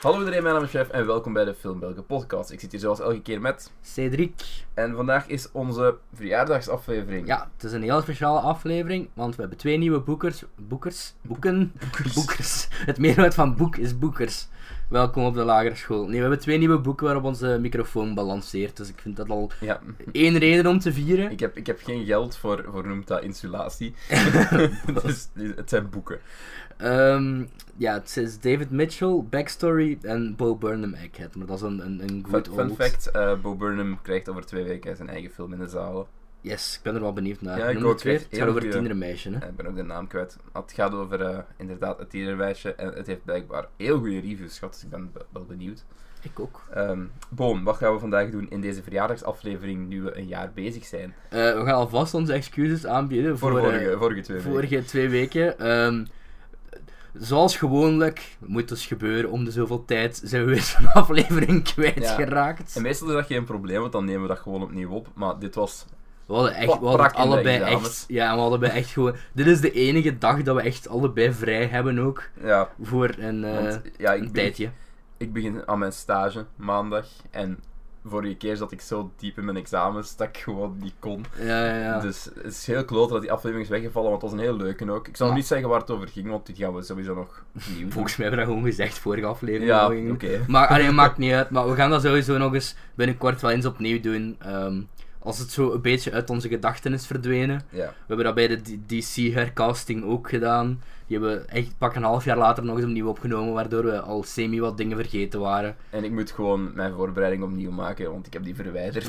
Hallo iedereen, mijn naam is Chef en welkom bij de Film Belgen podcast. Ik zit hier zoals elke keer met. Cedric. En vandaag is onze verjaardagsaflevering. Ja, het is een heel speciale aflevering, want we hebben twee nieuwe boekers. Boekers? Boeken? Boekers. Boekers. Het meerwoord van boek is boekers. Welkom op de lagere school. Nee, we hebben twee nieuwe boeken waarop onze microfoon balanceert, dus ik vind dat al Ja. één reden om te vieren. Ik, heb, ik heb geen geld voor, voor noemt dat, insulatie. dus het zijn boeken. Ehm, ja, het is David Mitchell, Backstory en Bo Burnham Egghead, maar dat is een, een, een Fun, good fun old. fact, eh, Bo Burnham krijgt over twee weken zijn eigen film in de zalen. Yes, ik ben er wel benieuwd naar. Ja, Noem ik het ook weer. echt Het heel gaat over goeie. tienermeisje, hè? Eh, Ik ben ook de naam kwijt. Het gaat over eh, inderdaad het tienerwijsje en het heeft blijkbaar heel goede reviews gehad, dus ik ben be- wel benieuwd. Ik ook. Ehm, Boom, wat gaan we vandaag doen in deze verjaardagsaflevering nu we een jaar bezig zijn? Eh, we gaan alvast onze excuses aanbieden Voor, voor, eh, vorige, vorige twee weken. vorige twee weken. Ehm, zoals gewoonlijk moet dus gebeuren, om de zoveel tijd zijn we weer zo'n aflevering kwijtgeraakt. En meestal is dat geen probleem, want dan nemen we dat gewoon opnieuw op. Maar dit was We hadden, echt, Wat we hadden brak in de allebei examens. echt. Ja, we hadden bij echt gewoon. Dit is de enige dag dat we echt allebei vrij hebben ook. Ja, Voor een, eh, want ja, ik, begin, een tijdje. ik begin aan mijn stage maandag. En vorige keer zat ik zo diep in mijn examens dat ik gewoon niet kon. Ja, ja, ja. Dus het is heel kloot dat die aflevering is weggevallen, want het was een heel leuke ook. Ik zal Ja. nog niet zeggen waar het over ging, want dit gaan we sowieso nog opnieuw doen. Volgens mij hebben we dat gewoon gezegd vorige aflevering. Ja, dat we oké. gingen doen. Maar alleen maakt niet uit. Maar we gaan dat sowieso nog eens binnenkort wel eens opnieuw doen. Ehm, als het zo een beetje uit onze gedachten is verdwenen. Ja. We hebben dat bij de D- DC hercasting ook gedaan. Die hebben we echt pak een half jaar later nog eens opnieuw opgenomen, waardoor we al semi wat dingen vergeten waren. En ik moet gewoon mijn voorbereiding opnieuw maken, want ik heb die verwijderd.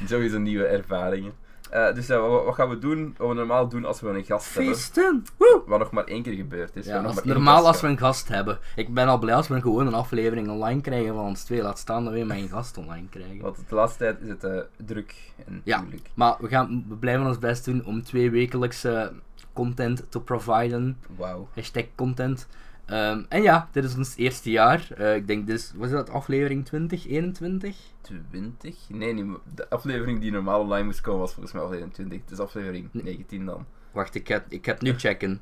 Dus, sowieso nieuwe ervaringen. Eh, dus ja, wat, wat gaan we doen? Wat we normaal doen als we een gast hebben. Feesten! Woe! Wat nog maar één keer gebeurd is. We Ja, hebben nog als, maar één normaal gast als we gehad. een gast hebben. Ik ben al blij als we gewoon een aflevering online krijgen van ons twee. Laat staan dat we mijn gast online krijgen. Want de laatste tijd is het eh, druk en Ja. moeilijk. Maar we, gaan, we blijven ons best doen om twee wekelijkse content te providen. Wauw. Hashtag content. Ehm, en ja, dit is ons eerste jaar. Eh, ik denk, dit is, was dat aflevering 20, 21? 20? Nee, niet, meer. de aflevering die normaal online moest komen was volgens mij aflevering 20. Het is aflevering 19 dan. Wacht, ik ga, ik ga het nu checken.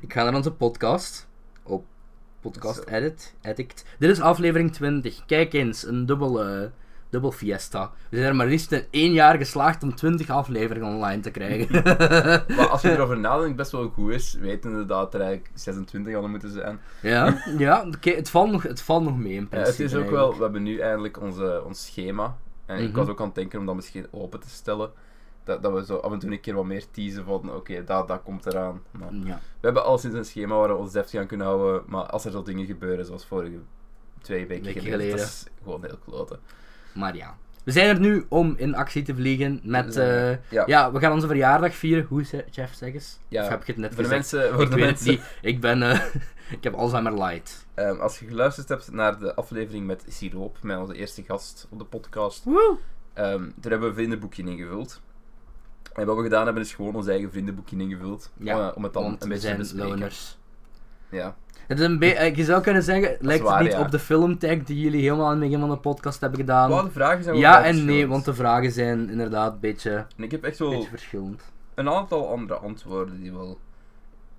ik ga naar onze podcast. Op podcast Zo. edit. Addict. Dit is aflevering 20. Kijk eens, een dubbele, dubbel fiesta. We zijn er maar liefst in één jaar geslaagd om 20 afleveringen online te krijgen. Maar als je erover nadenkt, best wel goed is, wetende dat er eigenlijk 26 hadden moeten zijn. ja, ja oké, het, valt nog, het valt nog mee in Ja, principe. het is ook eigenlijk. wel, we hebben nu eindelijk onze, ons schema. En ik Mhm. was ook aan het denken om dat misschien open te stellen. Dat, dat we zo af en toe een keer wat meer teasen van, oké, dat, dat komt eraan. Maar Ja. we hebben al sinds een schema waar we ons deftig aan kunnen houden. Maar als er zo dingen gebeuren, zoals vorige twee weken Weken geleden, dat geleden. is gewoon heel kloten. Maar ja. We zijn er nu om in actie te vliegen met... Ja. eh, ja. we gaan onze verjaardag vieren. Hoe, ze- Jeff, zeg eens? Ja, Of heb dus ik het net Voor de gezegd? mensen, voor ik de weet mensen het niet. Ik ben... eh, ik heb Alzheimer light. ehm, als je geluisterd hebt naar de aflevering met Siroop, met onze eerste gast op de podcast, Woe! ehm, daar hebben we een vriendenboekje ingevuld. En wat we gedaan hebben, is gewoon ons eigen vriendenboekje ingevuld. Ja, om, om het dan Want een we beetje te zijn bespreken. loners. Ja. Het is een be- eh, je zou kunnen zeggen, lijkt waar, het niet ja. op de filmtag die jullie helemaal aan het begin van de podcast hebben gedaan. Bepaalde vragen zijn wel ja vrij en nee, verschillend. want de vragen zijn inderdaad een beetje, En ik heb echt een wel beetje verschillend. een aantal andere antwoorden die wel...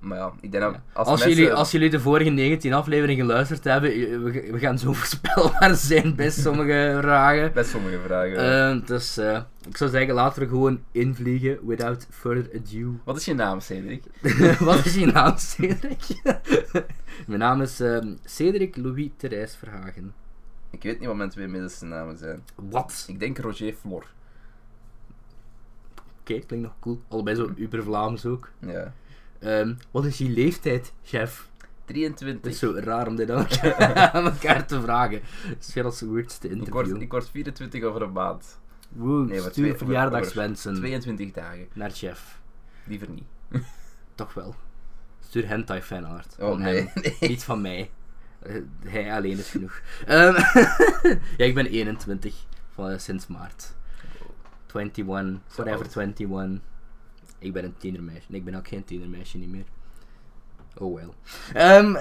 Maar ja, ik denk dat Ja. als, Als, mensen... jullie, als jullie de vorige 19 afleveringen geluisterd hebben, je- we, we gaan zo voorspelbaar zijn bij sommige vragen. Best sommige vragen. Eh, dus eh, ik zou zeggen, laten we er gewoon invliegen, without further ado. Wat is je naam, Cedric? Wat is je naam, Cedric? Mijn naam is ehm, Cedric Louis Therese Verhagen. Ik weet niet wat mijn twee middelste namen zijn. Wat? Ik denk Roger Flor. Oké, klinkt nog cool. Allebei zo uber Vlaams ook. Ja. Ehm, wat is je leeftijd, chef? 23. Het is zo raar om dit aan elkaar, aan elkaar te vragen. Het is weer als de weirdste Ik word, interview. ik word 24 over een maand. Woe, Nee, maar twee- stuur over- verjaardagswensen 22 dagen. naar chef. Liever niet. Toch wel. Stuur hentai fanart. Oh van nee. hem. nee. Niet van mij. Eh, hij alleen is genoeg. Ehm, ja, ik ben 21 van, eh, sinds maart. 21, forever oud. 21. Ik ben een tienermeisje. Nee, ik ben ook geen tienermeisje niet meer. Oh wel. Ehm,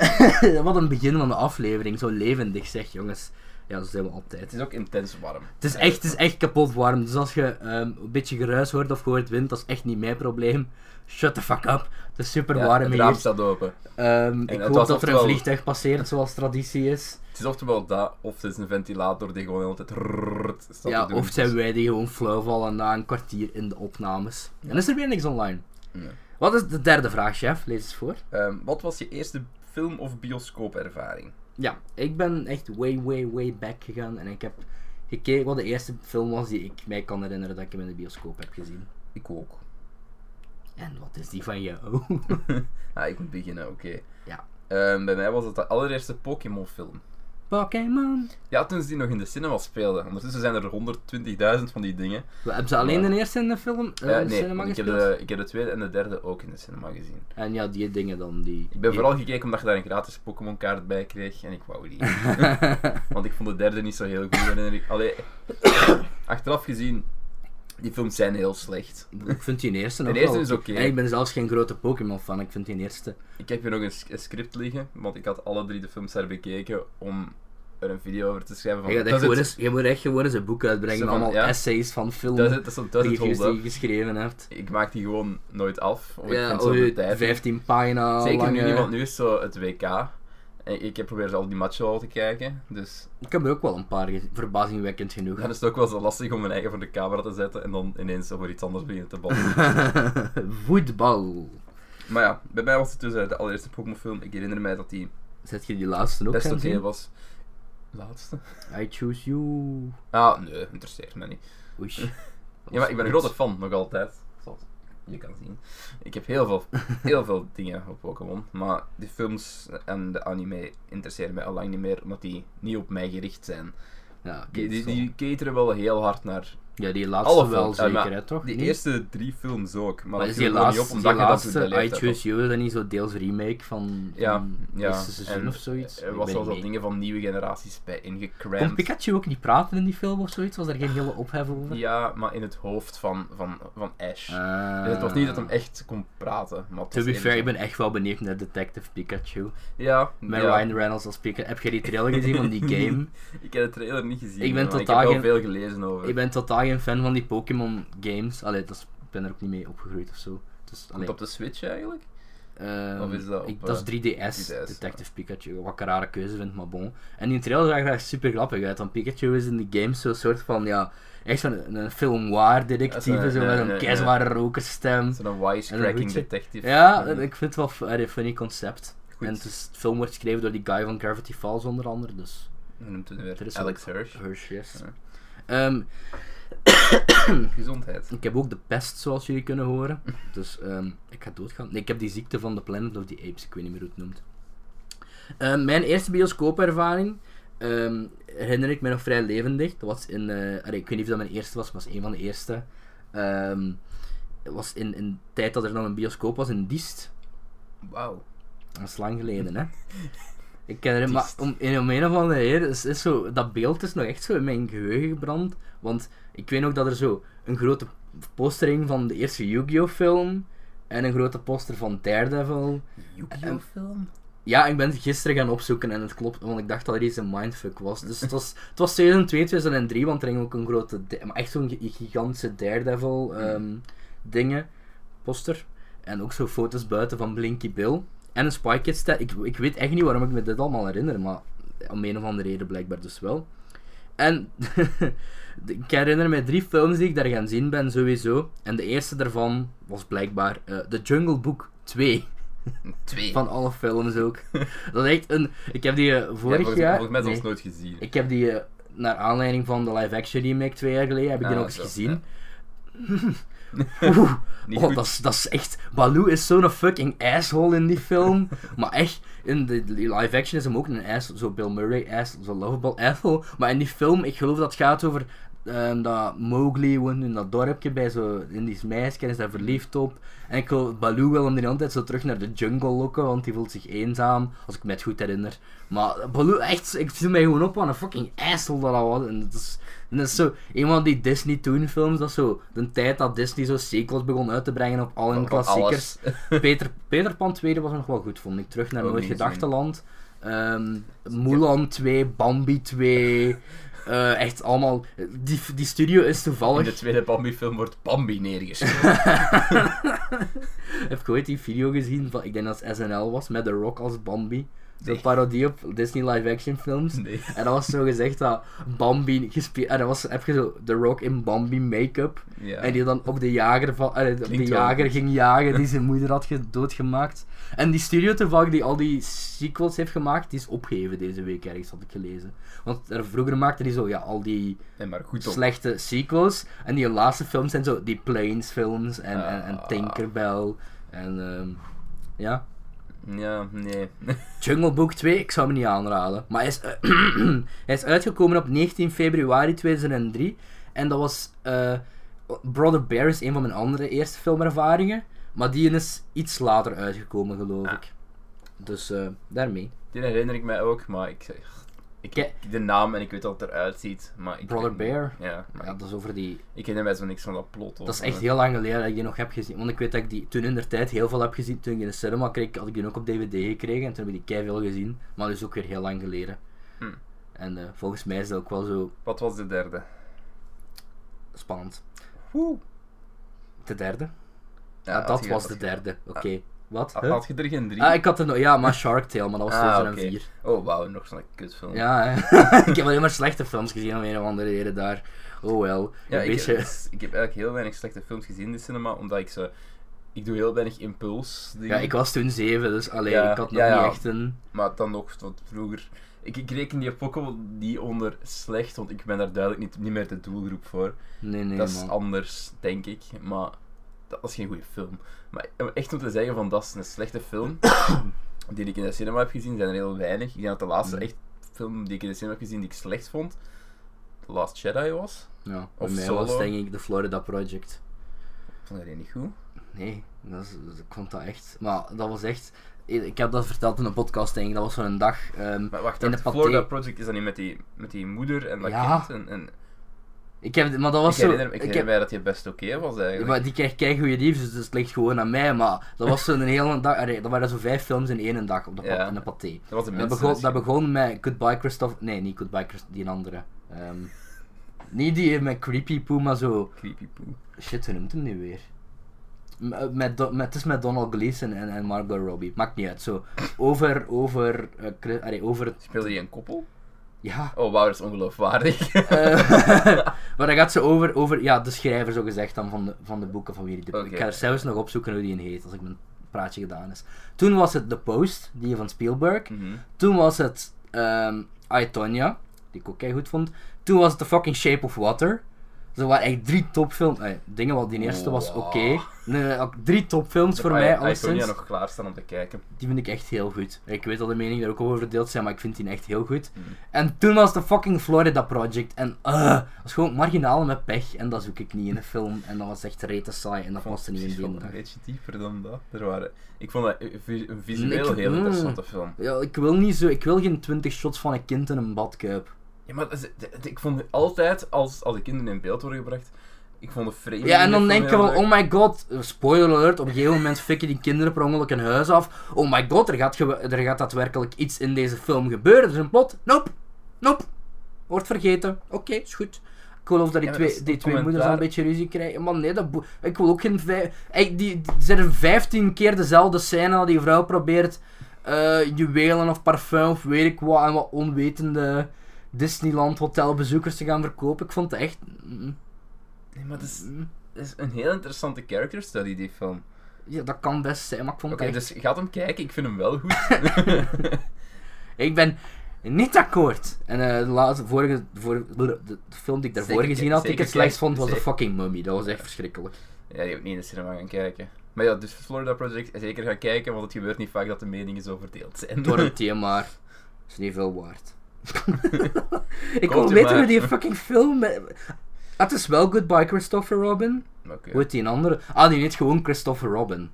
wat een begin van de aflevering. Zo levendig zeg, jongens. Ja, dat zijn we altijd. Het is ook intens warm. Het is echt, het is echt kapot warm. Dus als je ehm, een beetje geruis hoort of gehoord wind, dat is echt niet mijn probleem. Shut the fuck up. Het is super Ja, warm Het hier. raam staat open. Ehm, ik het hoop was dat er een oftewel- vliegtuig passeert, zoals traditie is. Het is oftewel dat, of het is een ventilator die gewoon altijd rrrrt staat Ja, te doen. of zijn wij die gewoon flauw vallen na een kwartier in de opnames. En is er weer niks online. Nee. Wat is de derde vraag, chef? Lees eens voor. Ehm, wat was je eerste film- of bioscoopervaring? Ja, ik ben echt way, way, way back gegaan. En ik heb gekeken wat de eerste film was die ik mij kan herinneren dat ik hem in de bioscoop heb gezien. Ik ook. En wat is die van jou? Ah, ik moet beginnen, oké. Ja. Ehm, bij mij was het de allereerste Pokémon-film. Pokémon. Ja, toen ze die nog in de cinema speelden. Ondertussen zijn er 120.000 van die dingen. We hebben ze alleen de eerste in de film eh, Eh, Oh, in de nee, cinema want ik heb, gespeeld? de, ik heb de tweede en de derde ook in de cinema gezien. En ja, die dingen dan, die... Ik ben vooral gekeken omdat je daar een gratis Pokémon-kaart bij kreeg. En ik wou die. Want ik vond de derde niet zo heel goed. herinner ik- Allee, achteraf gezien, die films zijn heel slecht. Ik vind die eerste nog De eerste wel- is oké. En ik ben zelfs geen grote Pokémon-fan, ik vind die eerste... Ik heb hier nog een s- een script liggen, want ik had alle drie de films herbekeken om er een video over te schrijven. Van, Je, gaat echt dat, is gewoon het, eens, je moet echt gewoon eens een boek uitbrengen, Zo van, allemaal ja. essays van film, dat is het, dat is het, dat is het reviews die hold-up. je geschreven hebt. Ik maak die gewoon nooit af, of ik Ja, vind of zo de je tijd. 15 pagina Zeker lange... nu niet, want nu is zo het WK. En ik heb proberen al die matchen al te kijken, dus Ik heb er ook wel een paar gezien, verbazingwekkend genoeg. dan is het ook wel zo lastig om mijn eigen voor de camera te zetten en dan ineens over iets anders beginnen te ballen. Voetbal. maar ja, bij mij was het dus eh, de allereerste Pokémon film. Ik herinner mij dat die Zet je die laatste ook best gaan oké zien? was. Laatste? I choose you. Ah, nee, interesseert me niet. Oei. Ja, maar ik ben een grote fan, nog altijd. Zoals je kan zien. Ik heb heel veel, heel veel dingen op Pokémon. Maar de films en de anime interesseren mij al lang niet meer, omdat die niet op mij gericht zijn. Ja, Die, die, die, die cateren wel heel hard naar ja, die laatste alle wel films. Eh, maar zeker, hè, toch? Die Niet? eerste drie films ook. Maar, Maar dat is die viel gewoon niet laatste, op, die omdat je dat doet laatste bij I leeftijd Choose You, dan niet zo deels remake van, Ja, van ja. eerste seizoen en of zoiets? Er Ik was ben wel niet zo mee. dingen van nieuwe generaties bij Kon ingecramd. Pikachu ook niet praten in die film of zoiets? Was er geen hele ophef over? Ja, maar in het hoofd van, van, van Ash. Ah. Dus het was niet dat hem echt kon praten. Maar het To was be eerder fair, zo- ik ben echt wel benieuwd naar Detective Pikachu. Ja, Met ja. Ryan Reynolds als Pikachu. Heb jij die trailer gezien van die game? Ik heb de trailer niet gezien. Ik ben maar totaal ik heb geen- wel veel gelezen over. Ik ben totaal geen fan van die Pokémon games. Allee, dat is, ik ben er ook niet mee opgegroeid of zo. Dus, Komt allee, het op de Switch eigenlijk? ehm, of is dat op, eh, ik- dat is 3DS, 3DS, Detective Pikachu. Wat ik een rare keuze vind, maar bon. En die trailer zag er echt super grappig uit. Want Pikachu is in die games zo'n soort van, ja, echt zo'n een- een film noir Ja, detectieve. zo, Zo ja, met ja, een ja. keizware rokerstem. Zo'n En een wisecracking hoedje. detective. Ja, Mm, ik vind het wel f- allee, een funny concept. Goed. En het is, de film wordt geschreven door die guy van Gravity Falls onder andere, dus... Hoe noemt hij nu Er is weer? Alex Hirsch. Hirsch, yes. Ja. Ehm, Hm. Gezondheid. Ik heb ook de pest, zoals jullie kunnen horen. Dus ehm, ik ga doodgaan. Nee, ik heb die ziekte van de Planet of the Apes, ik weet niet meer hoe het noemt. Ehm, mijn eerste bioscoopervaring ehm, herinner ik me nog vrij levendig. Dat was in, eh, allee, ik weet niet of dat mijn eerste was, maar was een van de eerste. Ehm, het was in, in de tijd dat er nog een bioscoop was in Diest. Wauw. Dat is lang geleden, hè? Ik ken er, maar Triest. om, in- om een of andere reden is, is zo, dat beeld is nog echt zo in mijn geheugen gebrand. Want ik weet nog dat er zo een grote postering van de eerste Yu-Gi-Oh! film en een grote poster van Daredevil. Yu-Gi-Oh! film? Ja, ik ben het gisteren gaan opzoeken en het klopt, want ik dacht dat er iets een mindfuck was. Dus het was, het was 2002, 2003, want er ging ook een grote, da- maar echt zo'n gi- gigantische Daredevil ehm, dingen, poster. En ook zo foto's buiten van Blinky Bill. En een Spy Kids sta- ik, ik weet echt niet waarom ik me dit allemaal herinner, maar eh, om een of andere reden blijkbaar dus wel. En ik herinner me drie films die ik daar gaan zien ben, sowieso. En de eerste daarvan was blijkbaar eh, The Jungle Book 2. Twee. Van alle films ook. Dat is echt een... Ik heb die eh, Ja, vorig volgens, jaar... volgens mij nee, zelfs nooit gezien. Ik heb die eh, naar aanleiding van de live-action remake twee jaar geleden, heb ik die Ah, nog eens zo, gezien. Oeh, Niet oh, goed. dat is- dat is echt... Baloo is zo'n fucking asshole in die film. maar echt, in de, die live-action is hem ook een ass, zo Bill Murray ass, zo lovable asshole. Maar in die film, ik geloof dat het gaat over ehm, dat Mowgli woont in dat dorpje bij zo Indisch meisje en is daar verliefd op. En ik geloof, Baloo wil hem de hele tijd zo terug naar de jungle lokken, want die voelt zich eenzaam, als ik me het goed herinner. Maar Baloo, echt, ik viel mij gewoon op aan een fucking asshole dat al was. En dat is, en dat is zo, een van die Disney toen films, dat is zo, de tijd dat Disney zo sequels begon uit te brengen op al hun Van- van klassiekers. alles. Peter, Peter Pan 2 was nog wel goed, vond ik. Terug naar Ook Nooit niet gezien. Gedachtenland. ehm Mulan 2, Bambi 2. eh, echt allemaal. Die, die studio is In toevallig. de tweede Bambi-film wordt Bambi neergeschoten. Heb je ooit die video gezien van, ik denk dat het SNL was, met The Rock als Bambi? Zo'n Nee. parodie op Disney live-action films. Nee. En dat was zo gezegd dat Bambi gespeeld... En dat was, heb je zo The Rock in Bambi make-up. Ja. En die dan op de jager, van, eh, op de Klinkt wel jager goed. ging jagen die zijn moeder had ge- doodgemaakt. En die studio toevallig die al die sequels heeft gemaakt, die is opgeheven deze week ergens, had ik gelezen. Want er, vroeger maakte die zo, ja, al die Nee, maar goed toch. slechte sequels. En die laatste films zijn zo die Planes films en, en, en Ah. Tinkerbell en ehm, ja. Ja, nee. Jungle Book 2, ik zou hem niet aanraden. Maar hij is, eh, hij is uitgekomen op 19 februari 2003. En dat was eh, Brother Bear is een van mijn andere eerste filmervaringen. Maar die is iets later uitgekomen, geloof Ah. ik. Dus eh, daarmee. Die herinner ik mij ook, maar ik zeg... Ik Ke- heb de naam en ik weet wat het eruit ziet, maar ik... Brother weet niet. Bear. Ja, maar Ja, ik, dat is over die ik herinner mij zo niks van dat plot. of, Dat is echt eh, heel lang geleden dat ik die nog heb gezien. Want ik weet dat ik die toen in de tijd heel veel heb gezien. Toen ik in de cinema kreeg, had ik die ook op DVD gekregen. En toen heb ik die veel gezien. Maar dat is ook weer heel lang geleden. Hm. En eh, volgens mij is dat ook wel zo Wat was de derde? spannend. Woe. De derde? Ja, ah, had dat je- was had de je- derde. Oké. Ah, Wat? Had, Huh? had je er geen drie? Ah, ik had er nog... Ja, maar Shark Tale. Maar dat was Ah, oké. 2004. Oh, wauw, nog zo'n kutfilm. Ja, hè. ik heb alleen maar slechte films gezien om een of andere reden daar. Oh wel. Ja, een ik, beetje... heb, ik heb eigenlijk heel weinig slechte films gezien in de cinema, omdat ik ze... Ik doe heel weinig impuls. Ja, ik was toen zeven, dus alleen Ja, ik had nog ja, ja. niet echt een... Maar dan nog wat vroeger. Ik, ik reken die Pokémon niet onder slecht, want ik ben daar duidelijk niet, niet meer de doelgroep voor. Nee, nee, dat is man. anders, denk ik. Maar dat was geen goede film. Maar om echt om te zeggen van dat is een slechte film, die ik in de cinema heb gezien, zijn er heel weinig. Ik denk dat de laatste Hmm. echt film die ik in de cinema heb gezien die ik slecht vond, The Last Jedi was. Ja, voor Of mij was Solo. denk ik de Florida Project. Ik vond dat niet goed. Nee, dat, is, dat- ik vond dat echt. Maar dat was echt. Ik ik heb dat verteld in een podcast, denk ik. Dat was zo'n dag. ehm, Maar wacht, In dat de paté- Florida Project is dat niet met die, met die moeder en dat Ja. kind? En, en, ik heb, maar dat was ik herinner, zo. ik ik herinner heb, mij dat die best oké was ja, eigenlijk. maar die krijgt kei goede reviews, dus het ligt gewoon aan mij. Maar dat was zo'n hele dag. Allee, dat waren zo vijf films in één dag op de, pat- Ja. in de paté. dat was de Dat mensen. begon, dat begon met Goodbye Christopher. Nee, niet Goodbye Christopher, die andere. Ehm, niet die met Creepy Poo, maar zo. Creepy poo. Shit, hoe noemt hem nu weer? M- eh, Met, Do- met, het is met Donald Gleason en, en Margot Robbie. Maakt niet uit. Zo, over, over, eh, Chris- allee, over het... Speelde die een koppel? Ja. Oh, wauw, dat is ongeloofwaardig. Mhm. eh, maar dat gaat zo over, over ja, de schrijver, zo gezegd, dan van, de, van de boeken van wie die de Oké. Ik ga er zelfs nog opzoeken hoe die een heet, als ik mijn praatje gedaan is. Toen was het The Post, die van Spielberg. Mhm. Toen was het ehm I, Tonya, die ik ook heel goed vond. Toen was het The Fucking Shape of Water. Zo waren echt drie topfilms. Eh, dingen, want die eerste was oké. Wow. Nee, ook drie topfilms voor Ik heb mij, Ai- Aitonia alleszins. nog klaarstaan om te kijken. Die vind ik echt heel goed. Ik weet dat de meningen daar ook over verdeeld zijn, maar ik vind die echt heel goed. Mhm. En toen was The Fucking Florida Project. En eh, dat was gewoon marginalen met pech. En dat zoek ik niet in een film. En dat was echt rete saai. En dat vond paste niet in precies die wel dag. Een beetje dieper dan dat. Er waren, ik vond dat eh, vi- een visueel Ik- heel mm. interessante film. Ja, ik wil niet zo... Ik wil geen 20 shots van een kind in een badkuip. Ja, maar dat is- dat- dat- ik vond altijd, als, als de kinderen in beeld worden gebracht, ik vond de frame. Ja, en dan denk je van, oh my god, eh, spoiler alert, op een gegeven moment fikken die kinderen per ongeluk een huis af. Oh my god, er gaat, gewe- er gaat daadwerkelijk iets in deze film gebeuren. Er is een plot. Nope. Nope. Wordt vergeten. Oké, is goed. Ik geloof dat die Ja, maar twee, dat is die een twee moeders al een commentaar. beetje ruzie krijgen. Man, nee, dat boe- ik wil ook geen vijf... Ey, die, die- zijn er vijftien keer dezelfde scène dat die vrouw probeert eh, juwelen of parfum of weet ik wat aan wat onwetende Disneyland hotelbezoekers te gaan verkopen. Ik vond het echt... mm, Nee, maar dat is, mm. dat is een heel interessante character study, die film. Oké, Ja, dat kan best zijn, maar ik vond het echt... dus gaat hem kijken, ik vind hem wel goed. dus- Ik ben niet akkoord. En eh, de laatste, vorige, vorige- de, de film die ik daarvoor Zeker gezien ki- had, die ik zeker het slechtst kijk- vond, was de zeker- fucking mummy. Dat was echt verschrikkelijk. ja, die ook niet in de cinema gaan kijken. Maar ja, dus Florida Project zeker gaan kijken, want het gebeurt niet vaak dat de meningen zo verdeeld zijn. Door een thema, maar is niet veel waard. ik Komt wil u weten maar. hoe die fucking film... met- Ah, Het is wel Goodbye Christopher Robin. Oké. Hoe heet die een andere? Ah, die heet gewoon Christopher Robin.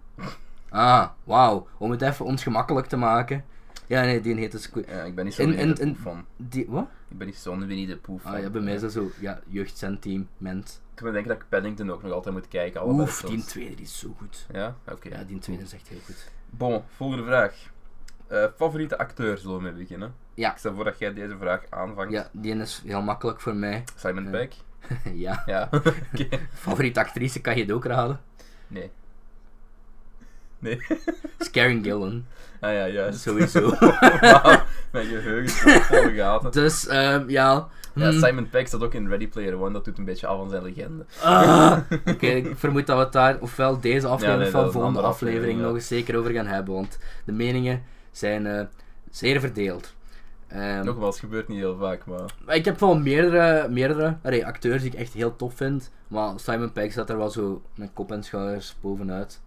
Ah, wauw. Om het even ons gemakkelijk te maken. Ja, nee, die heet dus... Ja, Eh, ik ben niet zo'n In- Winnie in- de Pooh in- fan. Die, wat? Ik ben niet zo'n Winnie de Pooh fan. Ah ja, bij mij is dat zo... Ja, jeugdsentiment. Ik ben denken dat ik Paddington ook nog altijd moet kijken. allebei Oef, de die films. tweede die is zo goed. Ja? Oké. Ja, die tweede is echt heel goed. Bon, volgende vraag. Eh, favoriete acteur zullen we mee beginnen. Ja. Ik stel voor dat jij deze vraag aanvangt. Ja, Eh. die is heel makkelijk voor mij. Simon Ja. Peck? ja. Ja. Oké. Favoriete actrice kan je het ook raden. Nee. Nee. Is Karen Gillan. Ah ja, juist. Sowieso. Wauw, Mijn geheugen is vol gaten. Dus, ehm, ja. Ja, hmm, Simon Peck zat ook in Ready Player One, dat doet een beetje af aan zijn legende. ah. Oké, ik vermoed dat we het daar, ofwel deze aflevering Ja, nee, of wel dat is een volgende andere aflevering, aflevering, ja. nog eens zeker over gaan hebben. Want de meningen zijn eh, zeer verdeeld. Ehm, Nogmaals, gebeurt niet heel vaak, maar... Maar Ik heb wel meerdere, meerdere allee, acteurs die ik echt heel tof vind. Maar Simon Pegg staat er wel zo met kop en schouders bovenuit.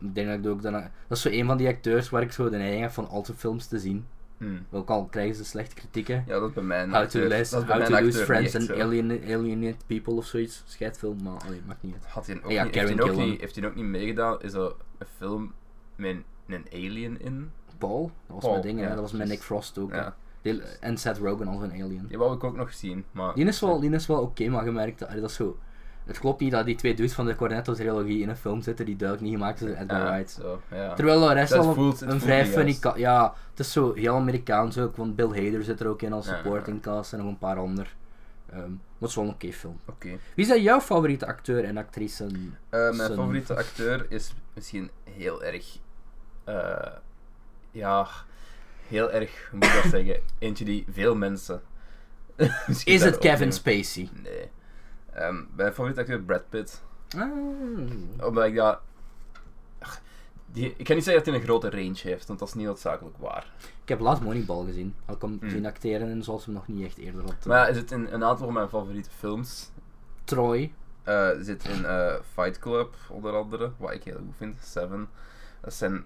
Ik denk dat ik dat ook daarna... Dat is zo een van die acteurs waar ik zo de neiging heb van al zijn films te zien. hm. Ook al krijgen ze slechte kritieken. Ja, dat is bij mijn How to, acteur- lose, dat is bij how to mijn Lose acteur Friends niet and echt zo. alienate, alienate People of zoiets. Scheidfilm, maar allee, maakt niet uit. Had hij ook Ja, niet, heeft, Karen hij ook Gillan. niet, heeft hij ook niet meegedaan? Is dat een film met een alien in? Paul? Dat was Paul, mijn ding, hè. ja. Dat was met Nick Frost ook. hè. Ja. Die- En Seth Rogen als een alien. Die wou ik ook nog zien, maar... Die is wel, die is wel oké, maar gemerkt dat, dat is zo. Het klopt niet dat die twee dudes van de Cornetto-trilogie in een film zitten die duidelijk niet gemaakt is door Edgar Ja, Wright. zo, ja. Terwijl de rest Dat al voelt- het een voelt vrij niet funny... juist. ka- Ja, het is zo heel Amerikaans ook, want Bill Hader zit er ook in als Ja, ja, ja. supporting cast en nog een paar ander. Ehm, maar het is wel een oké film. Oké. Wie zijn jouw favoriete acteur en actrice? Eh, mijn Zijn- favoriete acteur is misschien heel erg. eh, ja, heel erg, hoe moet ik dat zeggen? Eentje die veel mensen. misschien Is het daarop Kevin nemen. Spacey? Nee. Ehm, mijn favoriete acteur Brad Pitt. Ah, Omdat ik dat. Ach, Die, ik kan niet zeggen dat hij een grote range heeft, want dat is niet noodzakelijk waar. ik heb laatst Moneyball gezien. Al ik hem Hmm. zien acteren en zoals hem nog niet echt eerder had. Maar ja, zit in een aantal van mijn favoriete films. Troy. Eh, zit in eh, Fight Club, onder andere, wat ik heel goed vind. Seven. Dat zijn.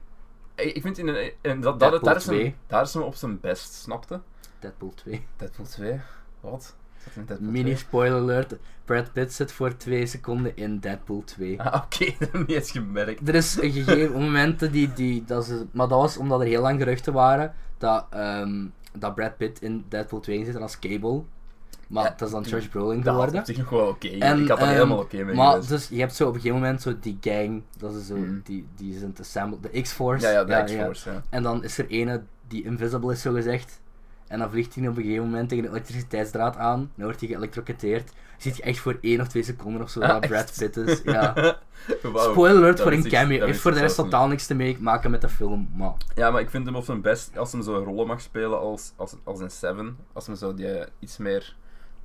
Ik ik vind in, een- in dat, dat, Deadpool daar, is hem, 2. daar is hem op zijn best, snapte? Deadpool 2. Deadpool 2? Wat? Zat in Deadpool Mini 2? spoiler alert: Brad Pitt zit voor twee seconden in Deadpool 2. Ah, oké, dat heb ik niet eens gemerkt. Er is een gegeven momenten die. die dat ze, maar dat was omdat er heel lang geruchten waren dat, ehm, dat Brad Pitt in Deadpool 2 zit als Cable. Maar Ja, dat is dan Josh Brolin Dat had geworden. op zich nog wel oké. En, Ik had er ehm, helemaal oké mee Maar geweest. dus je hebt zo op een gegeven moment zo die gang, dat is zo, Mhm. die, die is in het assemble, de X-Force. Ja, ja, de X-Force, ja. En dan is er ene die invisible is, zo gezegd. En dan vliegt hij op een gegeven moment tegen de elektriciteitsdraad aan. Dan wordt hij geëlektrocuteerd. Ziet je echt voor één of twee seconden of zo Ah, dat echt? Brad Pitt is. Ja. Wauw, Spoiler alert dat voor wist een ik- cameo. dat Heeft wist voor ik de rest zelfs totaal niks te mee- maken met de film. Maar niet. Ja, maar ik vind hem op zijn best als hem zo'n rollen mag spelen als, als, als in Seven. Als hem zo die eh, iets meer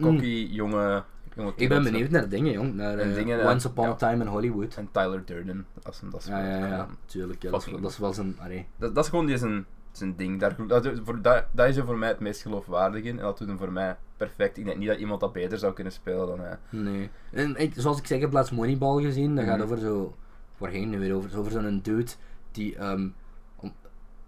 cocky, jonge, jonge Mm. ik ben kerels- benieuwd naar dingen, jong. Naar En eh, dingen, eh, Once Upon ja. a Time in Hollywood. En Tyler Durden, als hem dat Ja, ja, ja. speelt. ja. Tuurlijk, ja, dat, is, wel- Fucking- dat is wel zijn... Allee. Dat, dat is gewoon die zijn, zijn ding. Daar, dat, voor, dat, dat is er voor mij het meest geloofwaardig in. En dat doet hem voor mij perfect. Ik denk niet dat iemand dat beter zou kunnen spelen dan eh, hij. Nee. En ik, zoals ik zei, ik heb laatst Moneyball gezien. Dat gaat Mhm. over zo. Waar ging het nu weer over? Zo Over zo'n dude die. ehm, om-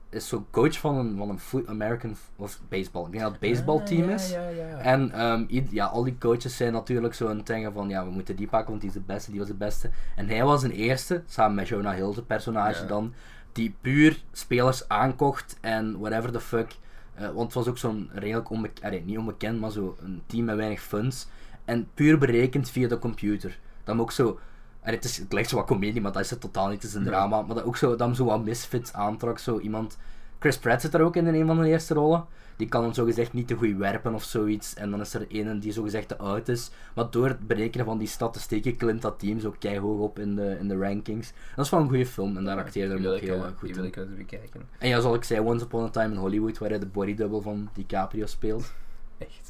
is zo coach van een, van een foot American f- of baseball. Ik denk dat het baseballteam is. Ah, Ja, ja, ja. En ehm, ied- ja, al die coaches zijn natuurlijk zo aan het denken van ja, we moeten die pakken, want die is de beste, die was de beste. En hij was een eerste, samen met Jonah Hill, de personage Ja. dan, die puur spelers aankocht en whatever the fuck. Eh, want het was ook zo'n redelijk onbekend, niet onbekend, maar zo'n team met weinig funds. En puur berekend via de computer. Dat hem ook zo. En het, is, het lijkt zo wat comedie, maar dat is het totaal niet. Het is een drama. Maar dat ook zo, dat hem zo wat misfits aantrok. Zo iemand. Chris Pratt zit daar ook in in een van de eerste rollen. Die kan hem zogezegd niet te goed werpen of zoiets. En dan is er een die zogezegd te oud is. Maar door het berekenen van die statistieken klimt dat team zo hoog op in de, in de rankings. Dat is wel een goede film en daar acteerde Die hem wil ook ik, heel eh, eh, goed Die in. wil ik wel eens bekijken. En ja, zoals ik zei, Once Upon a Time in Hollywood, waar hij de bodydouble van DiCaprio speelt. Echt.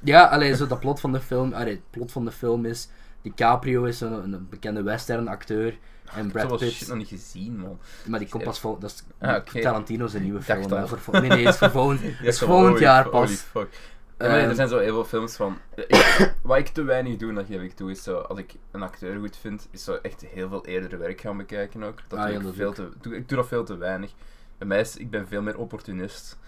Ja, allee, zo dat plot van de film. Allee, het plot van de film is. DiCaprio is een, een bekende western acteur. En Ik heb Brad zoveel Pitt. shit nog niet gezien, man. Maar die komt pas vol. Dat is Ah, oké. Tarantino's een nieuwe Ik dacht film. hè, al. voor vol- nee, nee, is voor volgend, Ja, is volgend holy jaar fu- pas. holy fuck. Ja, maar Ehm, er zijn zo heel veel films van. Ik- wat ik te weinig doe, dat geef ik toe, is zo. Als ik een acteur goed vind, is zo echt heel veel eerder werk gaan bekijken ook. Dat Ah, doe ja, ik, dat veel ook. te, doe, ik doe dat veel te weinig. Bij mij is, ik ben veel meer opportunist.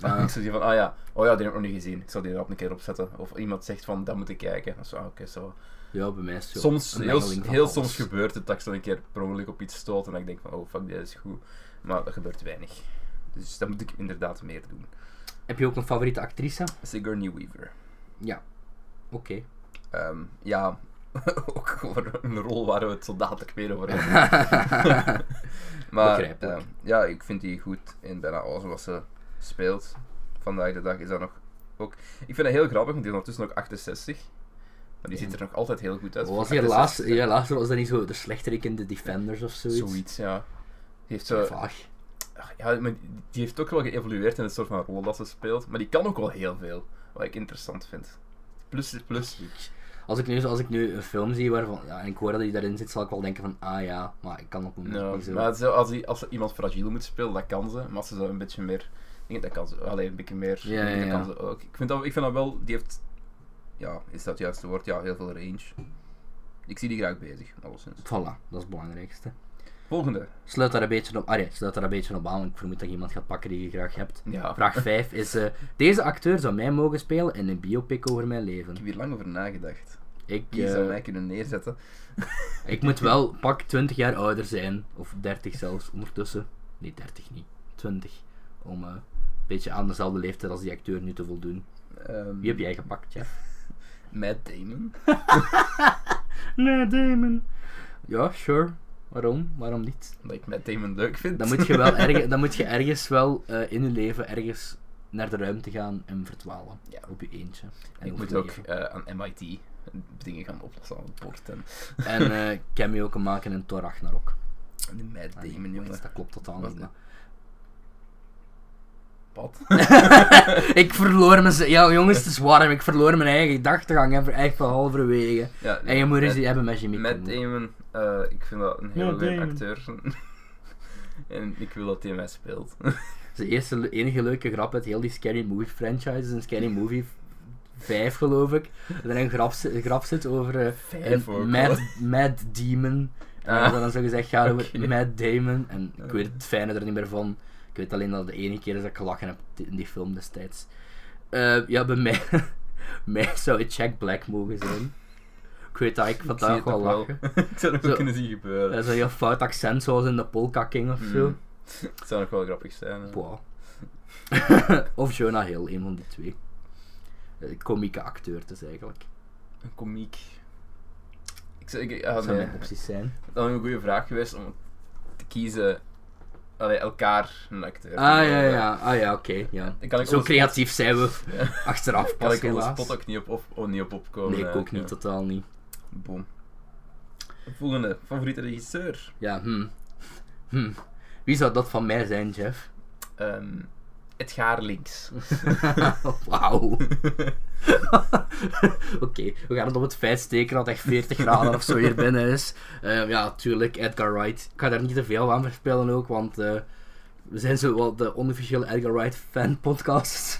Ah. Ik zou zeggen van, ah ja, oh ja, die heb ik nog niet gezien. Ik zal die erop een keer opzetten. Of iemand zegt van, dat moet ik kijken. Dan Zo, ah, oké, zo. Ja, bij mij is het zo. Soms, een heel, mengeling van heel alles. soms gebeurt het dat ik zo een keer per ongeluk op iets stoot en dat ik denk van, oh fuck, dit is goed. Maar dat gebeurt weinig. Dus dat moet ik inderdaad meer doen. Heb je ook een favoriete actrice? Sigourney Weaver. Ja. Oké. Ehm, ja, ook gewoon een rol waar we het zo dadelijk weer over hebben. maar Begrijpelijk. eh, ja, ik vind die goed in bijna alles wat ze speelt. Vandaag de dag is dat nog ook. Ik vind het heel grappig, want die is ondertussen nog 68. Maar die ziet er nog altijd heel goed uit. Was Voor hier laatst, 68 ja, laatst was dat niet zo de slechterik in de Defenders of zoiets? Zoiets, eh. ja. Die heeft zo, Vaag. ja, maar die heeft ook wel geëvolueerd in het soort van rol dat ze speelt. Maar die kan ook wel heel veel, wat ik interessant vind. Plus, plus. Als ik, nu, als ik nu een film zie waarvan, ja, en ik hoor dat hij daarin zit, zal ik wel denken van, ah ja, maar ik kan op een moment Ja, niet zo. maar zo, als, die, als ze iemand fragiel moet spelen, dat kan ze. Maar als ze zo een beetje meer... Ik denk dat kan ze... Allee, een beetje meer... Ja, ja, dat ja. kan ze ook. Ik vind, dat, ik vind dat wel... Die heeft... Ja, is dat het juiste woord? Ja, heel veel range. Ik zie die graag bezig, alleszins. Voilà, dat is het belangrijkste. Volgende. Sluit daar een beetje op, allee, sluit daar een beetje op aan, want ik vermoed dat je iemand gaat pakken die je graag hebt. Ja, Vraag 5 is, eh, deze acteur zou mij mogen spelen in een biopic over mijn leven. ik heb hier lang over nagedacht. Ik, Wie eh, zou mij kunnen neerzetten? ik moet wel pak 20 jaar ouder zijn, of 30 zelfs ondertussen. Nee, 30 niet, 20. Om eh, een beetje aan dezelfde leeftijd als die acteur nu te voldoen. Ehm, Wie heb jij gepakt, Jeff? Matt Damon. Nee, Damon. Ja, sure. Waarom? Waarom niet? Omdat ik Matt Damon leuk vind. Dan moet je, wel erge- dan moet je ergens wel eh, in je leven ergens naar de ruimte gaan en verdwalen. Ja. Op je eentje. En Ik moet ook overleven. eh, aan MIT dingen gaan oplossen aan het bord. En En eh, cameo kan maken in Thor Ragnarok. de Matt Ah, nee, Damon, jongen. Dat klopt totaal Wat- niet. maar- Wat? Ik verloor mijn... z- Ja, jongens, het is warm. Ik verloor mijn eigen gedachtegang. hè, voor- Echt van halverwege. Ja, En je moet eens Matt- die hebben met Jimmy Matt Kimmel. Damon, eh, ik vind dat een hele Matt leuke Damon. acteur. en ik wil dat hij mij speelt. De eerste, le- enige leuke grap uit heel die Scary Movie franchise is een Scary Movie 5 geloof ik. Dat er een grap, zi- een grap zit over eh, Vijf ook, een Mad, Mad Demon. En Ah, dat dan zo gezegd gaat over oké. Mad Damon. En ik Ah. weet het fijne er niet meer van. Ik weet alleen dat het de enige keer is dat ik gelachen heb t- in die film destijds. Eh, ja, bij mij, mij zou het Jack Black mogen zijn. Ik weet dat ik zie vandaag het wel ook lachen. ik zou het Zo. wel kunnen zien gebeuren. Dat is een heel fout accent zoals in de Polka King of Mm. zo. Het zou nog wel grappig zijn. hè. Wow. of Jonah Hill, een van die twee. Eh, Komieke acteur, dus Ah, eigenlijk. Een komiek. Ik zeg, ik, ah, Dat zou nee. mijn opties zijn. Dat is een goede vraag geweest om te kiezen. Allee, elkaar een acteur. Ah ja, ja, ah ja, oké. ja. Dan kan ik Zo onze- creatief zijn we Ja. achteraf Kan pas ik onze helaas. spot ook niet op, op, oh, niet op opkomen. Nee, ik ook eigenlijk, niet, ja. totaal niet. Boom. Volgende, favoriete regisseur. Ja, hm. Hm. Wie zou dat van mij zijn, Jeff? Ehm het gaar links. Wauw. Oké, we gaan het op het feit steken dat het echt 40 graden of zo hier binnen is. Eh, ja, tuurlijk, Edgar Wright. Ik ga daar niet te veel aan verspillen ook, want eh, we zijn zo wel de onofficiële Edgar Wright fan podcast.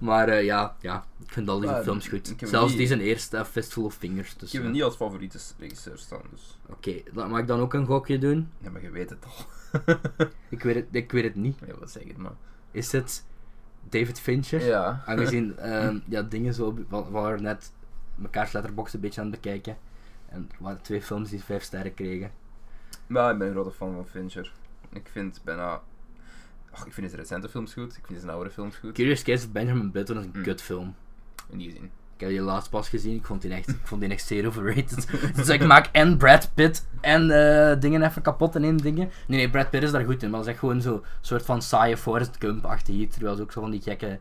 Maar eh, ja, ja, ik vind al deze Maar films ik goed. heb hem Zelfs niet- deze eerste, eh, Fistful of Fingers. Dus, Ik heb eh, hem niet als favoriete regisseur staan, dus. Oké, laat- mag ik dan ook een gokje doen? Ja, maar je weet het al. Ik weet het, ik weet het niet. Ja, wat zeg ik maar. Is het David Fincher? Ja. Aangezien ehm, ja, dingen zo, we waren net mekaars letterbox een beetje aan het bekijken. En er waren twee films die vijf sterren kregen. Maar ik ben een grote fan van Fincher. Ik vind bijna... Ach, ik vind zijn recente films goed, ik vind zijn oude films goed. Curious Case of Benjamin Button is een Mm. kutfilm. In die zin. Ik heb die laatst pas gezien, ik vond die echt, ik vond die echt zeer overrated. dus ik maak en Brad Pitt en eh, dingen even kapot in één dingen. Nee, nee, Brad Pitt is daar goed in, maar dat is echt gewoon zo'n soort van saaie Forrest Gump-achtig iets. Terwijl ze ook zo van die gekke,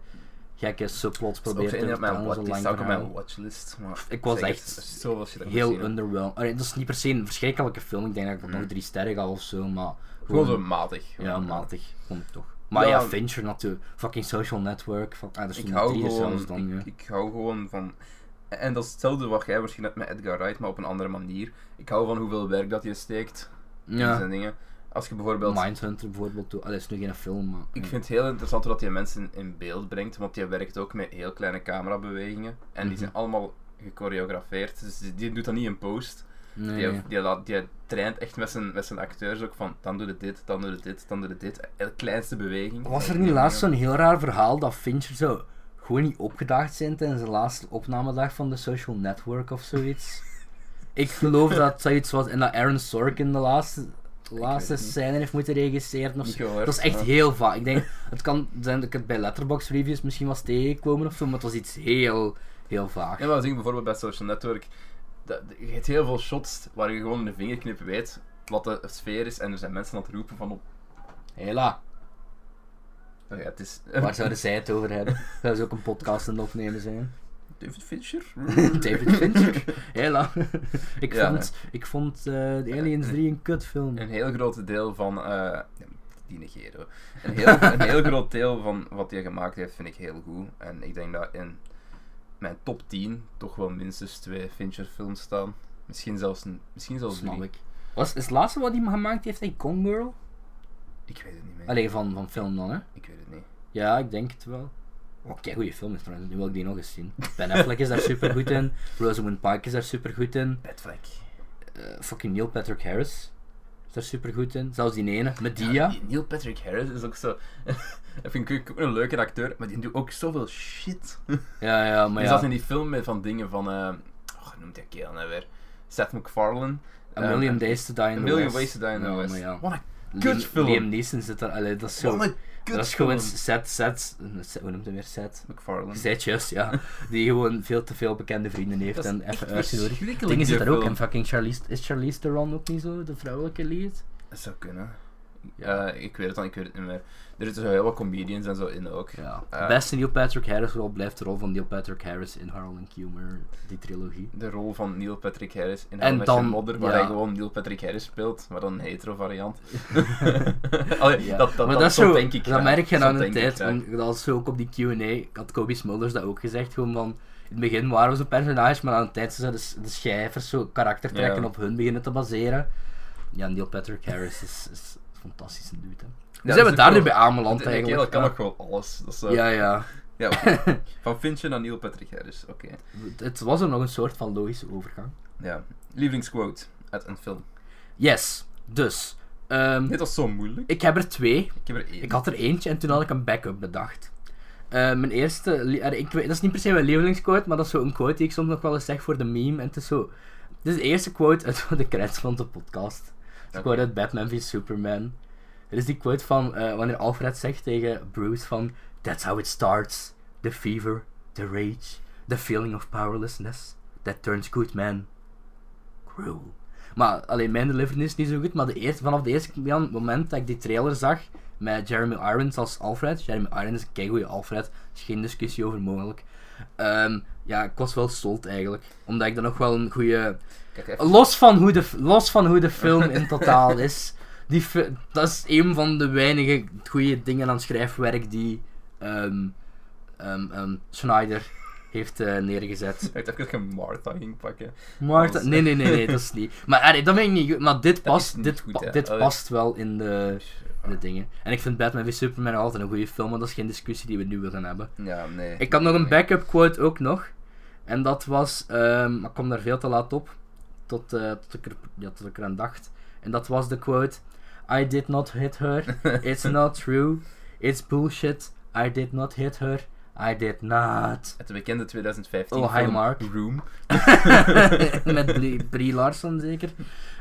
gekke subplots Dat is ook probeert zo te in op mijn, vertalen, wat, zo die lang staat ook op mijn verhaal. watchlist. Maar Ik was zeg, echt er is zoveel shit dat ik moet Heel zien heb. underwhelmed. Allee, dat is niet per se een verschrikkelijke film. Ik denk dat ik er Mm. nog drie sterren ga of zo, maar... Gewoon zo matig. Ja, matig. Vond ik toch. Maar ja, Ja. Fincher natuurlijk. Fucking Social Network. Fuck, ah, dat is Ik toen hou, drie is gewoon, zelfs dan, ja. ik, ik hou gewoon van. En dat is hetzelfde wat jij misschien hebt met Edgar Wright, maar op een andere manier. Ik hou van hoeveel werk dat je steekt in ja. zijn dingen. Als je bijvoorbeeld. Mindhunter bijvoorbeeld. toe- Ah, dat is nu geen film, maar... Ik ja. vind het heel interessant hoe dat je mensen in beeld brengt, want je werkt ook met heel kleine camerabewegingen. En die Mhm. zijn allemaal gechoreografeerd. Dus die- die doet dat niet in post. Nee, Die, nee. die, laat- die traint echt met zijn, met zijn acteurs ook van dan doe je dit, dan doe je dit, dan doe je dit. De kleinste beweging. Was er niet laatst zo'n heel raar verhaal dat Fincher zo gewoon niet opgedaagd zijn tijdens de laatste opnamedag van de Social Network of zoiets? ik geloof dat zoiets was en dat Aaron Sorkin de laatste, laatste weet het niet. scène heeft moeten regisseren of Niet zo. gehoord, Dat is echt maar- heel vaak. Ik denk, het kan zijn dat ik het bij Letterboxd reviews misschien was tegengekomen of zo, maar het was iets heel, heel vaag. Ja, maar we zien bijvoorbeeld bij Social Network dat- je hebt heel veel shots waar je gewoon in de vingerknip weet wat de sfeer is en er zijn mensen aan het roepen van op. Hela, Nou ja, het is. waar zouden zij het over hebben? Dat zou ook een podcast aan het opnemen zijn. David Fincher? David Fincher. Hela. ik, Ja, vond, ik vond eh, de Aliens 3 een kutfilm. Een heel groot deel van. eh, die negeren we. Een heel, een heel groot deel van wat hij gemaakt heeft vind ik heel goed. En ik denk dat in mijn top 10 toch wel minstens twee Fincher-films staan. Misschien zelfs, een- misschien zelfs Snap drie. ik. Was, is het laatste wat hij gemaakt heeft, hij Gone Girl? Ik weet het niet meer. Allee, van, van film dan, hè? Ik weet het niet. Ja, ik denk het wel. Oké, goede film is trouwens. Nu wil ik die nog eens zien. Ben Affleck is daar super goed in. Rosamund Pike is daar super goed in. Bedvlek. Eh, fucking Neil Patrick Harris is daar super goed in. Zelfs die ene, met Ja, die ja. die Neil Patrick Harris is ook zo. dat vind ik ook een leuke acteur, maar die doet ook zoveel shit. Ja, ja, maar Hij ja. zat in die film met van dingen van. eh oh, hoe noemt hij kerel nou weer? Seth MacFarlane. A Million Ehm, Days to Die in A the Million West. Ways to Die in the Ja, West. maar ja. Wat een Liam- kutfilm. Liam Neeson zit daar, allee, dat is zo... Wat een dat is gewoon kutfilm. set, set, set- hoe noemt hij weer, set? McFarlane. Zetjes, ja. Die gewoon veel te veel bekende vrienden heeft Dat is en echt even uitgezorgd. verschrikkelijk, Dingen zit die er ook film. en fucking Charlize, is Charlize Theron ook niet zo, de vrouwelijke lead? Dat zou kunnen. Ja. Eh, ik weet het dan, ik weet het niet meer. Er zitten zo heel wat comedians en zo in ook. Ja. Eh, Beste Neil Patrick Harris rol blijft de rol van Neil Patrick Harris in Harold and Kumar, die trilogie. De rol van Neil Patrick Harris in En How I Met Your dan- Mother, waar ja. hij gewoon Neil Patrick Harris speelt, maar dan een hetero variant. Allee, Ja. dat, dat, dat, maar dat, is zo zo, denk ik dat graag. merk je Zo aan de denk ik tijd. graag. want Dat is zo ook op die Q&A, had Kobe Smulders dat ook gezegd, gewoon van... In het begin waren we zo'n personage, maar aan de tijd zijn de, s- de schrijvers zo karaktertrekken Ja. op hun beginnen te baseren. Ja, Neil Patrick Harris is, is een fantastische dude, hè. dat Dus zijn is we ook daar nu wel- bij aanbeland Die kerel eigenlijk. kan ja. ook gewoon alles. Dat is, eh, Ja, ja. ja, oké. van Fincher naar Neil Patrick Harris, oké. Het- Het was er nog een soort van logische overgang. Ja. Lievelingsquote uit een film. Yes, dus. ehm, Dit was zo moeilijk. ik heb er twee. Ik heb er één. Ik had er eentje en toen had ik een backup bedacht. Eh, mijn eerste, li- eh, ik weet, dat is niet per se mijn lievelingsquote, maar dat is zo'n quote die ik soms nog wel eens zeg voor de meme. En het is zo, dit is de eerste quote uit de credits van de podcast. Het is een Oké. quote uit Batman v Superman. Er is die quote van, eh, wanneer Alfred zegt tegen Bruce van, That's how it starts. The fever, the rage, the feeling of powerlessness. That turns good men cruel. Maar alleen mijn delivery is niet zo goed, maar de eerste, vanaf de eerste jan- moment dat ik die trailer zag met Jeremy Irons als Alfred. Jeremy Irons is een goede Alfred, er is geen discussie over mogelijk. Ehm, ja, ik was wel stolt eigenlijk. Omdat ik dan nog wel een goede. Kijk even. Los van hoe de, f- los van hoe de film in totaal is. Die, fi- dat is een van de weinige goede dingen aan schrijfwerk die ehm, ehm, ehm, Schneider heeft eh, neergezet. Ik dacht dat ik een Martha ging pakken. Marta, Als- nee, nee, nee, nee, dat is niet. Maar allee, dat vind ik niet goed. Maar dit is past, niet dit goed, pa- hè. dit Allee. past wel in de, in de dingen. En ik vind Batman v Superman nog altijd een goede film, maar dat is geen discussie die we nu willen hebben. Ja, nee. Ik had nog een Nee. backup quote ook nog. En dat was, ehm, maar ik kwam daar veel te laat op. Tot, eh, tot, ik er, ja, tot ik eraan dacht. En dat was de quote: I did not hit her. It's not true. It's bullshit. I did not hit her. I did not. Uit de bekende 2015 Oh, hi, film Mark. Room. Met Brie, Brie Larson zeker.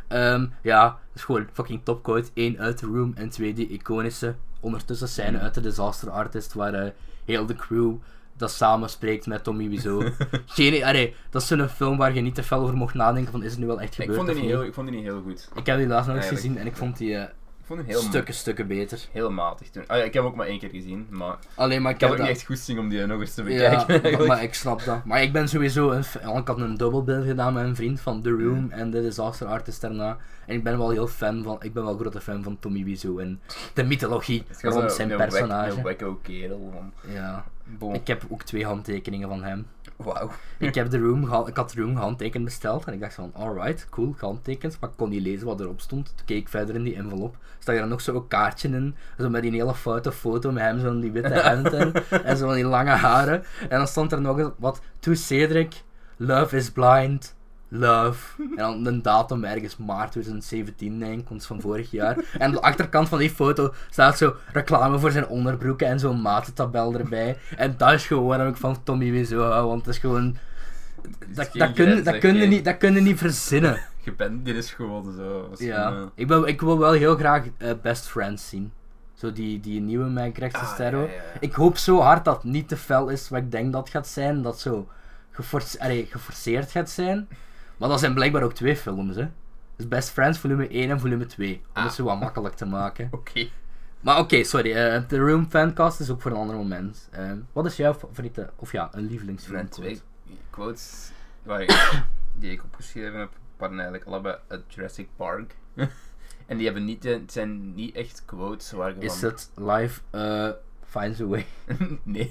Ehm, ja, dat is gewoon fucking topquote. Eén uit The Room en twee die iconische ondertussen scène uit The Disaster Artist waar eh, heel de crew dat samen spreekt met Tommy Wiseau. Geen, allee, dat is zo'n film waar je niet te fel over mocht nadenken van is het nu wel echt Ik gebeurd vond, die of niet niet. heel, ik vond die niet heel goed. Ik heb die laatst nog eens Eigenlijk. gezien en ik vond die eh, Ik vond hem heel, stukken, stukken beter. heel matig toen. Ah, ja, ik heb hem ook maar één keer gezien, maar Alleen maar ik, ik heb heb ook niet dat- echt goed zien om die nog eens te Ja, bekijken. maar, eigenlijk. maar ik snap dat. Maar ik ben sowieso een. f- want Ik had een dubbelbeeld gedaan met een vriend van The Room Mm. en The Disaster Artist daarna. En ik ben wel heel fan van. Ik ben wel grote fan van Tommy Wiseau en de mythologie Het gaat rond zo zijn een wack- personage. Een wacko kerel. Van. ja. Bon. Ik heb ook twee handtekeningen van hem. Wauw. Ik, heb The Room geha- ik had The Room gehandtekend besteld en ik dacht van alright, cool, gehandtekend. Maar ik kon niet lezen wat erop stond. Toen keek ik verder in die envelop. Stak er dan nog zo'n kaartje in. Zo met die hele foute foto met hem, zo in die witte hemd en, en zo van die lange haren. En dan stond er nog eens wat, to Cedric, love is blind. Love. En dan een datum ergens maart 2017, denk ik, want van vorig jaar. En aan de achterkant van die foto staat zo reclame voor zijn onderbroeken en zo'n matentabel erbij. En dat is gewoon waarom ik van Tommy Wiseau hou, want het is gewoon dat, dat, kun, dat, kun je niet, dat kun je niet verzinnen. Je bent, dit is gewoon zo. Dat is gewoon, Ja. eh, Ik, wil, ik wil wel heel graag eh, Best Friends zien. Zo die, die nieuwe met Greg Ah, Sestero. ja, ja, ja. Ik hoop zo hard dat het niet te fel is wat ik denk dat het gaat zijn. Dat zo geforce- allee, geforceerd gaat zijn. Maar dat zijn blijkbaar ook twee films, hè. Dus Best Friends volume 1 en volume 2. Om Ah. het zo wat makkelijk te maken. Oké. Maar oké, sorry. eh, The Room Fancast is ook voor een ander moment. Eh, wat is jouw favoriete, of ja, een lievelingsfilm? Mijn twee quotes waar ik, die ik opgeschreven heb, waren eigenlijk allebei uit Jurassic Park. en die hebben niet, het zijn niet echt quotes waar ik Is van... het Life eh, Finds a Way? nee.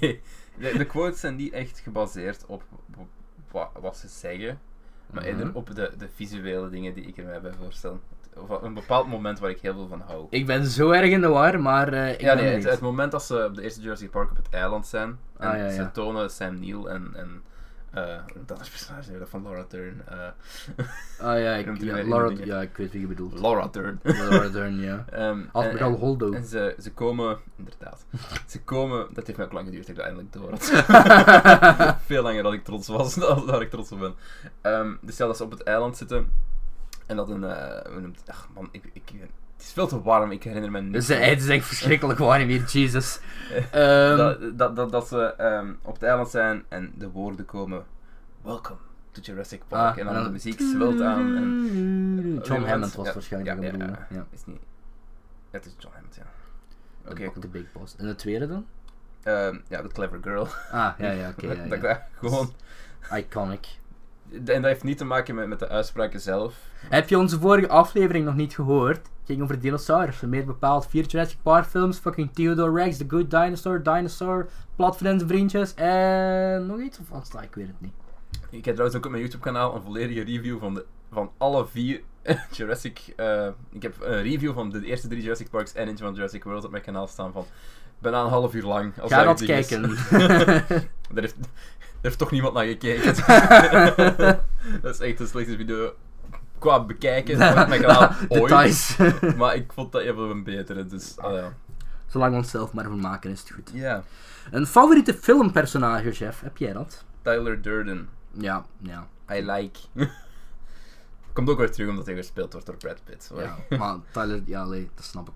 De, de quotes zijn niet echt gebaseerd op, op wa- wat ze zeggen, maar eerder Mhm. op de, de visuele dingen die ik ermee bij voorstel. Of een bepaald moment waar ik heel veel van hou. Ik ben zo erg in de war, maar eh, ik ja, ben nee, er het, niet. het moment dat ze op de eerste Jurassic Park op het eiland zijn en Ah, ja, ja. ze tonen Sam Neill en, en eh, dat is personage weer, dat van Laura Dern. eh, Ah ja, Noemt ik, hij ja, weer Laura, dingen. ja, ik weet wie je bedoelt. Laura Dern. Laura Dern, ja. Ehm, en, Admiral en, Holdo. en ze, ze komen, inderdaad, ze komen, dat heeft mij ook lang geduurd dat ik dat eindelijk door had. Veel langer dan ik trots was, dan dat ik trots op ben. Ehm, dus stel dat ze op het eiland zitten en dat een, eh, hoe noemt, ach man, ik, ik, het is veel te warm, ik herinner me niet. Dus eh, het is echt verschrikkelijk warm hier, Jesus. dat, Ehm dat, dat, dat ze ehm, op het eiland zijn en de woorden komen: Welcome to Jurassic Park. ah, en dan de muziek zwelt aan. En, John Hammond was Ja, waarschijnlijk ja, wat ja, je bedoelde, ja, ja. Is niet. Het is John Hammond, ja. Oké, De- De Big Boss. En de tweede dan? ehm, ja, The Clever Girl. Ah, ja, ja, oké. Dat- ja, dat ik ja. daar gewoon. Iconic. En dat heeft niet te maken met, met de uitspraken zelf. Heb je onze vorige aflevering nog niet gehoord? Het ging over dinosaurussen, meer bepaald vier Jurassic Park films, fucking Theodore Rex, The Good Dinosaur, Dinosaur, Platvriends en Vriendjes en nog iets of wat? Ah, Ik weet het niet. Ik heb trouwens ook op mijn YouTube-kanaal een volledige review van, de, van alle vier Jurassic. eh, ik heb een review van de eerste drie Jurassic Parks en eentje van Jurassic World op mijn kanaal staan van. Bijna een half uur lang. Als Ga dat eigenlijk ding is. kijken. Daar heeft, daar heeft toch niemand naar gekeken. dat is echt de slechtste video qua bekijken van mijn kanaal ooit. Details. Maar ik vond dat even een betere, dus ah ja. Zolang we onszelf maar vermaken is het goed. Ja, Een favoriete filmpersonage, chef, heb jij dat? Tyler Durden. Ja, ja, I like. Komt ook weer terug omdat hij gespeeld wordt door Brad Pitt. hoor. ja. Maar Tyler, ja, allee, dat snap ik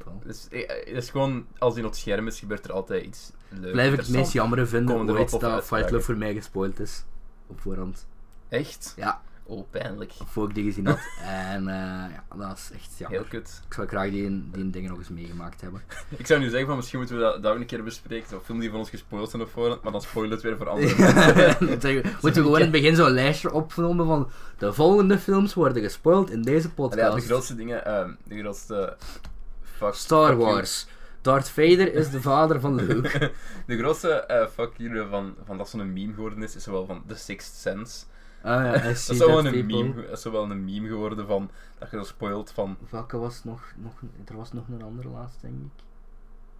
100% wel. Dus eh, het is gewoon, als hij op het scherm is, gebeurt er altijd iets leuks. Blijf ik het meest jammer Komen vinden er wel ooit toffe dat uitspraken. Fight Love voor mij gespoild is. Op voorhand. Echt? Ja. Oh, pijnlijk. Voor ik die gezien had. En eh, ja, dat is echt jammer. Heel kut. Ik zou graag die, die dingen nog eens meegemaakt hebben. Ik zou nu zeggen van misschien moeten we dat, dat ook een keer bespreken. Zo'n film die van ons gespoild zijn of voorhand, maar dan spoilen we het weer voor anderen. Dan zeggen we, Moeten we gewoon in het begin zo'n lijstje opgenomen van de volgende films worden gespoild in deze Ja, de podcast. grootste dingen, ehm, de grootste. Fuck, Star fuck you. Wars. Darth Vader is de vader van Luke. De grootste eh, fuck you van, van dat zo'n meme geworden is, is zowel van The Sixth Sense. Ah ja, I Dat see is, that wel een people. meme, ge- dat is wel een meme geworden van dat je dat spoilt van. Welke was nog, nog... Er was nog een andere laatst, denk ik.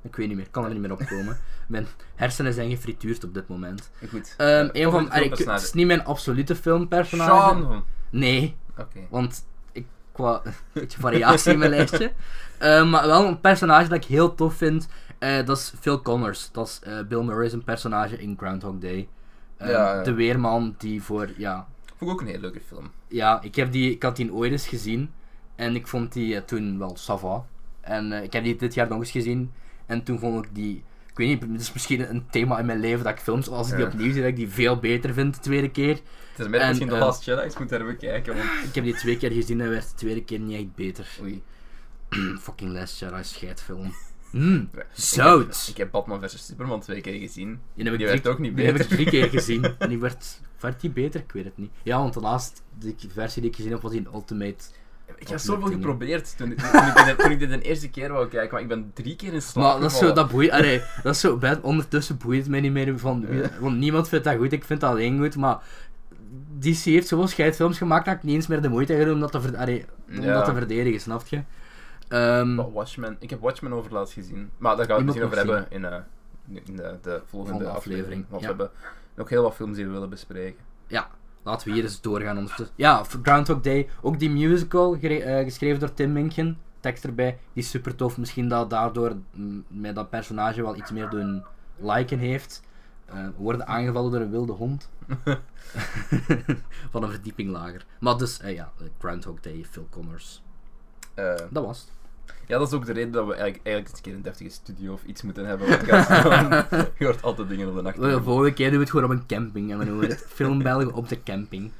Ik weet niet meer, kan er niet meer opkomen. Mijn hersenen zijn gefrituurd op dit moment. Goed. Ehm Eh, een van... goed, ah, ik- filmpersonage. het is niet mijn absolute filmpersonage. Sean! Nee, Oké. want ik... Qua een beetje variatie in mijn lijstje. Ehm, maar wel een personage dat ik heel tof vind. eh, dat is Phil Connors. Dat is eh, Bill Murray's een personage in Groundhog Day. Ehm, Ja, ja. De weerman die voor... Ja, Vond ik ook een hele leuke film. Ja, ik, heb die, ik had die ooit eens gezien. En ik vond die eh, toen wel sava. En eh, ik heb die dit jaar nog eens gezien. En toen vond ik die... Ik weet niet, het is misschien een thema in mijn leven dat ik films, als ik die Ja. opnieuw zie, dat ik die veel beter vind de tweede keer. Het is met En, misschien de eh, Last Jedi, dus ik moet daar even kijken. Want... Ik heb die twee keer gezien en werd de tweede keer niet echt beter. Oei. Fucking Last Jedi scheidfilm. Mm, Ik heb- zout! Ik heb Batman vs Superman twee keer gezien. Die heb ik Die drie- werd ook niet die heb ik beter. drie keer gezien. En die werd, werd die beter? Ik weet het niet. Ja, want de laatste die ik- versie die ik gezien heb was in Ultimate. Ik heb Dat zoveel lukt niet. geprobeerd toen, toen, ik dit, toen ik dit de eerste keer wou kijken, maar ik ben drie keer in slaap Maar dat is zo, gevallen. dat boeit, allee, dat is zo, bij, ondertussen boeit het mij niet meer, van, wie- want niemand vindt dat goed, ik vind dat alleen goed, maar DC heeft zoveel scheidfilms gemaakt dat ik niet eens meer de moeite heb om dat te, ver, allee, om Ja. dat te verdedigen, snap je? Ehm, Maar Oh, Watchmen, ik heb Watchmen overlaatst gezien. Maar daar gaan we het Die misschien moet over ik nog hebben in, eh, in de, de volgende Volgende aflevering. aflevering, Want ja. we hebben nog heel wat films die we willen bespreken. ja, laten we hier eens doorgaan. ondertussen. Ja, Groundhog Day, ook die musical, gere- eh, geschreven door Tim Minken, tekst erbij, die is super tof. Misschien dat daardoor mm, mij dat personage wel iets meer doen liken heeft. Eh, we worden aangevallen door een wilde hond. van een verdieping lager. Maar dus, eh, ja, Groundhog Day, Phil Connors. Eh, Dat was het. ja, dat is ook de reden dat we eigenlijk, eigenlijk eens een keer een deftige studio of iets moeten hebben. Want het gaat gewoon- je hoort altijd dingen op de nacht. De volgende keer doen we het gewoon op een camping en we noemen het Film Belgen op de camping.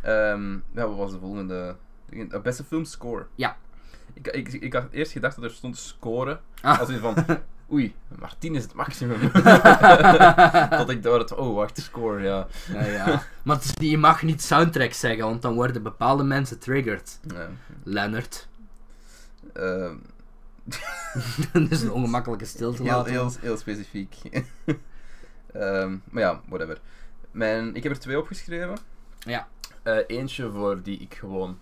Ehm, ja, wat was de volgende? Eh, Beste filmscore. Ja. Ik, ik, ik had eerst gedacht dat er stond scoren. Ah. Als in van, oei, maar 10 is het maximum. Tot ik door het, oh wacht, score, ja. Ja, ja. Maar het is niet- je mag niet soundtrack zeggen, want dan worden bepaalde mensen triggered. Ja. Leonard. Ehm, dat is een ongemakkelijke stilte heel, laten. heel, heel specifiek. Ehm, maar ja, whatever. Mijn, ik heb er twee opgeschreven. Ja. Eh, eentje voor die ik gewoon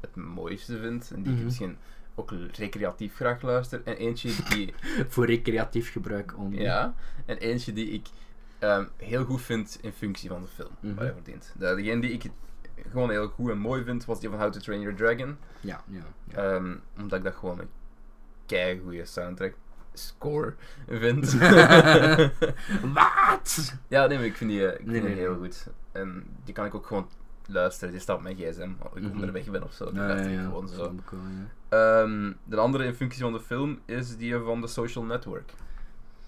het mooiste vind. En die Mhm. ik misschien ook recreatief graag luister. En eentje die... Voor recreatief gebruik. Om... Ja, en eentje die ik ehm, heel goed vind in functie van de film, Mhm. waar hij voor dient. De, degene die ik gewoon heel goed en mooi vind, was die van How to Train Your Dragon. Ja, ja, ja. Ehm, omdat ik dat gewoon een keigoede soundtrack score vind. Eh, Wat? ja, nee, maar ik vind die, eh, ik vind Nee, die nee, heel nee. goed. En die kan ik ook gewoon luisteren. Die staat op mijn gsm, als ik Mhm. onderweg ben of zo. Die Ja, ja, luister ik ja. gewoon zo. Snap ik wel, ja. Ehm, de andere in functie van de film is die van The Social Network.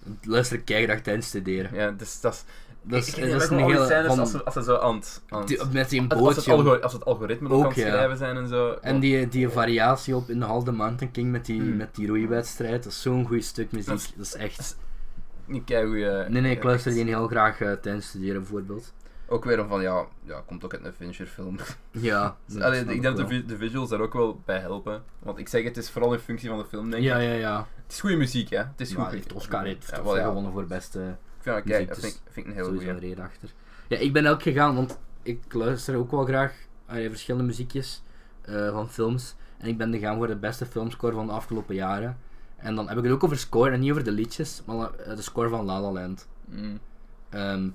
Want Luister, keihard tijdens studeren. Ja, dus dat is Dat is, Ik- ik- dat is ik- een al die hele... scènes van- als, ze, als ze zo aan het... aan het- die- met die als, als het bootje. algo- als het algoritme ook, Ook, aan het ja. schrijven zijn en zo. En die, die variatie op in de Hall the Mountain King met die, Hmm. met die roeiwedstrijd, dat is zo'n goed stuk muziek. Dat is- Dat is echt... Een keigoeie- Nee, nee, ik luister die echt. heel graag eh, tijdens studeren, bijvoorbeeld. Ook weer een van, ja, ja, komt ook uit een Fincher film. Ja. dat Allee, snap ik denk wel. dat de, vi- de visuals daar ook wel bij helpen. Want ik zeg, het is vooral in functie van de film, denk Ja, ik. ja, ja. Het is goede muziek, hè. Het is goed. Maar heeft Oscar heeft Ja, toch wel, ja. gewonnen voor beste Ik vind, dat- kijk, dat Muziek, dus vind, ik- vind ik een hele sowieso een goeie. reden achter. Ja, ik ben ook gegaan, want ik luister ook wel graag naar verschillende muziekjes eh, van films. En ik ben gegaan voor de beste filmscore van de afgelopen jaren. En dan heb ik het ook over score en niet over de liedjes, maar la- eh, de score van La La Land. Mm. Ehm,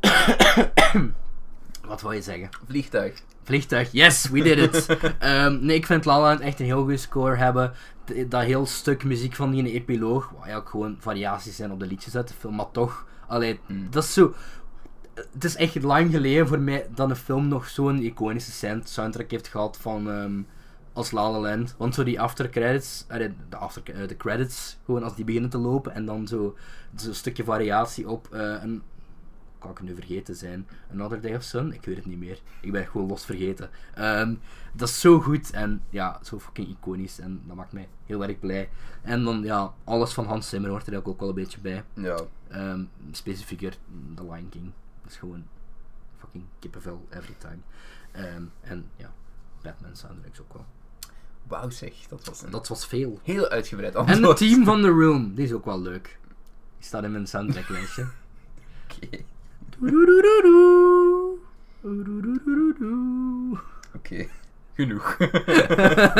wat wil je zeggen? Vliegtuig. Vliegtuig, yes, we did it. Ehm, nee, ik vind La La Land echt een heel goede score hebben. D- Dat heel stuk muziek van die in de epiloog, waar eigenlijk gewoon variaties zijn op de liedjes uit de film, maar toch, allee, Mm. dat is zo... Het is echt lang geleden voor mij dat een film nog zo'n iconische sound- soundtrack heeft gehad van... ehm, als La La Land. Want zo die after credits, allee, de, after, eh, de credits, gewoon als die beginnen te lopen en dan zo zo'n stukje variatie op eh, een... Kan ik het nu vergeten zijn? Another Day of Sun? Ik weet het niet meer. Ik ben het gewoon los vergeten. Ehm, dat is zo goed en ja, zo fucking iconisch en dat maakt mij heel erg blij. En dan ja, alles van Hans Zimmer hoort er ook wel een beetje bij. Ja. Ehm, specifieker The Lion King. Dat is gewoon fucking kippenvel every time. Ehm, en ja, Batman soundtracks ook wel. Wauw zeg, dat was een Dat was veel. heel uitgebreid En het antwoord. team van The Room, die is ook wel leuk. Die staat in mijn soundtracklijstje. Oké. Doedoedoedoedoe. Doedoedoedoedoe. Oké. Genoeg.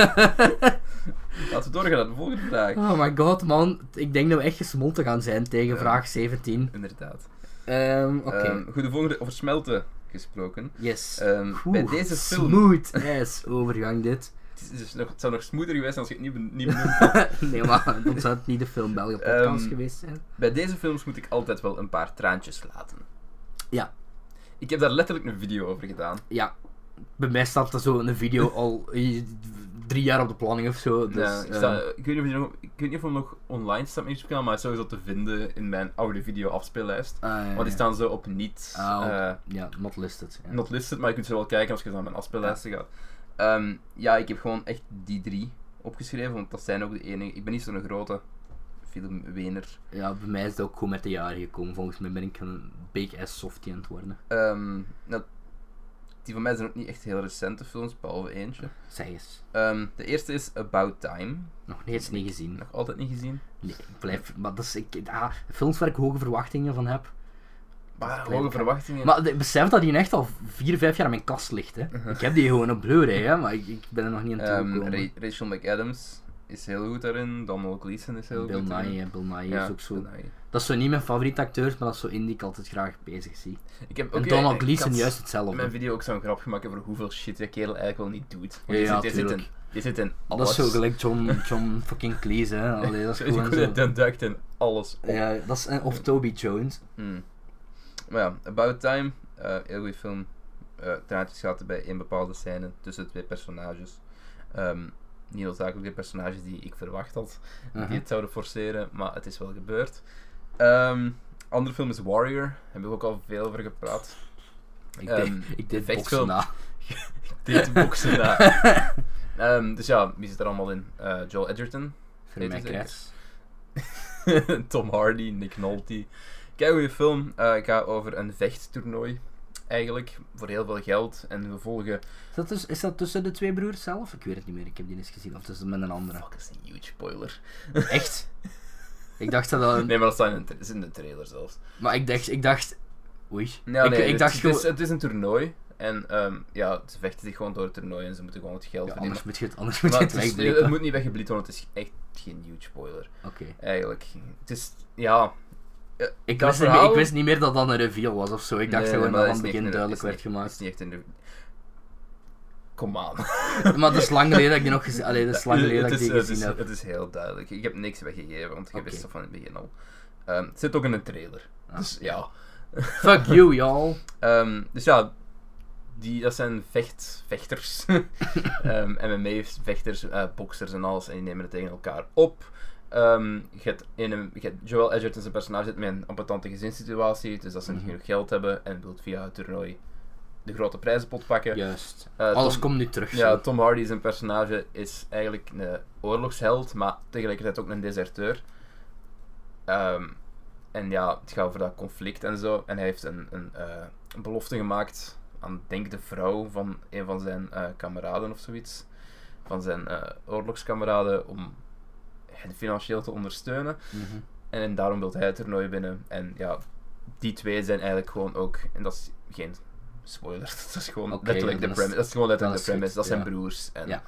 Laten we doorgaan naar de volgende vraag. Oh my god, man. Ik denk dat we echt gesmolten gaan zijn tegen Ja. vraag 17. Inderdaad. Ehm, Oké. Ehm, goed, de volgende over smelten gesproken. yes. Ehm, bij Oeh, deze film. Smooth ass overgang dit. Het, is- het is nog, het zou nog smoother geweest zijn als je het niet, ben- niet benoemd had. nee, maar dan zou het niet de Film België podcast Ehm, geweest zijn. Bij deze films moet ik altijd wel een paar traantjes laten. Ja. Ik heb daar letterlijk een video over gedaan. Ja. Bij mij staat er zo een video al eh, drie jaar op de planning of zo. Dus, Ja, ik, eh, sta- ik, weet niet of die nog, ik weet niet of hem nog online staat op mijn YouTube-kanaal, maar hij is sowieso te vinden in mijn oude video-afspeellijst. ah, ja, Want die ja. staan zo op niet, Ah, op- eh, Ja, not listed. Ja. not listed, maar je kunt ze wel kijken als je naar mijn afspeellijsten gaat. Ehm, ja, ik heb gewoon echt die drie opgeschreven, want dat zijn ook de enige. Ik ben niet zo'n grote filmwener. Ja, bij mij is het ook gewoon met de jaren gekomen. Volgens mij ben ik een big ass softie aan het worden. Ehm, nou, die van mij zijn ook niet echt heel recente films, behalve eentje. Zeg eens. Ehm, de eerste is About Time. Nog niet eens niet gezien. Nog altijd niet gezien. Nee, ik blijf... Maar dat is... Ik, ah, films waar ik hoge verwachtingen van heb. Maar kleine hoge kans. verwachtingen. Maar de- besef dat die echt al vier, vijf jaar in mijn kast ligt, hè. Ik heb die gewoon op Blu-ray, hè. Maar ik, ik ben er nog niet aan Uh-huh. Ehm, toegekomen. Ra- Rachel McAdams is heel goed daarin. Donald Gleeson is heel Bill goed daarin. Nye, hè. Bill Nye Ja, is ook zo... Bill Nye. Dat is zo niet mijn favoriete acteur, maar dat is zo in die ik altijd graag bezig zie. Ik heb en ook- ik- Donald ik Gleason had juist in mijn hetzelfde. video ook zo'n grap gemaakt over hoeveel shit die kerel eigenlijk wel niet doet. Want Ja, ja, die, zit, die, zit in, tuurlijk. die zit in Dat alles. is zo gelijk John, John fucking Cleese, hè. Allee, dat is Die gewoon zo... die duikt in alles op. Ja, dat is, en- of Toby Jones. Hmm. Maar ja, About Time, eh, heel goede film. Eh traantjes laten bij één bepaalde scène tussen twee personages. Ehm niet noodzakelijk de personages die ik verwacht had, Uh-huh. die het zouden forceren, maar het is wel gebeurd. Ehm andere film is Warrior, daar heb ik ook al veel over gepraat. Ik Ehm, deed, ik deed boksen effectfilm. na. Dit boksen daar. Ehm, dus ja, wie zit er allemaal in? Eh, Joel Edgerton, Voor mijn het zeker. krets. Tom Hardy, Nick Nolte. Kijk, goede film. Eh, ik ga over een vechttoernooi. Eigenlijk, voor heel veel geld. En we volgen. Is dat, dus, is dat tussen de twee broers zelf? Ik weet het niet meer, ik heb die eens gezien. Of tussen met een andere. Fuck, dat is een huge spoiler. Echt? Ik dacht dat dat... Nee, maar dat staat in, de tra- dat is in de trailer zelfs. Maar ik dacht... Ik dacht oei. Nou, ik, nee, ik het, dacht het gewoon... is, het is een toernooi. En ehm, ja, ze vechten zich gewoon door het toernooi en ze moeten gewoon het geld Ja, verdienen. anders moet je het, anders moet je Maar het het, is- wegbreken. het moet niet weggebliet worden, het is echt geen huge spoiler. Oké. Eigenlijk. Het is, ja. Dat Ik, wist niet meer- verhaal- ik wist niet meer dat dat een reveal was of zo. Ik dacht nee, gewoon maar dat is aan het niet begin echt- duidelijk is werd niet- gemaakt. is niet echt in de. Kom aan. Maar dat is lang geleden dat ik die nog gezien Allee, dat is lang geleden dat ik het, is, eh, die het, gezien is, heb. het is heel duidelijk. Ik heb niks weggegeven, want je Oké. wist dat van in het begin al. Ehm, het zit ook in een trailer. Ah. Dus ja. Fuck you, y'all. Ehm, dus ja, die, dat zijn vecht, vechters. Ehm MMA-vechters, eh boxers en alles. En die nemen het tegen elkaar op. Ehm, je hebt in een, je hebt Joel Edgerton zijn personage zit met een ambetante gezinssituatie. Dus dat ze niet Mhm. genoeg geld hebben en wilt via het toernooi de grote prijzenpot pakken. Juist. Eh, Alles Tom- komt nu terug. ja, zo. Tom Hardy zijn personage is eigenlijk een oorlogsheld, maar tegelijkertijd ook een deserteur. Ehm, en ja, het gaat over dat conflict en zo. En hij heeft een, een eh, een belofte gemaakt aan, denk de vrouw van een van zijn eh, kameraden of zoiets. Van zijn eh, oorlogskameraden om hen financieel te ondersteunen. Mhm. En daarom wil hij het toernooi winnen. En ja, die twee zijn eigenlijk gewoon ook. En dat is geen spoiler. Dat is gewoon Oké, letterlijk de dan is- premise. Dat is gewoon letterlijk dan de premise. is het Dat goed, zijn ja. broers. En Ja.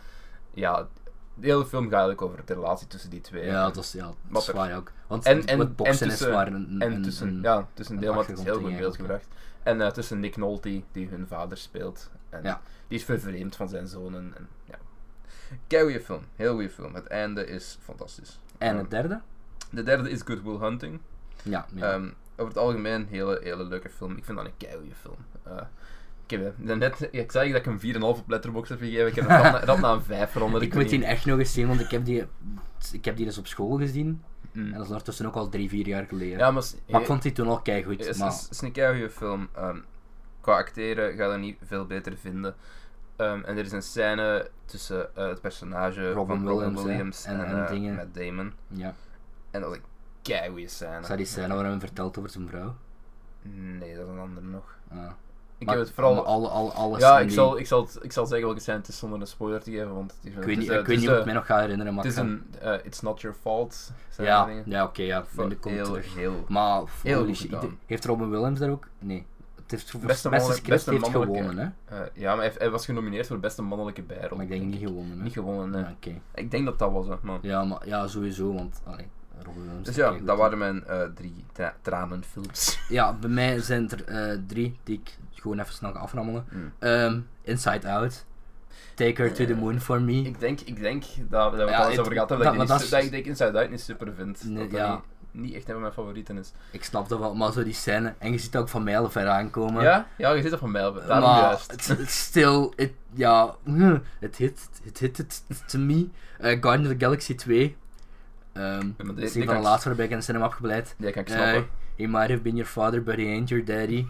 ja. de hele film gaat eigenlijk over de relatie tussen die twee. Ja, dat is, ja, dat is Wat er- waar ook. Want En- en- wat boksen en tussen- is waar een, en een- tussen, een- ja, tussen een deel, want het is heel goed in beeld achtergrond ding gebracht. En eh, tussen Nick Nolte, die hun vader speelt. En Ja. die is vervreemd van zijn zonen. En, ja. Kei goeie film. Heel goede film. Het einde is fantastisch. En het derde? De derde is Good Will Hunting. Ja. ja. Ehm, over het algemeen hele, hele leuke film. Ik vind dat een keigoede film. Eh, ik heb hem daarnet, ik zei dat ik hem 4,5 op Letterboxd heb gegeven. Ik heb hem rap na- rap na een 5 veranderd. ik weet moet die niet. echt nog eens zien, want ik heb die, ik heb die eens op school gezien. En Mm. dat is ondertussen ook al drie, vier jaar geleden. Ja, maar, s- maar ik vond die toen al keigoed. Het is, maar is, is een keigoede film. Ehm, qua acteren ga je dat niet veel beter vinden. Ehm, en er is een scène tussen eh, het personage Robin van Robin Williams, hè, Williams en, en- en eh, dingen. Matt Damon. ja, En dat is een keigoede scène. is dat die scène waar hij hem vertelt over zijn vrouw? Nee, dat is een andere nog. Ah. Ik Maar- heb het vooral maar Alle, alle, alles Ja, in ik die- zal, ik, zal, het- ik zal zeggen welke scène het is zonder een spoiler te geven, want het is, Ik weet niet, het is, eh, ik weet niet het of is, ik eh, mij nog ga herinneren, maar het is ik ga- een eh, It's Not Your Fault. zijn Ja, er dingen. ja oké, ja. Fuck, in de komt heel, terug. heel. Maar, Heel holy goed shit, gedaan. heeft Robin Williams daar ook? Nee. Het heeft voor Beste beste, mannelijke- script beste heeft mannelijke- gewonnen, hè? eh, ja, maar hij, hij was genomineerd voor beste mannelijke bijrol. Maar ik denk niet gewonnen, hè? Niet gewonnen, nee. Ah, Oké. Ik denk dat dat was, hè, man. Ja, maar ja, sowieso, want allee, Robin Williams. Dus is ja, keigoed, dat hè. waren mijn eh, drie tra- tranenfilms. Ja, bij mij zijn er eh, drie die ik gewoon even snel ga aframmelen. Mm. Ehm, Inside Out, Take Her to the Eh, Moon for Me. Ik denk, ik denk dat, dat we het Ja, al eens het- over gehad hebben, dat- dat, ik, die maar niet dat su- is- dat ik denk Inside Out niet super vind. Nee, dat dat ja. niet, niet echt een van mijn favorieten is. Ik snap dat wel, maar zo die scène. En je ziet dat ook van mijlen ver aankomen. ja? Ja, je zit er van mij op. Daarom maar juist. het- het Stil, het- ja, hm, het hit, het hit het to me. Eh Guardians of the Galaxy 2. Ehm maar dat die- is die een van kan de ik- laatste waarbij ik in de cinema heb gebleid. Ja, kan ik Eh, snappen. He might have been your father, but he ain't your daddy.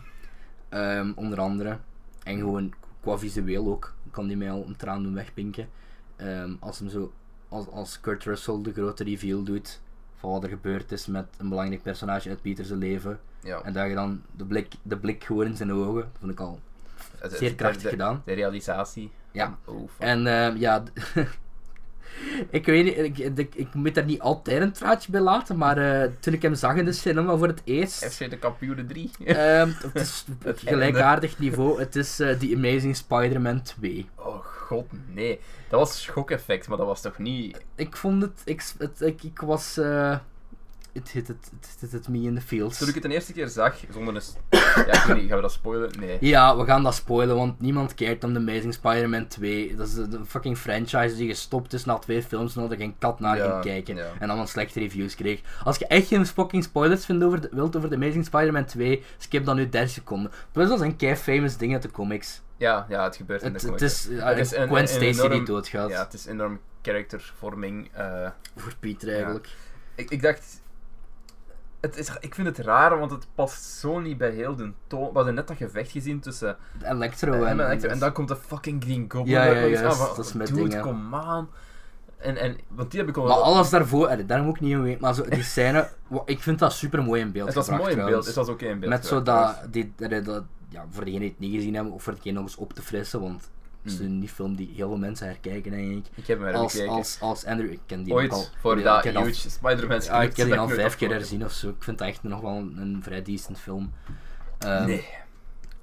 Ehm, onder andere. En gewoon qua visueel ook. Kan die mij al een traan doen wegpinken. Ehm, als, hem zo, als, als Kurt Russell de grote reveal doet. Van wat er gebeurd is met een belangrijk personage uit Peter's leven. ja. En dat je dan de blik, de blik gewoon in zijn ogen. Dat vond ik al Het- het- zeer krachtig de- gedaan. De realisatie. Ja. van, Oh, fuck. En ehm, ja, d- ik weet niet, ik, ik, ik moet daar niet altijd een traatje bij laten, maar eh, toen ik hem zag in de cinema voor het eerst, FC de kampioenen 3. ehm, het is op Het gelijkaardig niveau, het is eh The Amazing Spider-Man 2. Oh god, nee. Dat was schokeffect, maar dat was toch niet... Ik vond het, ik, s- het, ik, ik was, eh it hit it, it hit it me in the feels. Toen ik het de eerste keer zag, zonder een... s- Ja, ik weet niet, gaan we dat spoilen? Nee. Ja, we gaan dat spoilen, want niemand kijkt om The Amazing Spider-Man 2. Dat is een een fucking franchise die gestopt is na twee films, omdat er geen kat naar Ja, ging kijken. ja. En allemaal slechte reviews kreeg. Als je echt geen fucking spoilers vindt over de- wilt over The Amazing Spider-Man 2, skip dan nu 30 seconden. Plus dat is een kei famous ding uit de comics. Ja, ja het gebeurt in Het, de het comics. is, eh, Het is een- Gwen een Stacy die enorm- doodgaat. Ja, het is enorm charactervorming. eh. Voor Pieter eigenlijk. ik, ik dacht... Het is, ik vind het raar, want het past zo niet bij heel de toon. We hadden net dat gevecht gezien tussen De Electro hem en, en Electro. En dan komt de fucking Green Goblin. Ja, daar ja, nog eens aan, juist, van, dat is mijn Dude, ding, ja. come on. En, en, want die heb ik al... Maar alles daarvoor, eh, daarom ook niet in weet, maar zo, die scène, wa- ik vind dat super mooi in beeld. het was mooi gebracht, in beeld. trouwens. Het was oké in beeld. Met zo gebracht, dat, die, dat, dat- ja, voor degenen die het niet gezien hebben, of voor degenen om eens op te frissen, want het is Hmm. een die film die heel veel mensen herkijken, denk ik. Ik heb hem er Als, gekeken. als, als Andrew, ik ken die ook al. Ooit, voor ja, dat ik ken al- huge Spider-Man script. ja, ik heb dat die al nooit vijf keer afgemaakt. herzien of zo. Ik vind het echt nog wel een, een vrij decent film. Ehm, Nee.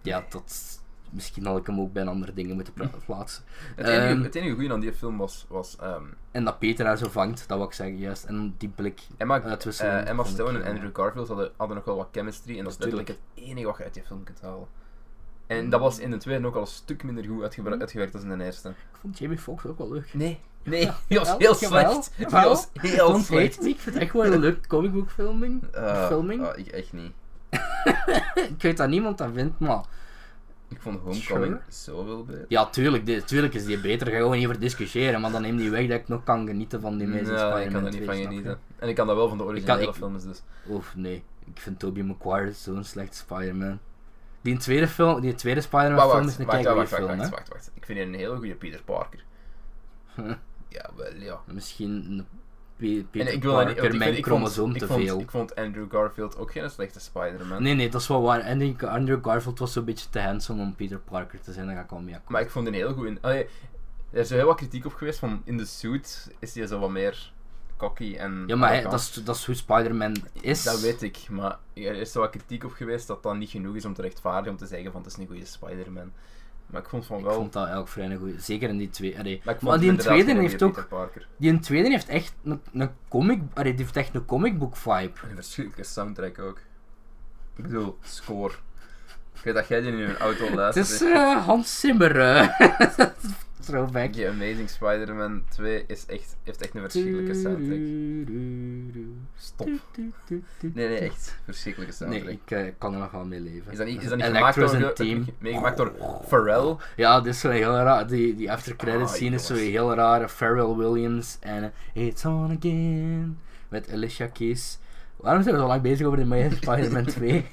Ja, dat... Misschien had ik hem ook bij een andere dingen moeten pla- plaatsen. Het enige, Ehm, het enige goede aan die film was, was ehm, En dat Peter haar zo vangt, dat wil ik zeggen, juist. En die blik. Emma, Uitwisseling eh, Emma van de Stone en kleuren, Andrew Garfield hadden, hadden nog wel wat chemistry. En dat is Natuurlijk. letterlijk het enige wat je uit die film kunt halen. Mm. En dat was in de tweede ook al een stuk minder goed uitgebra- uitgewerkt dan in de eerste. Ik vond Jamie Foxx ook wel leuk. Nee. Nee, die was Jawel, heel jawel, slecht. Die jawel. was Ik heel vond het slecht. echt niet. Ik vind het echt wel een leuk comicbookfilming. Eh, filming. ah, ik echt niet. Ik weet dat niemand dat vindt, maar... Ik vond Homecoming Sure. zoveel beter. Ja, tuurlijk, dit- tuurlijk is die beter. Daar gaan we niet over discussiëren. Maar dan neem die weg dat ik nog kan genieten van die Nee, mensen. ik kan er niet van genieten. En ik kan dat wel van de originele ik- films dus. Of nee, ik vind Tobey Maguire zo'n slecht Spider-Man. Die tweede film, die tweede Spider-Man Wacht, film wacht, is een wacht, wacht, wacht, kijkbaar wacht, film, hè? wacht, wacht. Ik vind hier een hele goede Peter Parker. Ja, wel, ja. Misschien een Pe- Peter En ik wil dat niet, Parker, want ik, vind- mijn ik vond- chromosoom ik te vond- veel. Ik vond Andrew Garfield ook geen slechte Spider-Man. Nee, nee, dat is wel waar. En die Andrew Garfield was zo'n beetje te handsome om Peter Parker te zijn. Daar ga ik wel mee akkoord. Maar ik vond hem heel goed in... Allee, er is heel wat kritiek op geweest van in de suit is hij zo wat meer cocky en... Ja, maar hij- arrogant. dat, is, dat is hoe Spider-Man is. Dat weet ik, maar er is zo wat kritiek op geweest dat dat niet genoeg is om te rechtvaardigen om te zeggen van het is een goede Spider-Man. Maar ik vond van Ik wel... vond dat eigenlijk vrij goed. Zeker in die twee. Allee. maar ik vond hem Maar die in inderdaad tweede geen heeft goede ook. Peter Parker. Die in tweede heeft echt een, een comic. Allee, die heeft echt een comic book vibe. En een verschrikkelijke soundtrack ook. Ik bedoel, score. Ik weet dat jij die in een auto Het luistert. is eh, Hans Zimmer. eh. Throwback. The Amazing Spider-Man 2 is echt, heeft echt een verschrikkelijke soundtrack. Stop. Nee, nee, echt. Verschrikkelijke Nee, soundtrack. ik eh, kan er nog wel mee leven. Is dat niet, is dat niet gemaakt Electro's door, een team. ge- meegemaakt door Pharrell? Ja, dit is wel heel raar. Die, die after credits Ah, scene is zo jongens. heel raar. Pharrell Williams en eh, It's On Again met Alicia Keys. Waarom zijn we zo lang bezig over de Amazing Spider-Man 2?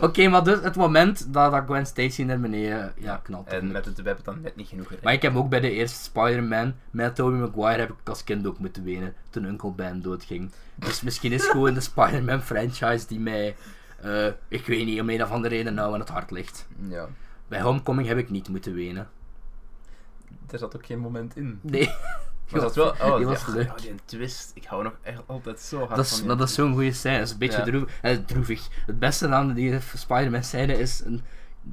Oké, maar dus het moment dat, dat Gwen Stacy naar beneden ja, knalt. En met het web het dan net niet genoeg gered. Maar ik heb ook bij de eerste Spider-Man met Tobey Maguire heb ik als kind ook moeten wenen toen Uncle Ben doodging. Dus misschien is gewoon de Spider-Man franchise die mij, eh, ik weet niet, om een of andere reden nou aan het hart ligt. Ja. Bij Homecoming heb ik niet moeten wenen. Er zat ook geen moment in. Nee. Maar dat was wel... Oh, die was ja, leuk. ja, die twist. Ik hou nog echt altijd zo hard Dat is, van maar die. dat is zo'n goede scène. Dat is een beetje Ja. droevig. Eh, droevig. Het beste aan die Spider-Man scène is een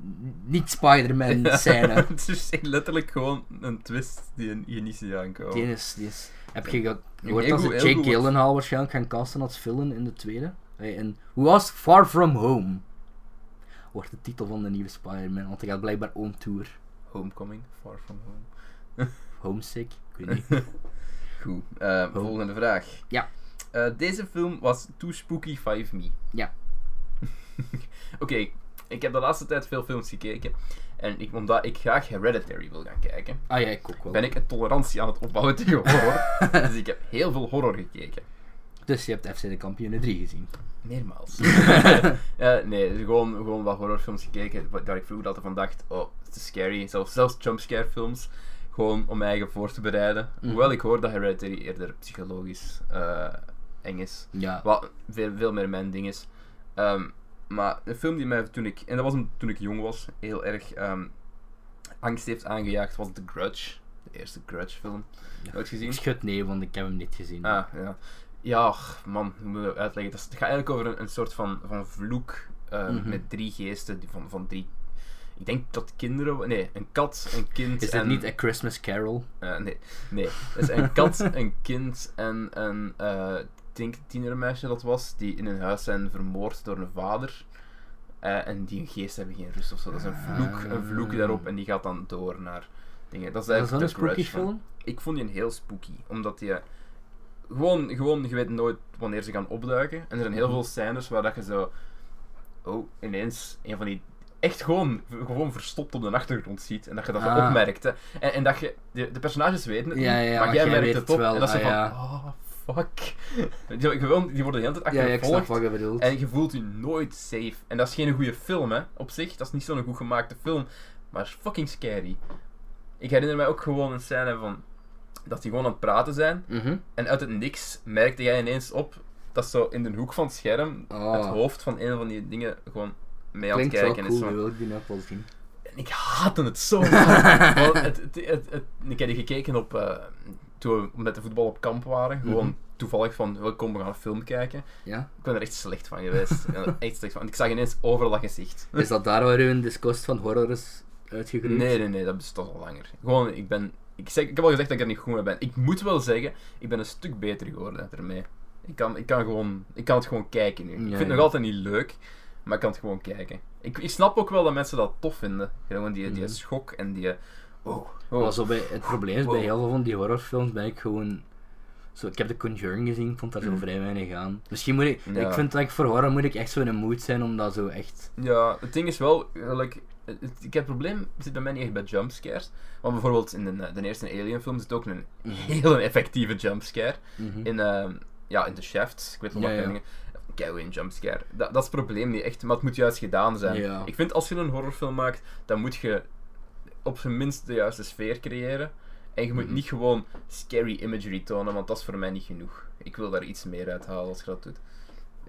niet-Spider-Man scène. Het is echt letterlijk gewoon een twist die je niet ziet aankomen. Die is, die is, heb je ge- gehoord heel dat ze goed, heel Jake goed. Gyllenhaal waarschijnlijk gaan casten als villain in de tweede? Hey, en Who was Far From Home? Wordt de titel van de nieuwe Spider-Man, want hij gaat blijkbaar on tour. Homecoming, Far From Home. Homesick? Ik weet niet. Goed, eh, volgende vraag. Oh. Ja. Eh, deze film was Too Spooky 5 Me. Ja. Oké, ik heb de laatste tijd veel films gekeken. En ik, omdat ik graag Hereditary wil gaan kijken, Ah ja, ik ook wel. ben ik een tolerantie aan het opbouwen tegen horror. dus ik heb heel veel horror gekeken. Dus je hebt FC de Kampioenen 3 gezien. Meermaals. Eh, nee, dus gewoon, gewoon wat horrorfilms gekeken wa- waar ik vroeger altijd van dacht, oh, het is scary. Zelfs, zelfs jumpscare films, gewoon om mij eigen voor te bereiden. Hoewel ik hoor dat Hereditary eerder psychologisch eh, eng is. Ja. Wat veel, veel meer mijn ding is. Ehm, maar een film die mij toen ik, en dat was een- toen ik jong was, heel erg ehm, angst heeft aangejaagd, was The Grudge. De eerste Grudge film. Nooit gezien? Ik schud nee, want ik heb hem niet gezien. Ah, ja. Ja, och, man, hoe moet ik dat uitleggen? Dat is- het gaat eigenlijk over een, een soort van, van vloek eh, Mhm. met drie geesten, die van, van drie... Ik denk dat kinderen... Nee, een kat, een kind Is dit en... niet A Christmas Carol? eh, nee, nee. Dus een kat, een kind en een eh, ik denk tienermeisje dat was, die in hun huis zijn vermoord door een vader. Eh, en die een geest hebben geen rust of zo. Dat is een vloek, een vloek daarop en die gaat dan door naar dingen. Dat is Ah. Dat is wel eigenlijk een de grudge spooky van- film? ik vond die een heel spooky. Omdat je... Gewoon, gewoon, je weet nooit wanneer ze gaan opduiken. En er zijn Mhm. heel veel scènes waar dat je zo... Oh, ineens een van die... Echt gewoon, gewoon verstopt op de achtergrond ziet. En dat je dat opmerkte Ah. opmerkt. hè. En, en dat je... De, de personages weten het Ja, niet, ja, maar jij merkt weet het op. wel, en dat ze ah, van... ja. Oh, fuck? Die, gewoon, die worden de hele tijd Ja, ja, ik snap achtervolgd. wat je bedoelt. en je voelt je nooit safe. En dat is geen goede film, hè. Op zich, dat is niet zo'n goed gemaakte film. Maar het is fucking scary. Ik herinner mij ook gewoon een scène van... Dat die gewoon aan het praten zijn. Mhm. En uit het niks merkte jij ineens op dat zo in de hoek van het scherm Ah. het hoofd van een van die dingen gewoon mee aan het Klinkt wel kijken is. cool, Zo. nu wil ik die nog wel zien. En ik haatte het zo. hard. Want het, het, het, het- ik heb die gekeken op, eh, toen we met de voetbal op kamp waren. Gewoon Mhm. toevallig van, "Wel, kom we gaan een film kijken. Ja? Ik ben er echt slecht van geweest. Ik ben er echt slecht van. Ik zag ineens overal dat gezicht. Is dat daar waar uw discost van horror is uitgegroeid? Nee, nee, nee, dat bestaat al langer. Gewoon, ik ben. Ik, zeg, ik heb al gezegd dat ik er niet goed mee ben. Ik moet wel zeggen, ik ben een stuk beter geworden ermee. Ik kan, ik kan, gewoon, ik kan het gewoon kijken nu. ik Ja, vind het ja. nog altijd niet leuk, maar ik kan het gewoon kijken. Ik, ik snap ook wel dat mensen dat tof vinden. Gewoon die, die Mhm. schok en die. Oh, Maar oh. zo bij, het probleem is, bij Wow. heel veel van die horrorfilms ben ik gewoon... Zo, ik heb The Conjuring gezien, ik vond daar zo Mm. vrij weinig aan. Misschien moet ik... Ja. Ik vind dat ik voor horror moet ik echt zo in een mood zijn om dat zo echt... Ja, het ding is wel, like, het, het- ik heb het probleem zit bij mij niet echt bij jumpscares. Want bijvoorbeeld in eh, de, de eerste Alien film zit ook een heel effectieve jumpscare. Mhm. in, ehm, ja, in de shaft. Ik weet nog Ja, wat ja. dingen. Kijk, een jumpscare. Dat, dat is het probleem niet echt, maar het moet juist gedaan zijn. Ja. Ik vind als je een horrorfilm maakt, dan moet je op zijn minst de juiste sfeer creëren. En je moet Mhm. niet gewoon scary imagery tonen, want dat is voor mij niet genoeg. Ik wil daar iets meer uit halen als je dat doet.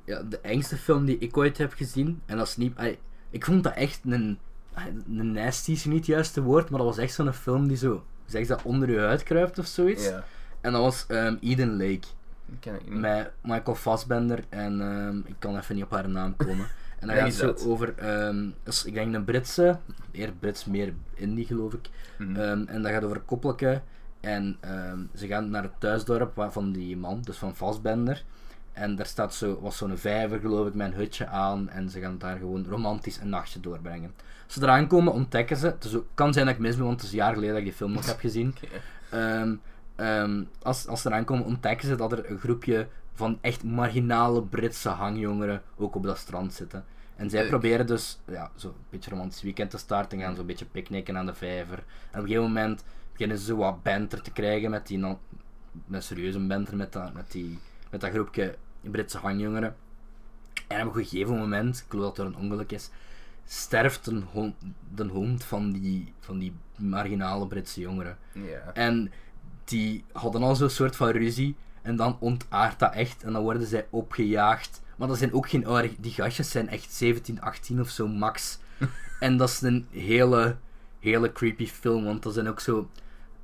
ja, de engste film die ik ooit heb gezien, en dat is niet... ai, ik vond dat echt een... ai, Een nasty is niet het juiste woord, maar dat was echt zo'n film die zo... Zeg dat onder je huid kruipt of zoiets. Ja, En dat was ehm, Eden Lake. dat ken ik niet. met Michael Fassbender en ehm, ik kan even niet op haar naam komen. En dan Ja, gaat het die zo is uit. over, ehm, is, ik denk een Britse, meer Brits, meer Indie geloof ik. Mhm. Ehm, en dat gaat over koppelke en ehm, ze gaan naar het thuisdorp wa- van die man, dus van Fassbender. En daar staat zo, was zo'n vijver geloof ik met een hutje aan en ze gaan daar gewoon romantisch een nachtje doorbrengen. Als ze eraan komen ontdekken ze, het is ook- kan zijn dat ik mis ben, want het is jaren geleden dat ik die film nog heb gezien. Oké. Ehm, ehm, als, als ze eraan komen, ontdekken ze dat er een groepje van echt marginale Britse hangjongeren ook op dat strand zitten. En zij Leuk. proberen dus ja, zo'n beetje romantisch weekend te starten, gaan zo'n beetje picknicken aan de vijver. En op een gegeven moment beginnen ze zo wat banter te krijgen met die, non- met serieuze banter met dat, met, die, met dat groepje Britse hangjongeren. En op een gegeven moment, ik geloof dat er een ongeluk is, sterft een hond, de hond van die, van die marginale Britse jongeren. Ja. En die hadden al zo'n soort van ruzie. En dan ontaart dat echt. En dan worden zij opgejaagd. Maar dat zijn ook geen oude... Die gastjes zijn echt 17, 18 of zo max. en dat is een hele, hele creepy film. Want dat zijn ook zo...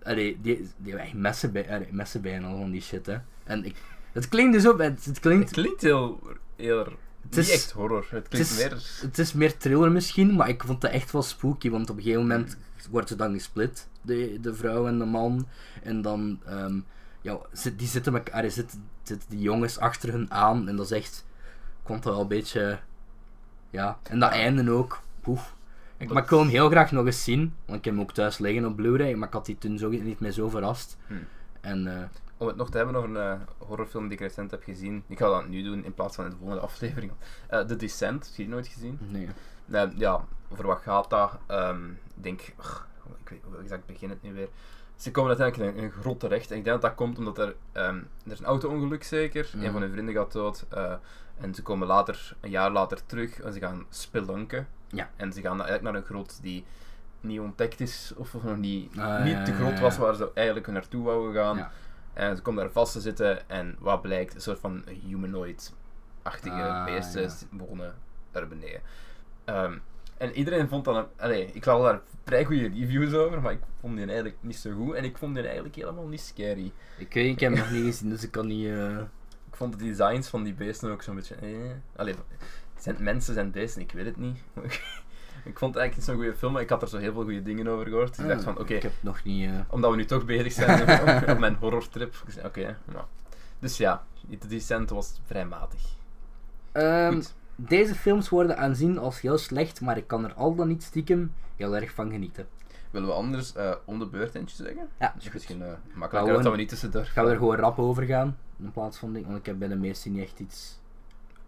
Allee, die, die hebben echt messen bij, allee, messen bij en al van die shit, hè. En ik... Het klinkt dus op... Het, het Het klinkt... klinkt heel. heel het is- niet echt horror. Het klinkt is- meer. Het is meer thriller misschien, maar ik vond dat echt wel spooky, want op een gegeven moment wordt ze dan gesplit, de, de vrouw en de man. En dan, ehm, ja, zit- die zitten, elkaar, allee, zitten, zitten die jongens achter hun aan en dat is echt, ik vond dat wel een beetje, ja. En dat einde ook, poef. Ik, maar ik wil hem heel graag nog eens zien, want ik heb hem ook thuis liggen op Blu-ray, maar ik had die toen zo, niet meer zo verrast. Hmm. En eh, Om het nog te hebben over een eh, horrorfilm die ik recent heb gezien. Ik ga dat nu doen in plaats van in de volgende aflevering. Eh The Descent, heb je die nooit gezien? nee. Nee, ja, over wat gaat dat? Ehm, ik denk, ugh, ik weet hoe exact begin het nu weer. Ze komen uiteindelijk in een, in een grot terecht. En ik denk dat dat komt omdat er, ehm, er is een auto-ongeluk zeker. Mhm. Een van hun vrienden gaat dood. eh, en ze komen later, een jaar later terug en ze gaan spelunken. Ja. En ze gaan eigenlijk naar een grot die niet ontdekt is of nog niet, Ah, niet ja, de ja, grot ja. was waar ze eigenlijk naartoe wouden gaan. Ja. En ze komt daar vast te zitten en wat blijkt, een soort van humanoid-achtige Ah, beesten ja. s- wonen daar beneden. Ehm, en iedereen vond dat een... Allee, ik had daar vrij goede reviews over, maar ik vond die eigenlijk niet zo goed. En ik vond die eigenlijk helemaal niet scary. Ik weet, ik heb hem nog niet gezien, dus ik kan niet... eh, Ik vond de designs van die beesten ook zo'n beetje... Eh. Allee, zijn het mensen, zijn het beesten? Ik weet het niet. ik vond het eigenlijk niet zo'n goede film, maar ik had er zo heel veel goede dingen over gehoord. Dus ik dacht van, oké, Ik heb het nog niet... eh, omdat we nu toch bezig zijn op mijn horrortrip. Ik zei, Oké, nou. Dus ja, de Descent was vrij matig. Ehm, Goed. deze films worden aanzien als heel slecht, maar ik kan er al dan niet stiekem heel erg van genieten. Willen we anders eh, om de beurt eentje zeggen? Ja, Dat is is goed. misschien eh, Gaan makkelijker, we dat we gewoon- niet tussendoor Gaan we er gewoon rap over gaan, in plaats van ding, want ik heb bij de meeste niet echt iets...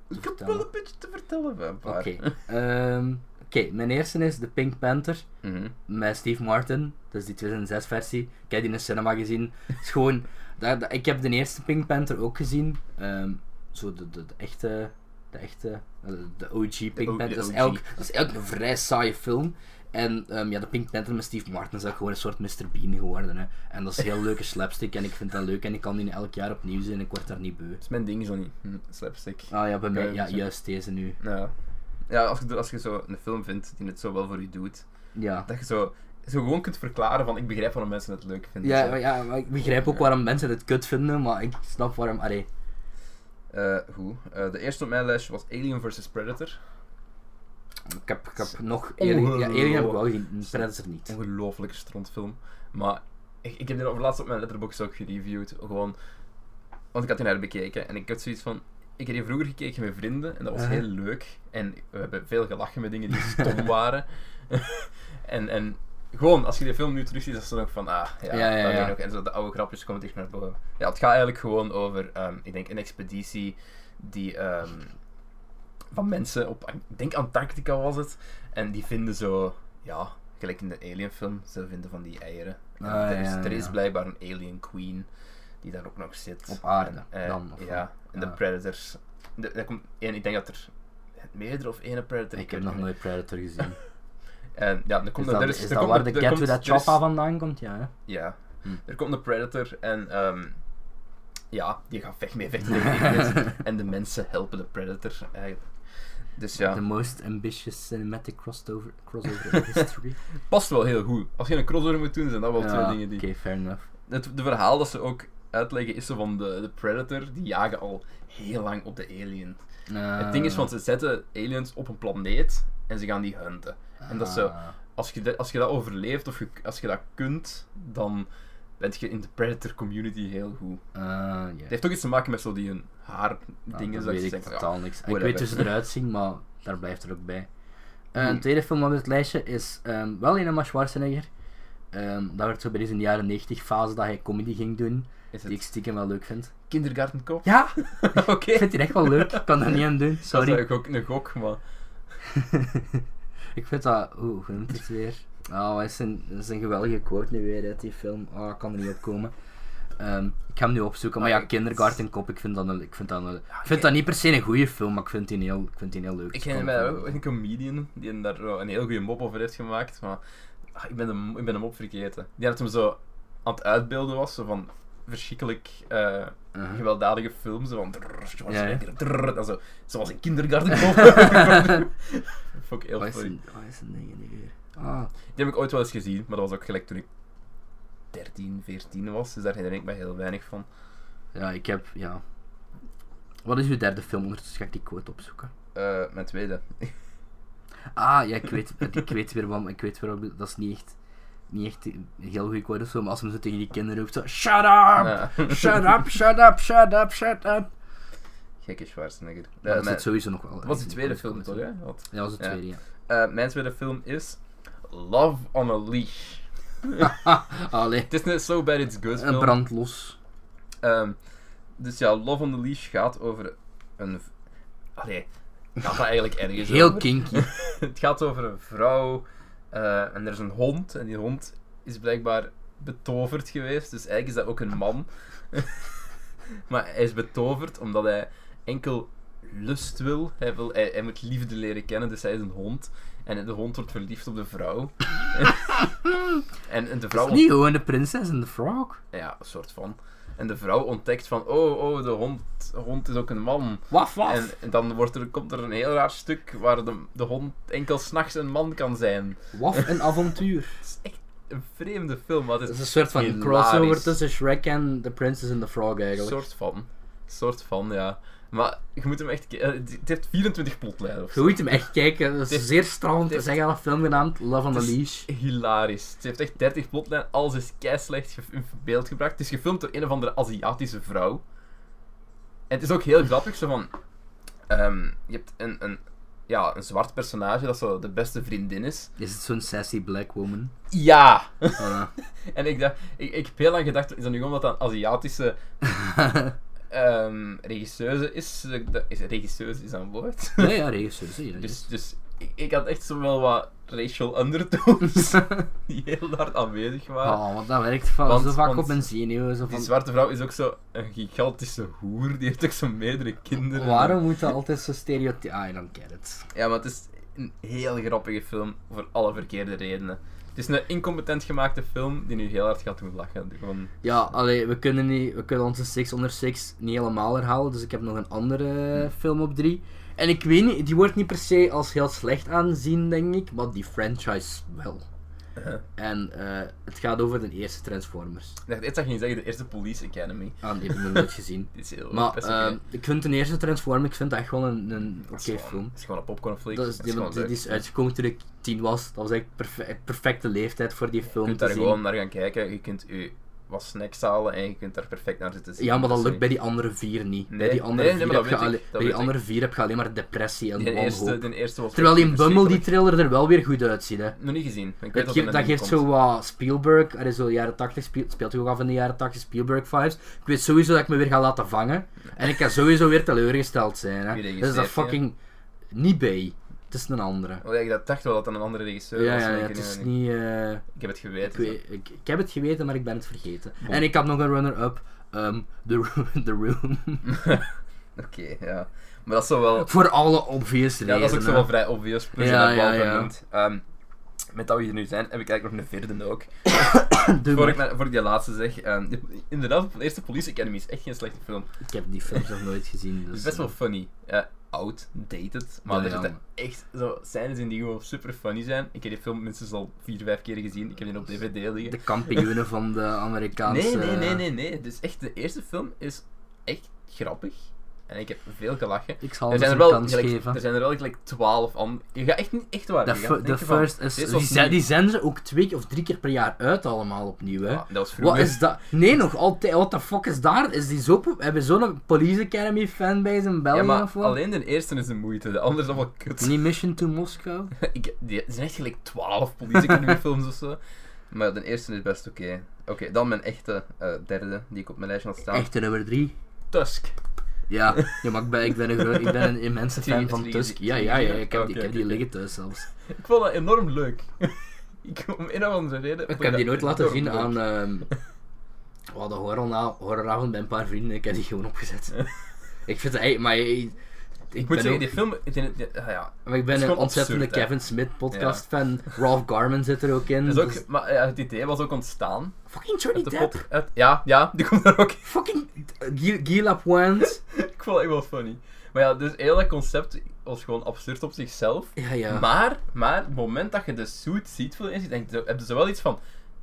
Ik heb vertellen. wel een beetje te vertellen bij een paar. Oké. Ehm, Oké, mijn eerste is The Pink Panther, Mhm. met Steve Martin, dus die 2006 versie. Ik heb die in de cinema gezien. Het is gewoon... Daar, daar- ik heb de eerste Pink Panther ook gezien. Ehm, zo de, de, de echte. De echte. eh, De OG Pink O- de Panther. Dat is, OG. elk, dat is elk een vrij saaie film. En ehm, ja, de Pink Panther met Steve Martin is ook gewoon een soort Mr. Bean geworden. Hè. En dat is heel leuke slapstick. En ik vind dat leuk. En ik kan die elk jaar opnieuw zien. En ik word daar niet beu. is mijn ding, Johnny. Hm, slapstick. Ah ja, bij mij. Eh, Ja, zo- juist deze nu. Ja. Ja, als je, als je zo een film vindt die het zo wel voor je doet, Ja. dat je zo, zo gewoon kunt verklaren van ik begrijp waarom mensen het leuk vinden. Ja, Zo. maar ja, maar ik begrijp ook waarom mensen het kut vinden, maar ik snap waarom. Allee, Eh, goed. Eh, de eerste op mijn lijstje was Alien vs. Predator. ik heb, ik heb nog. Alien, ja, Alien heb ik wel gezien, Predator niet. Ongelooflijke strontfilm. Maar ik, ik heb die over laatst op mijn letterbox ook gereviewd. Gewoon, want ik had die naar bekeken en ik had zoiets van. Ik heb die vroeger gekeken met vrienden en dat was Ja. heel leuk. En we hebben veel gelachen met dingen die stom waren. en, en gewoon, als je die film nu terugziet, is het dan ook van, ah, ja, Ja, ja, dat weet ja. ik ook. En zo de oude grapjes komen terug naar boven. Ja, het gaat eigenlijk gewoon over, ehm, ik denk, een expeditie die ehm, van mensen op, ik denk Antarctica was het, en die vinden zo, ja, gelijk in de Alien film, ze vinden van die eieren. En Ah, er, is, ja, ja, er is ja. blijkbaar een Alien Queen die daar ook nog zit. Op aarde, En, eh, dan, of wat? ja, en de Ja. Predators. De, daar komt één, ik denk dat er meerdere of ene Predator Ik heb weet nog het niet. nooit Predator gezien. En ja, dan Is komt er- dat, er is, is er dat komt- waar de er Cat komt- with that er is- Choppa vandaan komt? Ja, hè? Ja. Hm. Er komt een predator en ehm, ja, die gaat vecht mee vechten tegen die aliens. en de mensen helpen de predator eigenlijk. Dus ja, The most ambitious cinematic crossover, crossover in history. past wel heel goed. Als je een crossover moet doen, zijn dat wel twee Ja, dingen die... Oké, fair enough. Het de verhaal dat ze ook uitleggen is zo van de, de predator, die jagen al heel lang op de alien. Het ding Ah. is, want ze zetten aliens op een planeet en ze gaan die hunten. en dat is zo- Ah. Als je, dat- als je dat overleeft of je, als je dat kunt, dan ben je in de predator community heel goed. Ah, Het ja. heeft ook iets te maken met zo die hun haar Ah, dingen. dat dat weet je ik zegt, ja, totaal niks. Ik whatever. weet hoe ze eruit zien, maar daar blijft er ook bij. Eh, Hmm. Een tweede film op het lijstje is ehm, wel een van Schwarzenegger. Ehm, dat werd zo bij deze in de jaren 90 fase dat hij comedy ging doen, Is die ik het stiekem wel leuk vind. kindergarten cop? Ja, Oké. ik vind die echt wel leuk. Ik kan er niet aan doen, Dat is sorry. eigenlijk ook een gok, maar... ik vind dat... Oeh, hoe noemt het weer? Oh, dat is, een, dat is een geweldige quote nu weer uit die film. Oh, ik kan er niet op komen. Ehm, ik ga hem nu opzoeken. Maar Ah, ja, ik- Kindergarten Cop, ik vind dat, een, ik vind dat, een- ik vind ik- dat niet per se een goede film, maar ik vind die een heel, ik vind die een heel leuk. Ik Dus ken kan mij het ook een comedian die daar wel een heel goede mop over heeft gemaakt, maar... ah, ik, ben hem, ik ben hem op vergeten. Die had hem zo aan het uitbeelden was, zo van... Verschrikkelijk eh, wel- Uh-huh. gewelddadige films, zo van... drrr, Schwarzenegger, Ja, drrr, en zo, zoals een kindergarten cop. Fuck, heel Wat is funny. een- wat is een ding nu weer? Ah, Die heb ik ooit wel eens gezien, maar dat was ook gelijk toen ik 13, 14 was, dus daar herinner ik mij heel weinig van. ja, ik heb, ja. Wat is uw derde film? Ondertussen ga ik die quote opzoeken. Eh, mijn tweede. Ah, ja, ik weet, ik weet weer wat, ik weet weer wat, dat is niet echt, niet echt een heel goede quote of zo, maar als hem zo tegen die kinderen roept, zo, shut up! Ja. Shut up, shut up, shut up, shut up! Gekke Schwarzenegger. Eh, dat mijn- zit sowieso nog wel. Dat was de in tweede quote film, toch? quote. Hè? Wat- Ja, dat was de Ja. tweede, ja. Eh, mijn tweede film is Love on a Leash. Allee, Het is net So Bad It's Good een film. brand los. Ehm, dus ja, Love on a Leash gaat over een... v- Allee, gaat dat eigenlijk ergens Heel over? kinky. Het gaat over een vrouw eh, en er is een hond. En die hond is blijkbaar betoverd geweest. Dus eigenlijk is dat ook een man. maar hij is betoverd omdat hij enkel lust wil. Hij, wil hij, hij moet liefde leren kennen, dus hij is een hond. En de hond wordt verliefd op de vrouw. en, en de Dat vrouw... is niet gewoon de prinses en de frog. Ja, een soort van. En de vrouw ontdekt van, oh, oh, de hond, hond is ook een man. Waf, waf! En, en dan wordt er, komt er een heel raar stuk waar de, de hond enkel s'nachts een man kan zijn. Waf, een avontuur. Het is echt een vreemde film. maar het Dat is is een soort van Hilarisch. crossover tussen Shrek en The Princess and the Frog een eigenlijk. soort van. soort van, ja. Maar je moet hem echt... ke- eh, Het het heeft 24 plotlijnen of Je zo. moet hem echt kijken, dat Dit- is zeer stralend. Ze dit- zeggen al een film genaamd Love on Het the is- Leash. Hilarisch. Het heeft echt 30 plotlijnen. Alles is keislecht ge- in beeld gebracht. Het is gefilmd door een of andere Aziatische vrouw. En het is ook heel grappig, zo van... ehm, je hebt een, een, ja, een zwart personage dat zo de beste vriendin is. Is het zo'n sassy black woman? Ja! Voilà. En ik dacht, ik, ik heb heel lang gedacht, is dat nu omdat dat een Aziatische ehm regisseuse is? De- de- is regisseuse is dat een woord? ja, ja, regisseur. zie je, Dus, yes. dus ik, ik had echt zo wel wat racial undertones die heel hard aanwezig waren. Oh, want dat werkt van, Want- zo vaak want op mijn zenuwen. Zo Die van, zwarte vrouw is ook zo een gigantische hoer, die heeft ook zo meerdere kinderen. waarom moet dat altijd zo stereotyp... Ah, I don't get it. Ja, maar het is een heel grappige film voor alle verkeerde redenen. Het is een incompetent gemaakte film die nu heel hard gaat doen lachen. Gewoon, Ja, allee, we kunnen, niet, we kunnen onze 6 onder 6 niet helemaal herhalen, dus ik heb nog een andere Hmm. film op 3. En ik weet niet, die wordt niet per se als heel slecht aanzien, denk ik, maar die franchise wel. eh, En eh, het gaat over de eerste Transformers. ik dacht, eerst dat je ging zeggen, de eerste Police Academy. Aan die heb ik nog nooit gezien. Dit is heel Maar best eh, oké. ik vind de eerste Transformers, ik vind dat echt gewoon een, een Dat oké is gewoon- film. Het is gewoon een popcornflix. Dat is, Het is die, gewoon die, leuk. die is uitgekomen toen ik tien was. Dat was eigenlijk perfe- eh, perfecte leeftijd voor die Je film kunt te daar zien. gewoon naar gaan kijken. Je kunt je wat snacks halen en je kunt daar perfect naar zitten zien. Dus Ja, maar dat lukt bij is- die andere vier niet. Nee, bij die andere, nee, nee, vier, maar dat heb je weet ik, alle- dat weet bij die ik. andere vier heb je alleen maar depressie en Die eerste, wanhoop. de eerste was Terwijl die in echt Bumble die verschrikkelijk. trailer er wel weer goed uitziet. Hè. Nog niet gezien. Ik weet Dat, dat geeft- er dat een geeft komt. zo wat Spielberg, er is zo jaren 80, speel- speelt hij ook af in de jaren 80 Spielberg vibes. Ik weet sowieso dat ik me weer ga laten vangen. En ik kan sowieso weer teleurgesteld zijn. Wie Hè. regisseert Dat is dat die, hè? fucking niet bij. Het is een andere. Oh, ja, ik dacht- dacht wel dat dat een andere regisseur Ja, was. ja, maar ja, ik het weet is niet. niet. eh, Ik heb het Ik, geweten. zo. weet- ik, ik heb het geweten, maar ik ben het vergeten. En ik had nog een runner-up. ehm the, Ro- the Room. Oké, ja. Maar dat is zo wel... Voor alle Ja, obvious redenen. dat is ook zo wel vrij obvious. Plus Ja, ja, dat ja, wel ja. vernoemd. Ehm, met dat we hier nu zijn, heb ik eigenlijk nog een vierde ook. Doe Voor ik, maar. mijn- voor ik die laatste zeg, ehm, inderdaad, de eerste Police Academy is echt geen slechte film. Ik heb die films nog nooit gezien. Het Dus, is best wel funny. Ja, oud, dated, maar Ja, er ja, zitten echt zo scènes in die gewoon super funny zijn. Ik heb die film minstens al vier, vijf keer gezien. Ik heb die op DVD eh, liggen. De eh, kampioenen van de Amerikaanse... Nee, nee, nee, nee, nee. Dus echt, de eerste film is echt grappig. En ik heb veel gelachen. Ik Er zal zijn hem eens er een wel kans gelijk, geven. er zijn er wel gelijk twaalf aan. Je gaat echt niet echt waar. De, je fu- gaat de denken van, first is... dit Die, was zijn- niet- die zijn er ook twee keer of drie keer per jaar uit allemaal opnieuw, hè. Ja, Ah, dat was Wat vroeger. is dat? Nee, nog altijd. What the fuck is daar? Is die zo... pop- Hebben we zo'n Police Academy fanbase in België Ja, maar of wat? alleen de eerste is de moeite. De andere is allemaal kut. Niet Mission to Moscow? Ik, die, er zijn echt gelijk 12 Police Academy films of zo. Maar de eerste is best oké. Oké, dan mijn echte eh, derde die ik op mijn lijstje had staan. Echte nummer 3. Tusk. Ja, ja maar ik ben, ik ben, een, gro- ik ben een immense Zie je- fan van zie je- Tusk. zie Ja, je- ja, ja, ik heb, die- ik Oké, heb die oké. liggen thuis zelfs. Ik vond dat enorm leuk. ik om een of andere reden. Ik heb die nooit laten zien aan ehm oh, de horrorna- horroravond bij een paar vrienden. Ik heb die gewoon opgezet. Ik vind het eigenlijk, maar ik, Ik moet ik ben, zeggen, ook, die film. Die, die, die- ah ja. maar ik is ben een gewoon ontzettende absurd, hè. Kevin Smith podcast fan. Ralph Garman zit er ook in. Dat is dus- ook, maar ja, het idee was ook ontstaan. fucking Johnny Uit de Depp. pop. Uit, ja, ja, die komt er ook in. Fucking eh, Guy Guy Lapointe. Ik vond dat echt wel funny. Maar ja, dus heel dat concept was gewoon absurd op zichzelf. Ja, ja. Maar, maar, het moment dat je de suit ziet voor de eerste, denk je, heb je zo wel iets van...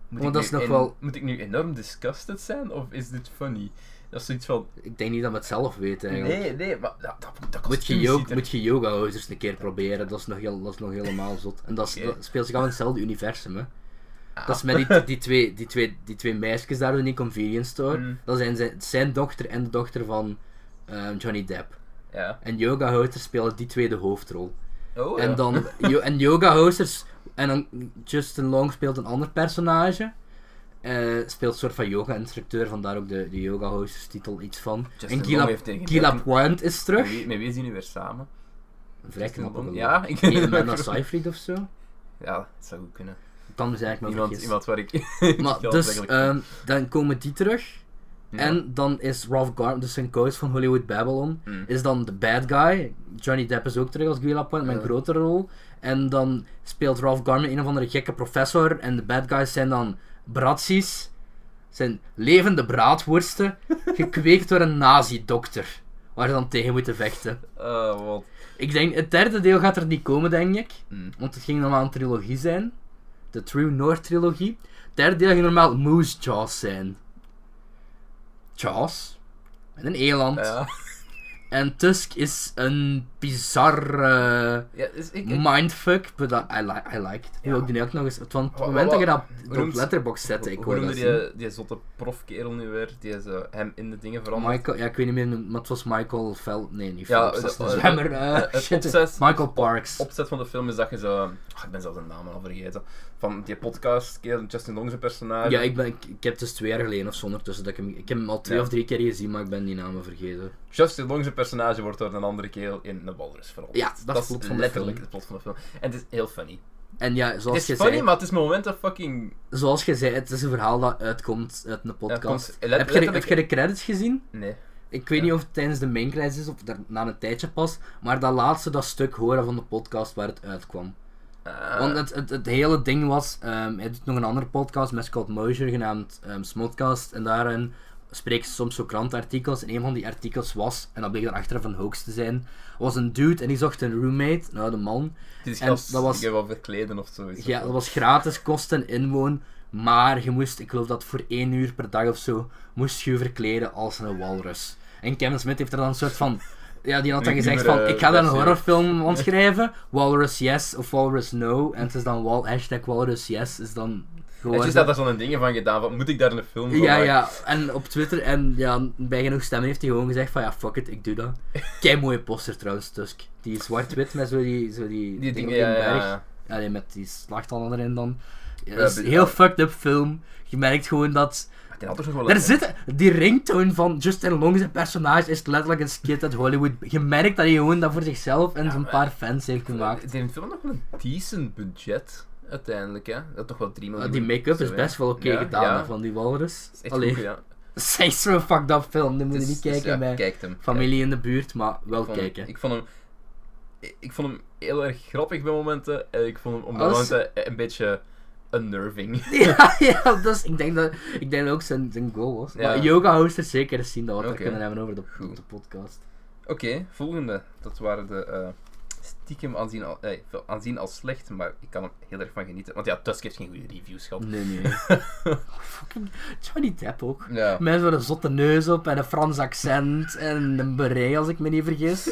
Moet, Want ik Oh, dat nu is nog en- wel- moet ik nu enorm disgusted zijn, of is dit funny? Dat is zoiets van... Ik denk niet dat we het zelf weten eigenlijk. Nee, nee, maar dat, dat, dat Moet je, kostuum ziet yoga, er- moet je yoga hosers een keer proberen, dat is nog, heel, dat is nog helemaal zot. En dat, is- Oké. dat speelt zich af in hetzelfde universum, hè. Ah. Dat is met die, die, twee, die, twee, die twee meisjes daar in die convenience store. Mm. Dat zijn zijn, zijn dochter en de dochter van ehm, Johnny Depp. Ja. En yoga hosters spelen die twee de hoofdrol. Oh, ja. En dan, yo- en yoga hosters, en dan Justin Long speelt een ander personage. Eh, speelt een soort van yoga-instructeur, vandaar ook de, de yoga hosters titel iets van. Justin en Long Gila, heeft tegen Gila Depp- Pointe is terug. Met wie, met wie zien we weer samen? Vrij Justin knap Long? ook. Ja, ik Nee, weet het Amanda ook. Seyfried of zo. Ja, dat zou goed kunnen. Dan is dus eigenlijk maar Iemand, vergis. iemand waar ik... Maar Ja, dus, eigenlijk. ehm, dan komen die terug. Ja. En dan is Ralph Garman, dus zijn coach van Hollywood Babylon, Mm. is dan de bad guy. Johnny Depp is ook terug als Gwila Point, maar een Ja. grotere rol. En dan speelt Ralph Garman een of andere gekke professor. En de bad guys zijn dan bratsies. Zijn levende braadworsten, gekweekt door een nazi-dokter. Waar ze dan tegen moeten vechten. Oh, wat... Ik denk, het derde deel gaat er niet komen, denk ik. Mm. Want het ging normaal een trilogie zijn. De True North trilogie. Het derde deel ging normaal Moose Jaws zijn. Jaws. En een eland. Ja. En Tusk is een bizarre Ja, dus ik... ik- mindfuck. But I, li- I like it. Ik Ja. wil die ook nog eens... Want op het Wa- moment wa- dat je dat hoe op noemt- letterbox zette, Hoe- ik Hoe hoor noemde dat zien. die, eh, die zotte profkerel nu weer, die zo hem in de dingen verandert? Michael, ja, ik weet niet meer, maar het was Michael Fel... Nee, niet Ja, Phelps, dat is de- een eh, zwemmer. eh, eh, het shit. opzet- Michael Parks. opzet van de film is dat je zo. Ah, ik ben zelfs de naam al vergeten. Van die podcast, kerel, Justin Long zijn personage. Ja, ik, ben, ik, ik heb dus twee jaar geleden of zo ondertussen. Dat ik, hem, ik heb hem al twee Ja. of drie keer gezien, maar ik ben die namen vergeten. Justin Long zijn personage wordt door een andere kerel in een een walrus verandert. Ja, dat is het plot van de letterlijk film. het plot van de film. En het is heel funny. En ja, zoals Het je is funny, zei, maar het is momenten fucking... zoals je zei, het is een verhaal dat uitkomt uit een Ja, podcast. komt- heb, je de, letterlijk- heb je de credits gezien? Nee. Ik weet Ja. niet of het tijdens de main credits is of daar na een tijdje pas, maar dat laatste dat stuk horen van de podcast waar het uitkwam. Eh, Want het, het, het hele ding was, ehm, hij doet nog een andere podcast met Scott Mosier genaamd ehm Smodcast. En daarin spreekt ze soms zo krantenartikels. En een van die artikels was, en dat bleek dan achteraf een hoax te zijn, was een dude en die zocht een roommate, nou de man. het is en gast, dat was- ik heb wel verkleden of zoiets. Ja, dat was gratis, kost en inwoon. Maar je moest, ik geloof dat voor één uur per dag of zo, moest je je verkleden als een walrus. En Kevin Smith heeft er dan een soort van... Ja, die had dan Ik gezegd nummer, van, eh, ik ga daar een versie. horrorfilm van schrijven. Walrus yes of walrus no. En het is dan wal, hashtag walrus yes is dan Het is geworden. dat daar zo'n dingen van gedaan, van, moet ik daar een film van Ja, maken? ja. En op Twitter en ja, bij genoeg stemmen heeft hij gewoon gezegd van, ja, fuck it, ik doe dat. Kei mooie poster trouwens, Tusk. Die zwart-wit met zo die... Zo Die die, ding op dingen, die ja, ja, berg. ja. Allee, met die slachtanden erin dan. Ja, Ja, dat is een be- heel ja. fucked up film. Je merkt gewoon dat... Maar die had toch nog wel Er een- zit... Die ringtone van Justin Long, zijn personage, is letterlijk een skit uit Hollywood. Je merkt dat hij gewoon dat voor zichzelf en zo'n maar- paar fans heeft gemaakt. Die film had nog wel een decent budget, uiteindelijk, hè. Dat toch wel 3 miljoen. Maar Ah, die make-up zo, is ja. best wel oké Ja, gedaan ja. hè, van die walrus. Het is echt Allee, goed, ja. zeg zo'n fucked up film. Dan moet je Dus- niet dus kijken ja, bij kijkt hem. familie in de buurt, maar wel Ik vond- kijken. Ik vond hem... ik- Ik vond hem heel erg grappig bij momenten. En ik vond hem op Alles- momenten een beetje unnerving. Ja, ja, dus ik denk dat, ik denk dat ook zijn, zijn goal was. Ja. Maar Yoga Hosters zeker eens zien dat we het er Oké. kunnen hebben over de, Goed. de podcast. Oké, volgende. Dat waren de eh, stiekem aanzien, al, eh, wel aanzien als slecht, maar ik kan er heel erg van genieten. Want ja, Tusk heeft geen goede reviews gehad. Nee, nee. Fucking Johnny Depp ook. Ja. Mensen met een zotte neus op en een Frans accent en een beret, als ik me niet vergis.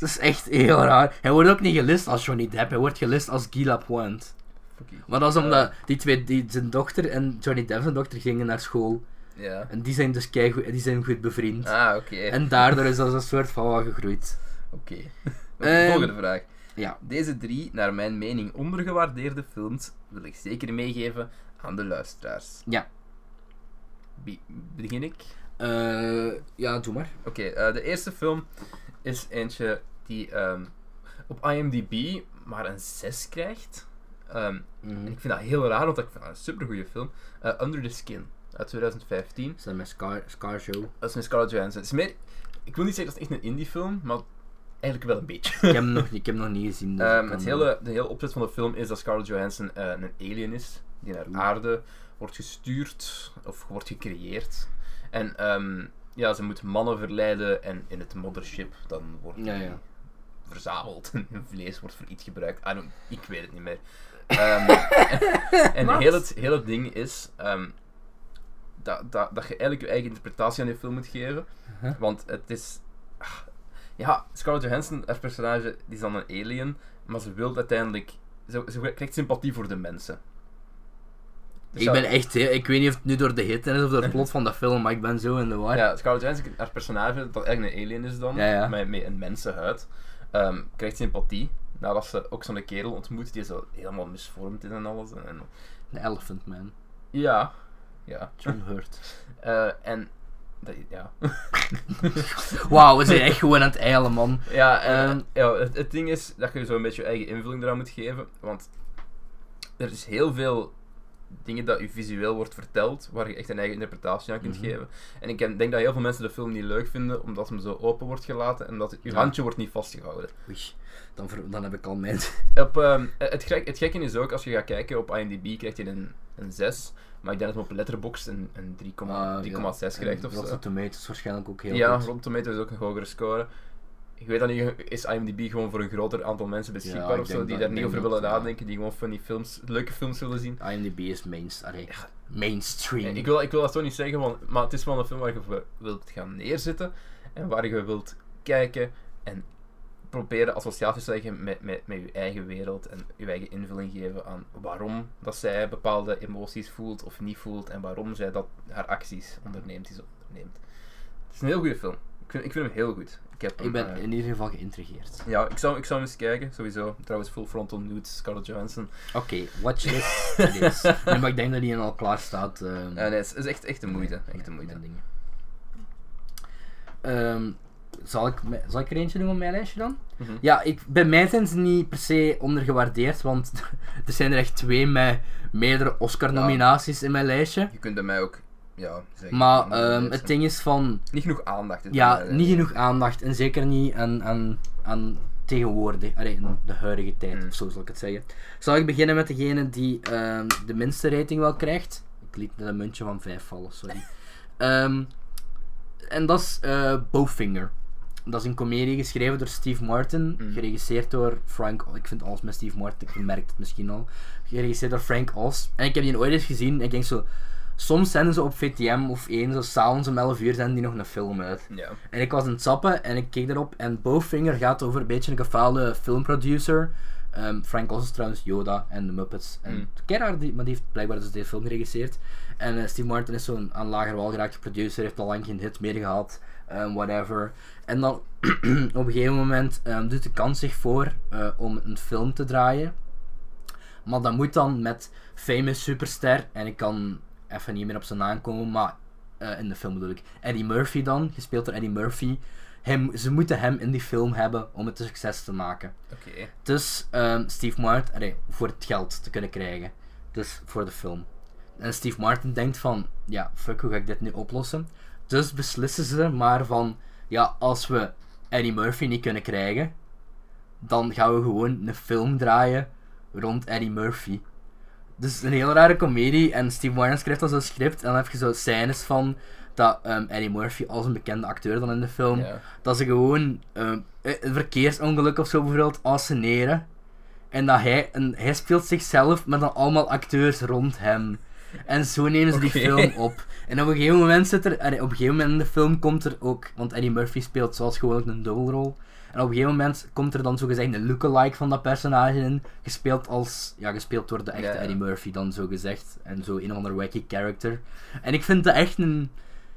Dat is echt heel raar. Hij wordt ook niet gelist als Johnny Depp, hij wordt gelist als Guy Lapointe. Fucking- Maar dat is omdat die twee, die, zijn dochter en Johnny Depp zijn dochter gingen naar school. Ja. En die zijn dus keigoed, die zijn goed bevriend. Ah, oké. En daardoor is dat een soort van wat gegroeid. Oké. Ehm, Volgende vraag. ja. Deze drie, naar mijn mening, ondergewaardeerde films wil ik zeker meegeven aan de luisteraars. Ja. Be- begin ik? Eh, ja, doe maar. Oké, eh, de eerste film is eentje die ehm, op IMDb maar een 6 krijgt. Ehm, Mhm. en ik vind dat heel raar, want ik vind dat een supergoeie film. Eh, Under the Skin uit 2015. Is dat met Scar, Scar Show? Dat is met Scarlett Johansson. Het is meer, ik wil niet zeggen dat het echt een indie film, maar eigenlijk wel een beetje. Ik heb hem nog, niet- ik heb hem nog niet gezien. dus ik Ehm, kan- het hele, de hele opzet van de film is dat Scarlett Johansson eh, een alien is die naar aarde wordt gestuurd of wordt gecreëerd. En ehm, ja, ze moet mannen verleiden en in het mothership dan wordt Ja, die ja. verzameld en hun vlees wordt voor iets gebruikt. I don't- ik weet het niet meer. Ehm, en en heel, het, heel het ding is ehm, dat, dat, dat je eigenlijk je eigen interpretatie aan die film moet geven. Huh? Want het is. ah, ja, Scarlett Johansson, haar personage, die is dan een alien, maar ze wil uiteindelijk. Ze, ze krijgt sympathie voor de mensen. Dus Ik ja, ben echt, heel- ik weet niet of het nu door de hitte is of door het plot van de film, maar ik ben zo in de war. Ah, Ja, Scarlett Johansson, haar personage, dat eigenlijk een alien is dan, Ja, ja. Met, met een mensenhuid, ehm, krijgt sympathie. Nadat ze ook zo'n kerel ontmoet die zo helemaal misvormd is en alles. En, en- De Elephant Man, ja, ja. John Hurt. Eh, en. Dat, ja. Wauw, we zijn echt gewoon aan het eilen, man. Ja, en, Ehm. Eh, ja het, het ding is dat je zo een beetje je eigen invulling eraan moet geven. Want er is heel veel dingen dat je visueel wordt verteld, waar je echt een eigen interpretatie aan kunt Mhm. geven. En ik ken- denk dat heel veel mensen de film niet leuk vinden, omdat hem zo open wordt gelaten en dat je Ja. handje wordt niet vastgehouden. Oei, dan, ver- dan heb ik al mijn... Op, ehm, het, gek, het gekke is ook, als je gaat kijken op IMDb, krijgt hij een, een 6. Maar ik denk dat hij op Letterboxd een, een 3,6 Ah, ja. krijgt En of zo. Rotten Tomatoes waarschijnlijk ook heel Ja, goed. Rotten Tomatoes is ook een hogere score. Ik weet dat nu is IMDb gewoon voor een groter aantal mensen Ja, beschikbaar ik of zo, denk die dat- daar ik niet denk over dat, willen ja. nadenken, die gewoon funny films, leuke films willen zien. IMDb is mainst, allee, mainstream. En ik, wil, ik wil dat zo niet zeggen, want, maar het is wel een film waar je voor wilt gaan neerzitten en waar je wilt kijken en proberen associaties te leggen met, met, met je eigen wereld en je eigen invulling geven aan waarom dat zij bepaalde emoties voelt of niet voelt en waarom zij dat, haar acties onderneemt die ze onderneemt. Het is een heel goede film. Ik vind, ik vind hem heel goed. Ik, heb hem, Ik ben eh, in ieder geval geïntrigeerd. ja, ik zou, ik zou hem eens kijken, sowieso. Trouwens, Full Frontal Nude, Scarlett Johansson. Oké, watch this. it is. Nee, maar ik denk dat die al klaar staat. ehm, Eh, Ja, nee, het is, het is echt, echt een moeite. Nee, Echt een nee, moeite. mijn dingen. Ehm, Zal ik, me- zal ik er eentje doen op mijn lijstje dan? Mhm. Ja, ik, bij mij zijn ze niet per se ondergewaardeerd, want er zijn er echt twee met meerdere Oscar-nominaties in mijn lijstje. Je kunt bij mij ook, ja, zeggen. Maar andere ehm, mensen. het ding is van, Niet genoeg aandacht. is ja, bij mij, niet denk ik. genoeg aandacht. En zeker niet aan, aan, aan tegenwoordig, allee, in de huidige tijd Mm. of zo zal ik het zeggen. Zal ik beginnen met degene die ehm, de minste rating wel krijgt? Ik liet net een muntje van 5 vallen, sorry. Ehm, en dat is eh, Bowfinger. Dat is een komedie geschreven door Steve Martin, Mm. geregisseerd door Frank. Ik vind alles met Steve Martin, je merkt het misschien al. Geregisseerd door Frank Oz. En ik heb die ooit eens gezien en ik denk zo. Soms zenden ze op VTM of 1, zo s'avonds om 11 uur zenden die nog een film uit. Ja. En ik was aan het zappen en ik keek erop. En Bowfinger gaat over een beetje een gefaalde filmproducer. Ehm, Frank Oz is trouwens Yoda en de Muppets. En Mm. Gerard, die, maar die heeft blijkbaar dus deze film geregisseerd. En eh, Steve Martin is zo'n aan lager wal geraakte producer. Heeft al lang geen hit meer gehad. ehm, whatever. En dan op een gegeven moment ehm, doet de kans zich voor eh, om een film te draaien. Maar dat moet dan met famous superster. En ik kan even niet meer op zijn naam komen. Maar eh, in de film bedoel ik. Eddie Murphy dan, gespeeld door Eddie Murphy. Hem, ze moeten hem in die film hebben om het een succes te maken. Oké. Dus ehm, Steve Martin, allee, voor het geld te kunnen krijgen. Dus voor de film. En Steve Martin denkt van, ja, fuck, hoe ga ik dit nu oplossen? Dus beslissen ze er maar van, ja, als we Eddie Murphy niet kunnen krijgen, dan gaan we gewoon een film draaien rond Eddie Murphy. Dus een heel rare komedie en Steve Martin schrijft dan zo'n script en dan heb je zo scènes van dat ehm, Eddie Murphy als een bekende acteur dan in de film Ja. dat ze gewoon ehm, eh, een verkeersongeluk of zo bijvoorbeeld asseneren. En dat hij, en hij speelt zichzelf met dan allemaal acteurs rond hem. En zo nemen ze Oké. die film op. En op een gegeven moment zit er, allee, op een gegeven moment in de film komt er ook, want Eddie Murphy speelt zoals gewoonlijk een dubbelrol. En op een gegeven moment komt er dan zogezegd een lookalike van dat personage in, gespeeld als, ja, gespeeld door de echte Ja, ja. Eddie Murphy dan zogezegd. En zo een of ander wacky character. En ik vind dat echt een,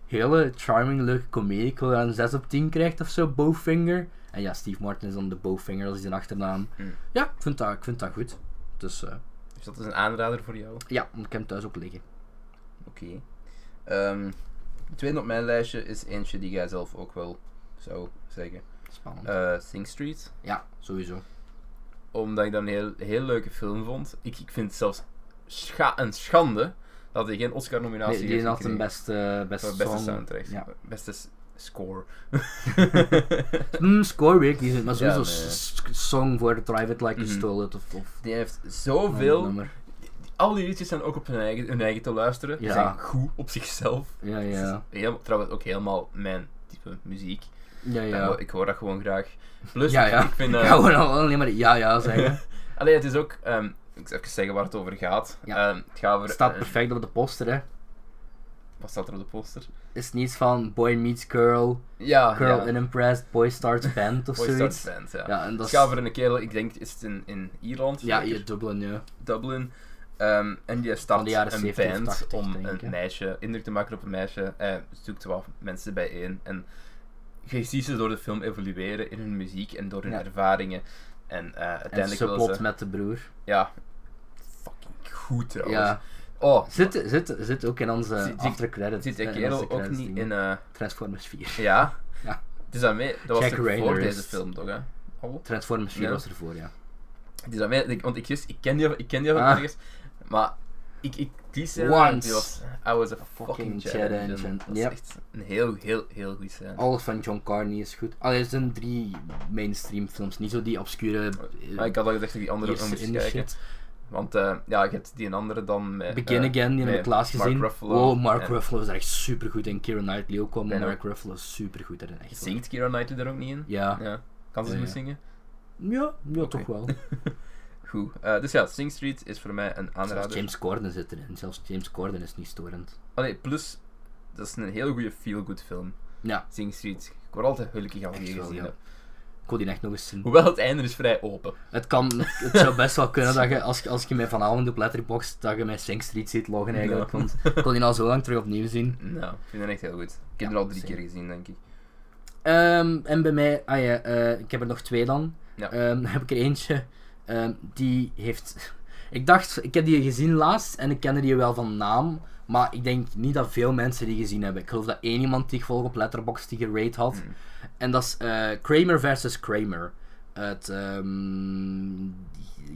hele charming, leuke comedie. Ik wil er een 6 op 10 krijgt of zo, Bowfinger. En ja, Steve Martin is dan de Bowfinger, dat is zijn achternaam. Hmm. Ja, ik vind dat, ik vind dat goed. Dus eh, Dus dat is een aanrader voor jou. ja, want ik heb hem thuis ook liggen. Oké. Ehm, de tweede op mijn lijstje is eentje die jij zelf ook wel zou zeggen. Spannend. Eh Sing Street. ja, sowieso. Omdat ik dat een heel, heel leuke film vond. Ik, ik vind het zelfs scha een schande dat hij geen Oscar-nominatie Nee, die heeft had gekregen. een beste, beste, Voor beste song. soundtrack. Ja. Beste s- score. Hmm, score weet ik niet, maar sowieso Ja, nee. s- s- song voor Drive It Like You Mhm. Stole It of, of Die heeft een zoveel... nummer. Al die liedjes zijn ook op hun eigen, hun eigen te luisteren. Ze Ja. zijn goed op zichzelf. Ja, Het ja. is helemaal- trouwens ook helemaal mijn type muziek. Ja, Ja, ja. Ik hoor dat gewoon graag. Plus, Ja, ik- ja. ik vind... Ik eh, ga gewoon al- alleen maar ja, ja zeggen. Allee, het is ook... ehm, ik zal even zeggen waar het over gaat. Ja. Ehm, het gaat over... Het staat eh, perfect op de poster, hè. wat staat er op de poster? Is niets van boy meets girl, Ja, Girl Ah, ja. in Impressed, Boy Starts Band of Boy zoiets. Starts Band, ja. Ja, en Het dat gaat is... over een kerel, ik denk is het in, in Ierland, Ja, zeker? je Dublin, ja. Dublin. Ehm, en die Van start de jaren een 70, band 80, om denk ik, hè? een meisje, indruk te maken op een meisje. Eh, zoekt twaalf mensen bijeen. En je ziet ze door de film evolueren in hun muziek en door hun Ja. ervaringen. En eh, En uiteindelijk wil subplot ze... met de broer. Ja, fucking goed trouwens. Ja. Oh, Zit, zit, zit ook in onze Zit- zit- aftercredits. zit die eh, in onze kerel ook credits niet dingen. in... eh, Transformers 4. ja. Ja. Het is aan mij... Dat was Jack toch voor Rayner is- deze film, toch? Hè? Oh. Transformers 4 Ja. was ervoor, ja. Het is aan mij, Dus ik- want ik, wist, ik ken die, ik ken die van Ah. ergens, maar ik, ik die scène, Once. die was, I was a fucking fucking challenge. challenge, en Dat is yep. echt een heel, heel, heel goede scène. Alles van John Carney is goed. Allee, het zijn drie mainstream films, niet zo die obscure... eh, Maar ik had al gezegd dat ik die andere ook eerste moest in de kijken. shit. Want eh, ja, je hebt die een andere dan met... Begin eh, Again, die heb met ik laatst Mark gezien. Ruffalo oh, Mark en- Ruffalo is er echt super goed in. Kieran Knightley ook wel, maar Ben Mark Ruffalo is super goed erin. Echt waar. Zingt Keira Knightley er ook niet in? Ja. Ja. Kan ze Ja, goed ja. zingen? Ja, ja Oké. toch wel. Goed. Eh, dus ja, Sing Street is voor mij een Zelfs aanrader. James Corden zit erin. Zelfs James Corden is niet storend. Allee, plus, dat is een heel goede feel-good film. Ja. Sing Street. Ik word altijd gelukkig als ik Echt die wel, gezien ja. heb. Ik wil die echt nog eens zien. Hoewel het einde is vrij open. Het, kan, het zou best wel kunnen dat je, als, je- als je mij vanavond op Letterboxd, dat je mij Sing Street ziet loggen eigenlijk. Ja. Want ik kon die al zo lang terug opnieuw zien. Nou, ik vind het echt heel goed. Ik heb Ja, er al drie same. keer gezien, denk ik. Ehm, en bij mij, ah ja, eh, ik heb er nog twee dan. Ja. Ehm, dan heb ik er eentje, ehm, die heeft... Ik dacht, ik heb die gezien laatst en ik kende die wel van naam. Maar ik denk niet dat veel mensen die gezien hebben. Ik geloof dat één iemand die ik volg op Letterboxd die gerate had. En dat is eh, Kramer versus Kramer. Uit ehm,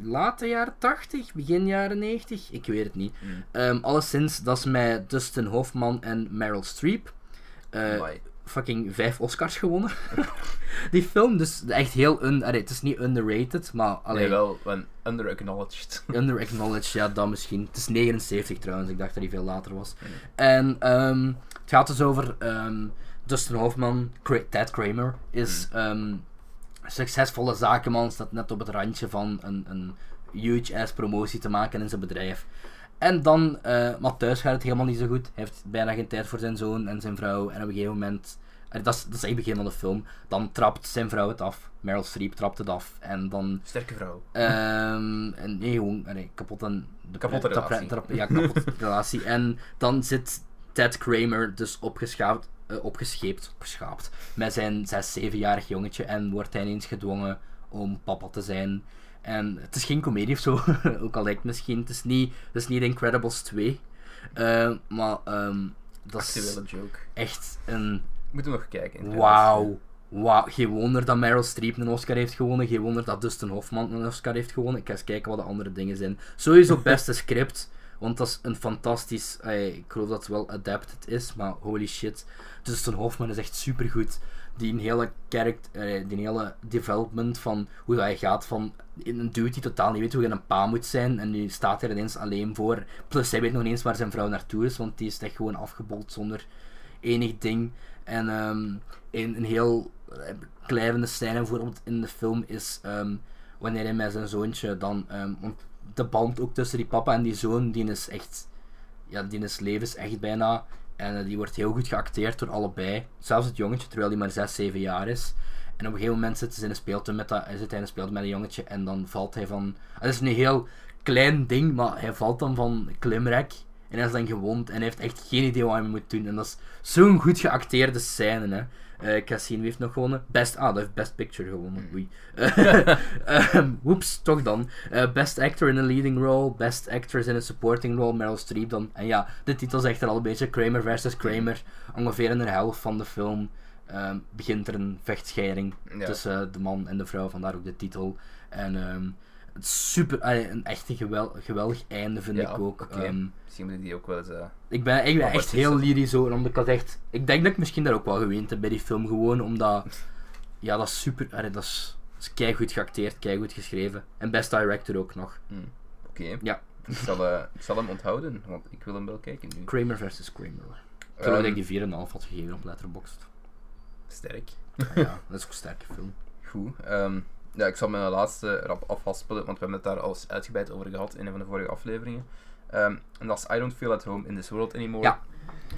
late jaren 80, begin jaren 90, ik weet het niet. Mm. Ehm alleszins, dat is met Dustin Hoffman en Meryl Streep. Eh, Amai. fucking vijf Oscars gewonnen. die film, dus echt heel... Un allee, het is niet underrated, maar... Allee, Nee, wel, een under-acknowledged. Under-acknowledged, ja, dat misschien. Het is 79 trouwens, ik dacht dat hij veel later was. En ehm, het gaat dus over ehm, Dustin Hoffman, Cra- Ted Kramer, is ehm, succesvolle zakenman, staat net op het randje van een, een huge-ass promotie te maken in zijn bedrijf. En dan, eh, maar thuis gaat het helemaal niet zo goed. Hij heeft bijna geen tijd voor zijn zoon en zijn vrouw. En op een gegeven moment, eh, dat is, dat is echt het begin van de film, dan trapt zijn vrouw het af. Meryl Streep trapt het af. En dan Sterke vrouw. Ehm, en nee, gewoon nee, kapot aan de Kapotte de- de- relatie. de- de- ja, kapot relatie. En dan zit Ted Kramer dus opgeschaafd, eh, opgescheept, opgeschaapt met zijn 6, 7-jarig jongetje en wordt hij ineens gedwongen om papa te zijn. En het is geen komedie of zo, ook al lijkt het misschien. Het is niet, het is niet Incredibles 2, Eh, maar ehm, dat is Actuele joke. echt een Moeten we nog kijken. Wauw. Wauw. Geen wonder dat Meryl Streep een Oscar heeft gewonnen. Geen wonder dat Dustin Hoffman een Oscar heeft gewonnen. Ik ga eens kijken wat de andere dingen zijn. Sowieso beste script. Want dat is een fantastisch... eh, ik geloof dat het wel adapted is, maar holy shit. Dustin Hoffman is echt supergoed. Die een hele character... eh, die een hele development van hoe dat hij gaat van... Een dude die totaal niet weet hoe hij een pa moet zijn. En nu staat hij er ineens alleen voor. Plus hij weet nog niet eens waar zijn vrouw naartoe is. Want die is echt gewoon afgebold zonder enig ding. En ehm, een, een heel eh, kleine scène bijvoorbeeld in de film is ehm, wanneer hij met zijn zoontje dan. ehm, want de band ook tussen die papa en die zoon, die is echt. Ja, die is levens echt bijna. En eh, die wordt heel goed geacteerd door allebei. Zelfs het jongetje, terwijl hij maar 6, 7 jaar is. En op een gegeven moment zitten ze in een speeltuin met dat, zit hij in een speeltuin met een jongetje en dan valt hij van... Het is een heel klein ding, maar hij valt dan van een klimrek en hij is dan gewond en hij heeft echt geen idee wat hij moet doen. En dat is zo'n goed geacteerde scène, hè. Eh, ik ga zien wie heeft nog gewonnen. Best, ah, dat heeft Best Picture gewonnen. Hmm. Oei. Ehm, Oeps, toch dan. Eh, best Actor in a Leading Role, Best Actress in a Supporting Role, Meryl Streep dan. En ja, de titel zegt er al een beetje. Kramer versus Kramer. Ongeveer in de helft van de film ehm, begint er een vechtscheiding Ja. tussen de man en de vrouw, vandaar ook de titel. En ehm, het is super, eh, een echt een gewel- geweldig einde vind Ja, ik ook. oké. Ehm, Misschien moet ik die ook wel eens... eh, ik ben, ik ben Maar wat echt is heel dat? lyrisch over, omdat ik had echt... Ik denk dat ik misschien daar ook wel geweend heb bij die film, gewoon omdat... Ja, dat is super... allee, dat is, dat is keigoed geacteerd, keigoed geschreven. En best director ook nog. hmm, Oké. Ja. Ik zal, eh, ik zal hem onthouden, want ik wil hem wel kijken nu. Kramer versus Kramer. Ehm, Terwijl ik die 4,5 had gegeven op Letterboxd. Sterk. Ah ja, dat is ook een sterke film. Goed. ehm, ja, ik zal mijn laatste rap afhaspelen, want we hebben het daar al eens uitgebreid over gehad in een van de vorige afleveringen. Ehm, en dat is I Don't Feel At Home In This World Anymore. Ja.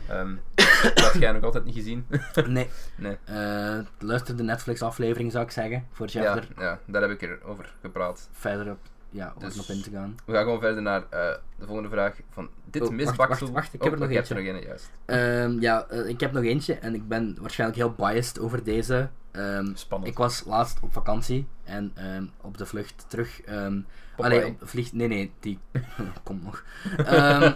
Ehm, dat heb jij nog altijd niet gezien. Nee. Nee. Eh, luister de Netflix-aflevering, zou ik zeggen, voor je Ja, er ja, daar heb ik er over gepraat. verder op, ja, om Dus- op in te gaan. We gaan gewoon verder naar eh, de volgende vraag van dit Oh, wacht, misbaksel. wacht, wacht, ik Oh, heb er nog je hebt eentje. nog een, juist. Ehm, ja, eh, ik heb nog eentje en ik ben waarschijnlijk heel biased over deze. Ehm, Spannend. ik was laatst op vakantie en ehm, op de vlucht terug. ehm Popeye. allee, op vliegt. Nee, nee, die komt nog. Ehm,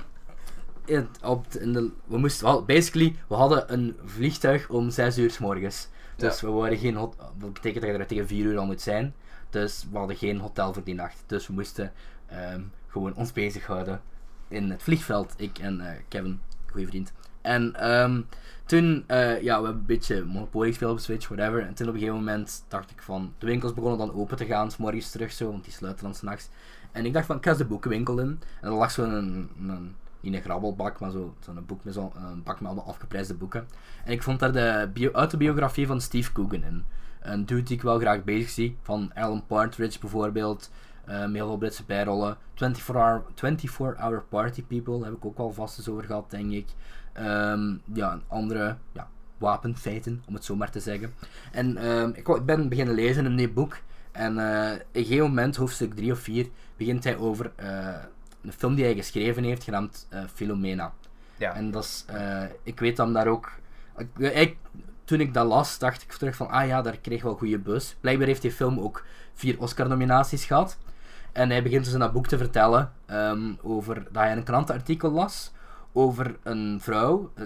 in- op de- in de- we moesten wel, basically, we hadden een vliegtuig om 6 uur s morgens. Dus we waren geen hot, dat betekent dat je er tegen 4 uur al moet zijn. Dus we hadden geen hotel voor die nacht. Dus we moesten ehm, gewoon ons bezighouden in het vliegveld. Ik en eh, Kevin, goede vriend. En ehm, toen, eh, ja, we hebben een beetje Monopoly gespeeld op Switch, whatever. En toen op een gegeven moment dacht ik van, de winkels begonnen dan open te gaan, s morgens terug zo, want die sluiten dan s'nachts. En ik dacht van, ik ga eens de boekenwinkel in. En er lag zo'n, een, een, niet een grabbelbak, maar zo- zo'n boek met zo, een bak met allemaal afgeprijsde boeken. En ik vond daar de bio, autobiografie van Steve Coogan in. Een dude die ik wel graag bezig zie, van Alan Partridge bijvoorbeeld. eh, met heel veel Britse bijrollen. 24 hour, 24 hour Party People heb ik ook wel vast eens over gehad, denk ik. Ehm, ja, een andere ja, wapenfeiten, om het zo maar te zeggen. En ehm, ik, wou- ik ben beginnen lezen in dit boek. En eh, op een gegeven moment, hoofdstuk 3 of 4, begint hij over eh, een film die hij geschreven heeft, genaamd eh, Philomena. Ja. En dat is, eh, ik weet dan daar ook. Ik, ik- toen ik dat las, dacht ik terug van, ah ja, daar kreeg wel goede buzz. Blijkbaar heeft die film ook vier Oscar-nominaties gehad. En hij begint dus in dat boek te vertellen ehm, over dat hij een krantenartikel las over een vrouw, eh,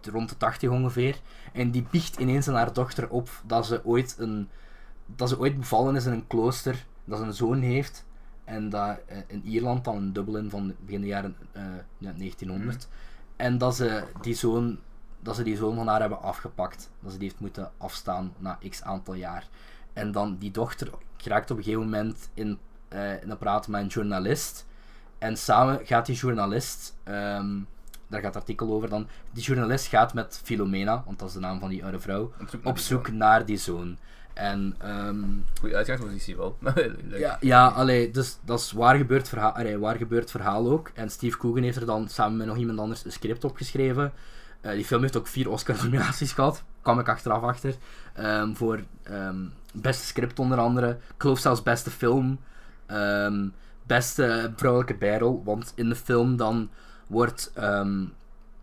rond de 80 ongeveer, en die biecht ineens aan haar dochter op dat ze ooit, een, dat ze ooit bevallen is in een klooster, dat ze een zoon heeft, en dat eh, in Ierland, dan in Dublin van begin de jaren eh, ja, 1900, en dat ze die zoon dat ze die zoon van haar hebben afgepakt. Dat ze die heeft moeten afstaan na x aantal jaar. En dan die dochter geraakt op een gegeven moment in, eh in een praat met een journalist. En samen gaat die journalist, ehm, daar gaat het artikel over dan, die journalist gaat met Filomena, want dat is de naam van die oude vrouw, Op zoek naar op die zoek naar die zoon. En ehm, Goeie uitgangspositie wel. Leuk. ja, ja allee, dus dat is waar gebeurt, verhaal, allee, waar gebeurt verhaal ook. En Steve Coogan heeft er dan samen met nog iemand anders een script opgeschreven. Eh, die film heeft ook vier Oscar-nominaties gehad. Kwam ik achteraf achter. Ehm, voor ehm, beste script onder andere. Ik geloof zelfs beste film. Ehm, beste vrouwelijke bijrol. Want in de film dan wordt... ehm,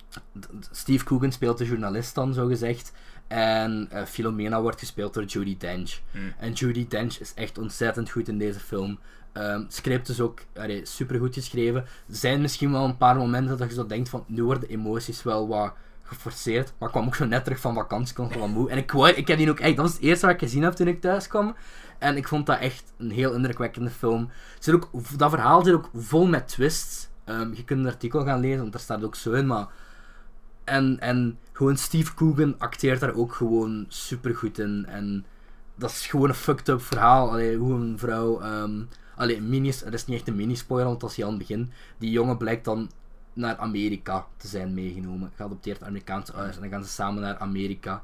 d- d- Steve Coogan speelt de journalist dan, zo gezegd. En eh, Philomena wordt gespeeld door Judi Dench. Hmm. En Judi Dench is echt ontzettend goed in deze film. Ehm, het script is ook allee, supergoed geschreven. Er zijn misschien wel een paar momenten dat je zo denkt van... Nu worden emoties wel wat geforceerd. Maar ik kwam ook zo net terug van vakantie, ik was wel moe. En ik, wou- ik heb die ook echt... Dat was het eerste wat ik gezien heb toen ik thuis kwam. En ik vond dat echt een heel indrukwekkende film. Er Zit ook, dat verhaal zit ook vol met twists. Ehm, je kunt het artikel gaan lezen, want daar staat het ook zo in. Maar en, en gewoon Steve Coogan acteert daar ook gewoon supergoed in. En dat is gewoon een fucked up verhaal. Allee, hoe een vrouw... ehm allee, minis, dat is niet echt een mini-spoiler, want dat is hier aan het begin. Die jongen blijkt dan naar Amerika te zijn meegenomen. Geadopteerd Amerikaanse ouders. En dan gaan ze samen naar Amerika.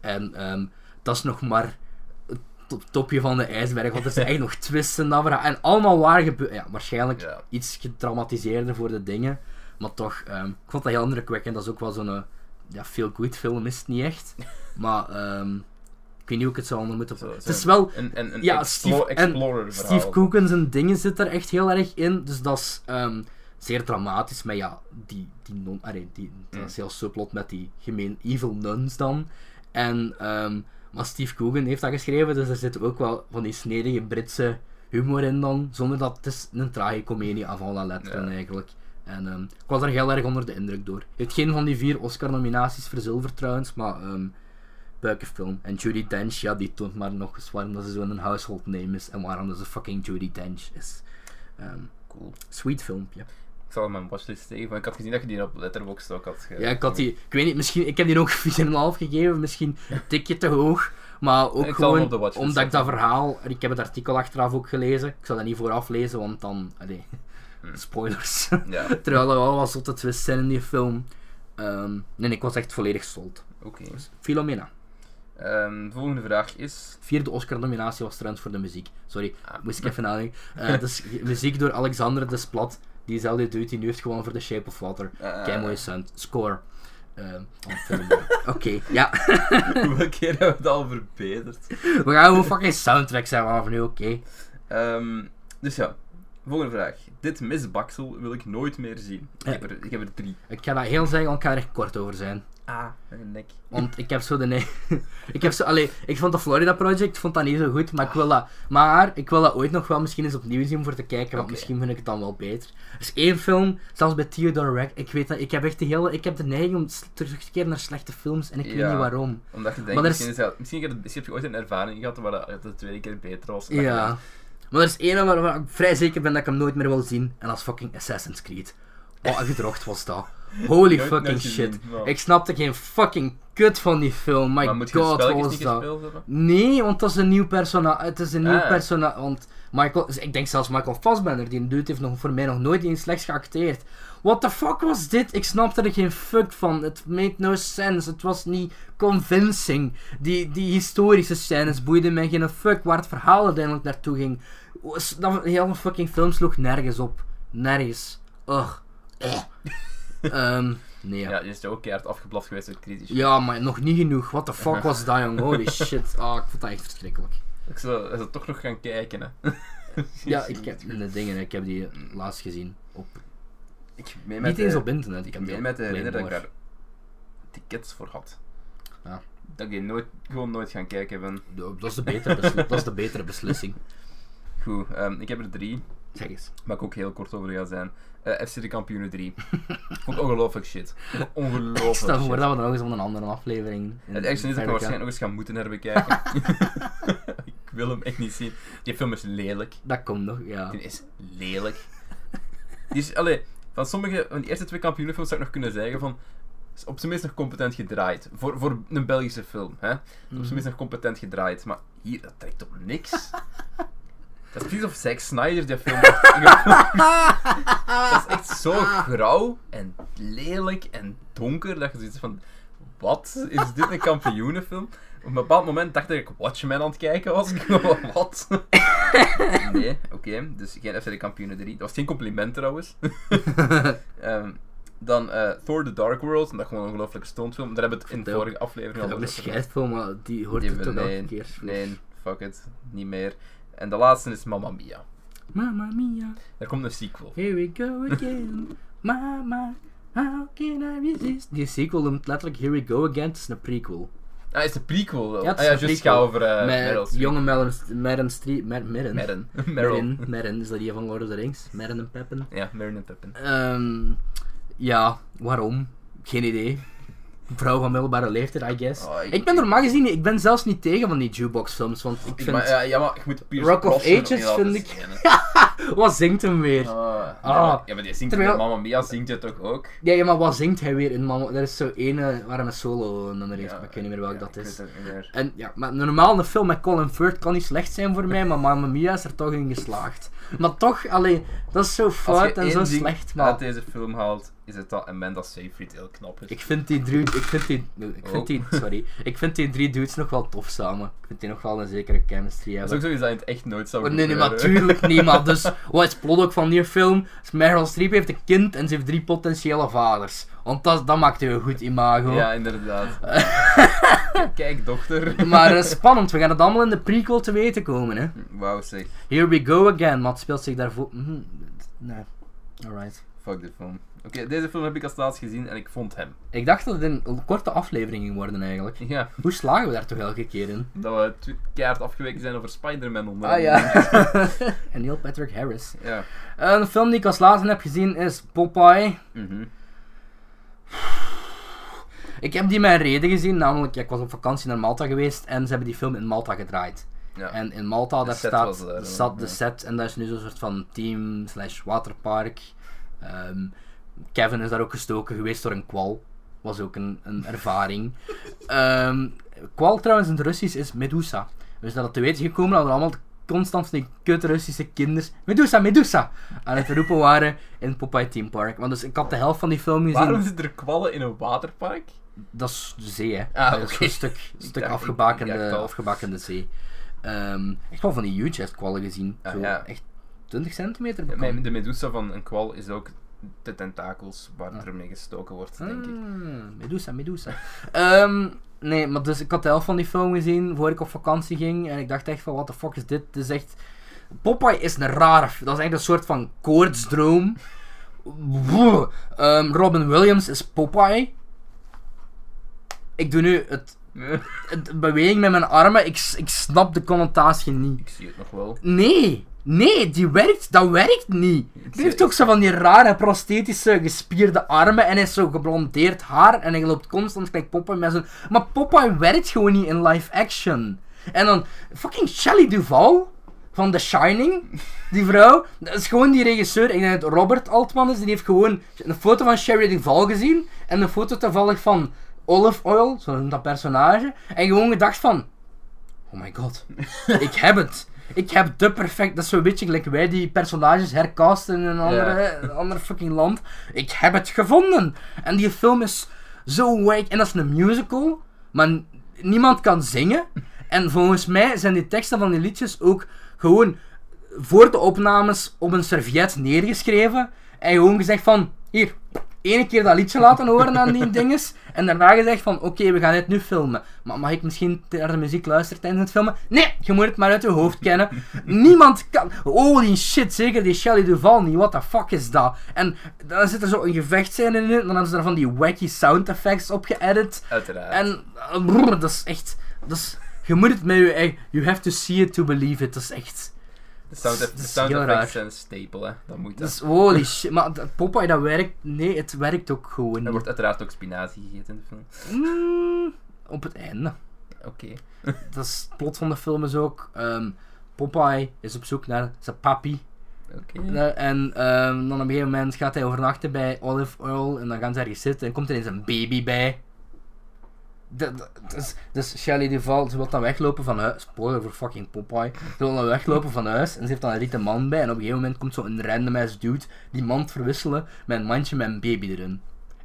En ehm, dat is nog maar het to- topje van de ijsberg. Want er zijn echt nog twists in dat verhaal. En allemaal waar gebeurt... Ja, waarschijnlijk Ja. eh, iets getraumatiseerder voor de dingen. Maar toch, ehm, ik vond dat heel indrukwekkend. Dat is ook wel zo'n... eh, Ja, feel good film is het niet echt. Maar ehm, ik weet niet hoe ik het zou onder moeten... Zo- het zo is wel... Een, een, een Ja, explo- Steve- en explorer verhaal. Steve Coogan zijn dingen zit er echt heel erg in. Dus dat is ehm, zeer dramatisch. Maar ja, die, die non... Arre, die, Mm. dat is heel subplot met die gemeen evil nuns dan. En, ehm, maar Steve Coogan heeft dat geschreven. Dus er zit ook wel van die snedige Britse humor in dan. Zonder dat... Het is een tragicomedie avant la lettre Ja. eigenlijk. En ehm, ik was er heel erg onder de indruk door. Heeft geen van die vier Oscar-nominaties verzilverd trouwens, maar... ehm buikenfilm. En Judy Dench, ja, die toont maar nog eens waarom dat ze zo'n household name is en waarom dat ze fucking Judy Dench is. Ehm, Cool. sweet filmpje. Ik zal hem mijn watchlist steken, want ik had gezien dat je die op Letterboxd ook had ge... Ja, ik had die, ik weet niet, misschien, ik heb die ook 4,5 gegeven, misschien een tikje te hoog. Maar ook Ik zal hem gewoon op de watchlist omdat ik dat zetten. verhaal, en ik heb het artikel achteraf ook gelezen, ik zal dat niet vooraf lezen, want dan, allee, Hmm. spoilers. Ja, Terwijl er wel wat zotte twists zijn in die film. Ehm, nee, ik was echt volledig sold. oké. Philomena. Ehm, de volgende vraag is... Vierde Oscar-nominatie was trouwens voor de muziek. Sorry, Ah. moest ik even nadenken. Eh, dus muziek door Alexander Desplat. Diezelfde dude die nu heeft gewonnen voor The Shape of Water. eh, Kei mooie sound. Score. Eh, van film. Oké, ja. Hoeveel keer hebben we het al verbeterd? We gaan gewoon fucking soundtrack zijn vanaf nu, oké. Ehm, dus ja, volgende vraag. Dit misbaksel wil ik nooit meer zien. Ik heb er, ik heb er drie. Ik ga dat heel zeggen, want ik ga er echt kort over zijn. Ah, mijn nek. Want ik heb zo de... ne- ik heb zo... Allee, ik vond de Florida Project vond dat niet zo goed, maar ik wil dat... Maar ik wil dat ooit nog wel misschien eens opnieuw zien voor te kijken, want Oké. misschien vind ik het dan wel beter. Er is één film, zelfs bij Theodore Rack, ik weet dat... Ik heb echt de hele... Ik heb de neiging om s- terug te keren naar slechte films, en ik weet Ja. niet waarom. Omdat je denkt, Maar er is- misschien, is dat- misschien heb je, misschien heb je ooit een ervaring gehad waar dat het de tweede keer beter was. dan je Ja. Maar er is één waar, waar ik vrij zeker ben dat ik hem nooit meer wil zien, en dat is fucking Assassin's Creed. Wat een gedrocht was dat. Holy nooit- fucking nooit shit. gezien. Ja. Ik snapte geen fucking kut van die film, my maar moet je god, het wat spelletjes was niet dat. gespeeld hebben? Nee, want dat is een nieuw personage. Het is een nieuw Ah. persona. Want Michael, ik denk zelfs Michael Fassbender, die dude heeft nog, voor mij nog nooit eens slechts geacteerd. What the fuck was dit? Ik snapte er geen fuck van. Het made no sense. Het was niet convincing. Die, die historische scènes boeiden mij geen fuck waar het verhaal uiteindelijk naartoe ging. Was- Dat hele fucking film sloeg nergens op. Nergens. Ugh. Eh. Ehm, nee. Ja, je is ook keihard afgeblaft geweest door kritisch. Ja, maar nog niet genoeg. What the fuck was dat, jong? Holy shit. Ah, ik vond dat echt verschrikkelijk. Ik zou, ik zou toch nog gaan kijken, hè. Ja, ik heb de dingen, ik heb die laatst gezien. Op, Ik meen met niet de- eens op internet, ik Ik heb die meen op met te herinneren dat ik Playmore. daar tickets voor had. Ja. Dat ik die nooit, gewoon nooit gaan kijken ben. Ja, Dat is de betere, besli- dat is de betere beslissing. Goed, ehm, ik heb er drie. Zeg eens. Waar ik ook heel kort over ga zijn. Eh, FC de Kampioenen 3. Vond ik ongelooflijk shit. Ongelooflijk Stel voor Oh, shit. dat we dan nog eens om een andere aflevering. in- Het ergste is dat ik hem verder gaan. waarschijnlijk nog eens gaan moeten herbekijken. ik wil hem echt niet zien. Die film is lelijk. Dat komt nog, ja. Die is lelijk. Die is, allee, van sommige, van die eerste twee kampioenenfilms zou ik nog kunnen zeggen van, is op zijn minst nog competent gedraaid. Voor, voor een Belgische film, hè. Is Op zijn minst nog competent gedraaid, maar hier, dat trekt op niks. dat is precies of Zack Snyder die film heeft Dat is echt zo grauw en lelijk en donker, dat je zoiets van, wat? Is dit een kampioenenfilm? Op een bepaald moment dacht ik dat ik Watchmen aan het kijken was. Ik dacht, wat? Nee, oké. Dus geen FC de Kampioenen 3. Dat was geen compliment trouwens. Ehm, dan eh, Thor The Dark World. Dat is gewoon een ongelooflijke stontfilm. Daar hebben we het in de Vertel. vorige aflevering Dat al is een over gehad. scheidfilm, maar die hoort Die er we- toch elke nee, keer. voor. nee, fuck it. Niet meer. En de laatste is Mamma Mia. Mamma mia, Er komt een sequel. here we go again. Mama, how can I resist? Die sequel noemt letterlijk Here We Go Again, het is een prequel. Ah, is de prequel wel? Ja, het ah is ja, een juist prequel. ga over eh Meryl Met Streep. jonge Meryl Meryl Streep, Mer- Merren. Meryn. Meryl. Merren, Merren, is dat die van Lord of the Rings? Merren en Peppen. Ja, Meryn en Pippin. Ehm, ja, waarom? Geen idee. Vrouw van middelbare leeftijd, I guess. Oh, ik- ik, ben normaal gezien, ik ben zelfs niet tegen van die jukebox-films, want ik vind... Maar, ja, ja, maar ik moet Pierce Rock of Brosnan Ages heel vind laten ik- zien, hè. Wat zingt hem weer? Ah, Ah. ja, maar- ja, maar die zingt Terwijl- Terwijl... Mamma Mia zingt het toch ook? Ja, ja, maar wat zingt hij weer in Mama? Er is zo ene waar hij een solo nummer heeft, Ja, maar ik weet niet meer welk ja, dat ik is. weet het niet meer. En ja, maar normaal een film met Colin Firth kan niet slecht zijn voor mij, maar Mamma Mia is er toch in geslaagd. Maar toch, alleen dat is zo Als fout je en zo één ding slecht, uit maar... deze film haalt, is het dat Amanda Seyfried heel knap is. Ik vind die drie... Ik vind die... Ik vind Oh. die... Sorry. Ik vind die drie dudes nog wel tof samen. Ik vind die nog wel een zekere chemistry Dat is ook hebben. zoiets dat je het echt nooit zou Oh, doen. Nee, nee, natuurlijk niet, maar dus... Wat is het plot ook van die film? Is Meryl Streep heeft een kind en ze heeft drie potentiële vaders. Want dat, dat maakt een goed imago. Ja, inderdaad. Kijk, dochter. Maar eh, spannend, we gaan het allemaal in de prequel te weten komen, hè. Wauw, zeg. Here we go again, maar het speelt zich daarvoor... Mhm, nee, alright. Fuck dit film. Oké, deze film heb ik als laatst gezien en ik vond hem. Ik dacht dat het een korte aflevering ging worden, eigenlijk. Ja, Hoe slagen we daar toch elke keer in? dat we tw- keihard afgeweken zijn over Spider-Man onder Ah andere. ja. en Neil Patrick Harris. Ja. Een film die ik als laatste heb gezien is Popeye. Mhm. Ik heb die mijn reden gezien, namelijk ja, ik was op vakantie naar Malta geweest en ze hebben die film in Malta gedraaid. Ja. En in Malta, daar set staat, was daar, hè, zat de ja. set en dat is nu zo'n soort van team slash waterpark. Ehm, Kevin is daar ook gestoken geweest door een kwal. Was ook een, een ervaring. Ehm, kwal trouwens in het Russisch is Medusa. Dus dat het te weten gekomen dat er allemaal constant van die kut Russische kinders Medusa, Medusa aan het roepen waren in Popeye Team Park. Want dus ik had de helft van die film gezien. Waarom zitten er kwallen in een waterpark? Dat is de zee, hè. Ah, dat is oké. een stuk, stuk dacht- ik dacht afgebakende, al. afgebakende zee. Ehm, echt wel van die huge kwallen gezien. Ah, Zo, ja. Echt 20 Ja, centimeter? bekomen. mijn- De medusa van een kwal is ook de tentakels waar er mee gestoken wordt, denk ik. Ah, Medusa, Medusa. Ehm, nee, maar dus ik had de helft van die film gezien voor ik op vakantie ging. En ik dacht echt van, what the fuck is dit? Dit is echt... Popeye is een rare... f- Dat is echt een soort van koortsdroom. Wuh. Ehm, Robin Williams is Popeye. Ik doe nu het, het beweging met mijn armen. Ik, s- ik snap de connotatie niet. Ik zie het nog wel. Nee, nee, die werkt, dat werkt niet. Die heeft ook zo van die rare prosthetische gespierde armen en hij is zo geblondeerd haar en hij loopt constant gelijk Popeye met zo'n... Maar Popeye werkt gewoon niet in live action. En dan fucking Shelley Duvall van The Shining, die vrouw, dat is gewoon die regisseur, ik denk dat het Robert Altman is, die heeft gewoon een foto van Shelley Duvall gezien en een foto toevallig van Olive Oil, zo noemt dat personage, en gewoon gedacht van, oh my god, ik heb het. Ik heb de perfect. Dat is zo'n beetje gelijk wij die personages hercasten in een andere, een ander fucking land. Ik heb het gevonden. En die film is zo wijk. En dat is een musical, maar n- niemand kan zingen. En volgens mij zijn die teksten van die liedjes ook gewoon voor de opnames op een serviet neergeschreven. En gewoon gezegd van, hier, ene keer dat liedje laten horen aan die dinges. En daarna gezegd van, oké, we gaan dit nu filmen. Maar mag ik misschien naar de muziek luisteren tijdens het filmen? Nee, je moet het maar uit je hoofd kennen. Niemand kan... Holy shit, zeker die Shelley Duval niet. What the fuck is dat? En dan zit er zo een gevechtscène in. En dan hebben ze daar van die wacky sound effects op geëdit. Uiteraard. En eh, brrr, dat is echt. Dat is, je moet het met je eigen. You have to see it to believe it. Dat is echt. De sound, Dat is- eff- dat is sound heel effects raar. zijn staple, hè. Dat moet, hè. Dus holy shit, maar dat Popeye dat werkt. Nee, het werkt ook gewoon Er wordt niet. uiteraard ook spinazie gegeten in de film. Mm, op het einde. Oké. Dat is het plot van de film is ook. ehm, Popeye is op zoek naar zijn papi. Oké. Ja, En ehm, dan op een gegeven moment gaat hij overnachten bij Olive Oil en dan gaan ze ergens zitten en komt er ineens een baby bij. Dat- dat- Dus, dus Shelley Duval ze wil dan weglopen van huis. Spoiler voor fucking Popeye. Ze wil dan weglopen van huis en ze heeft dan een rieten man bij. En op een gegeven moment komt zo'n random ass dude die mand verwisselen met een mandje met een baby erin. En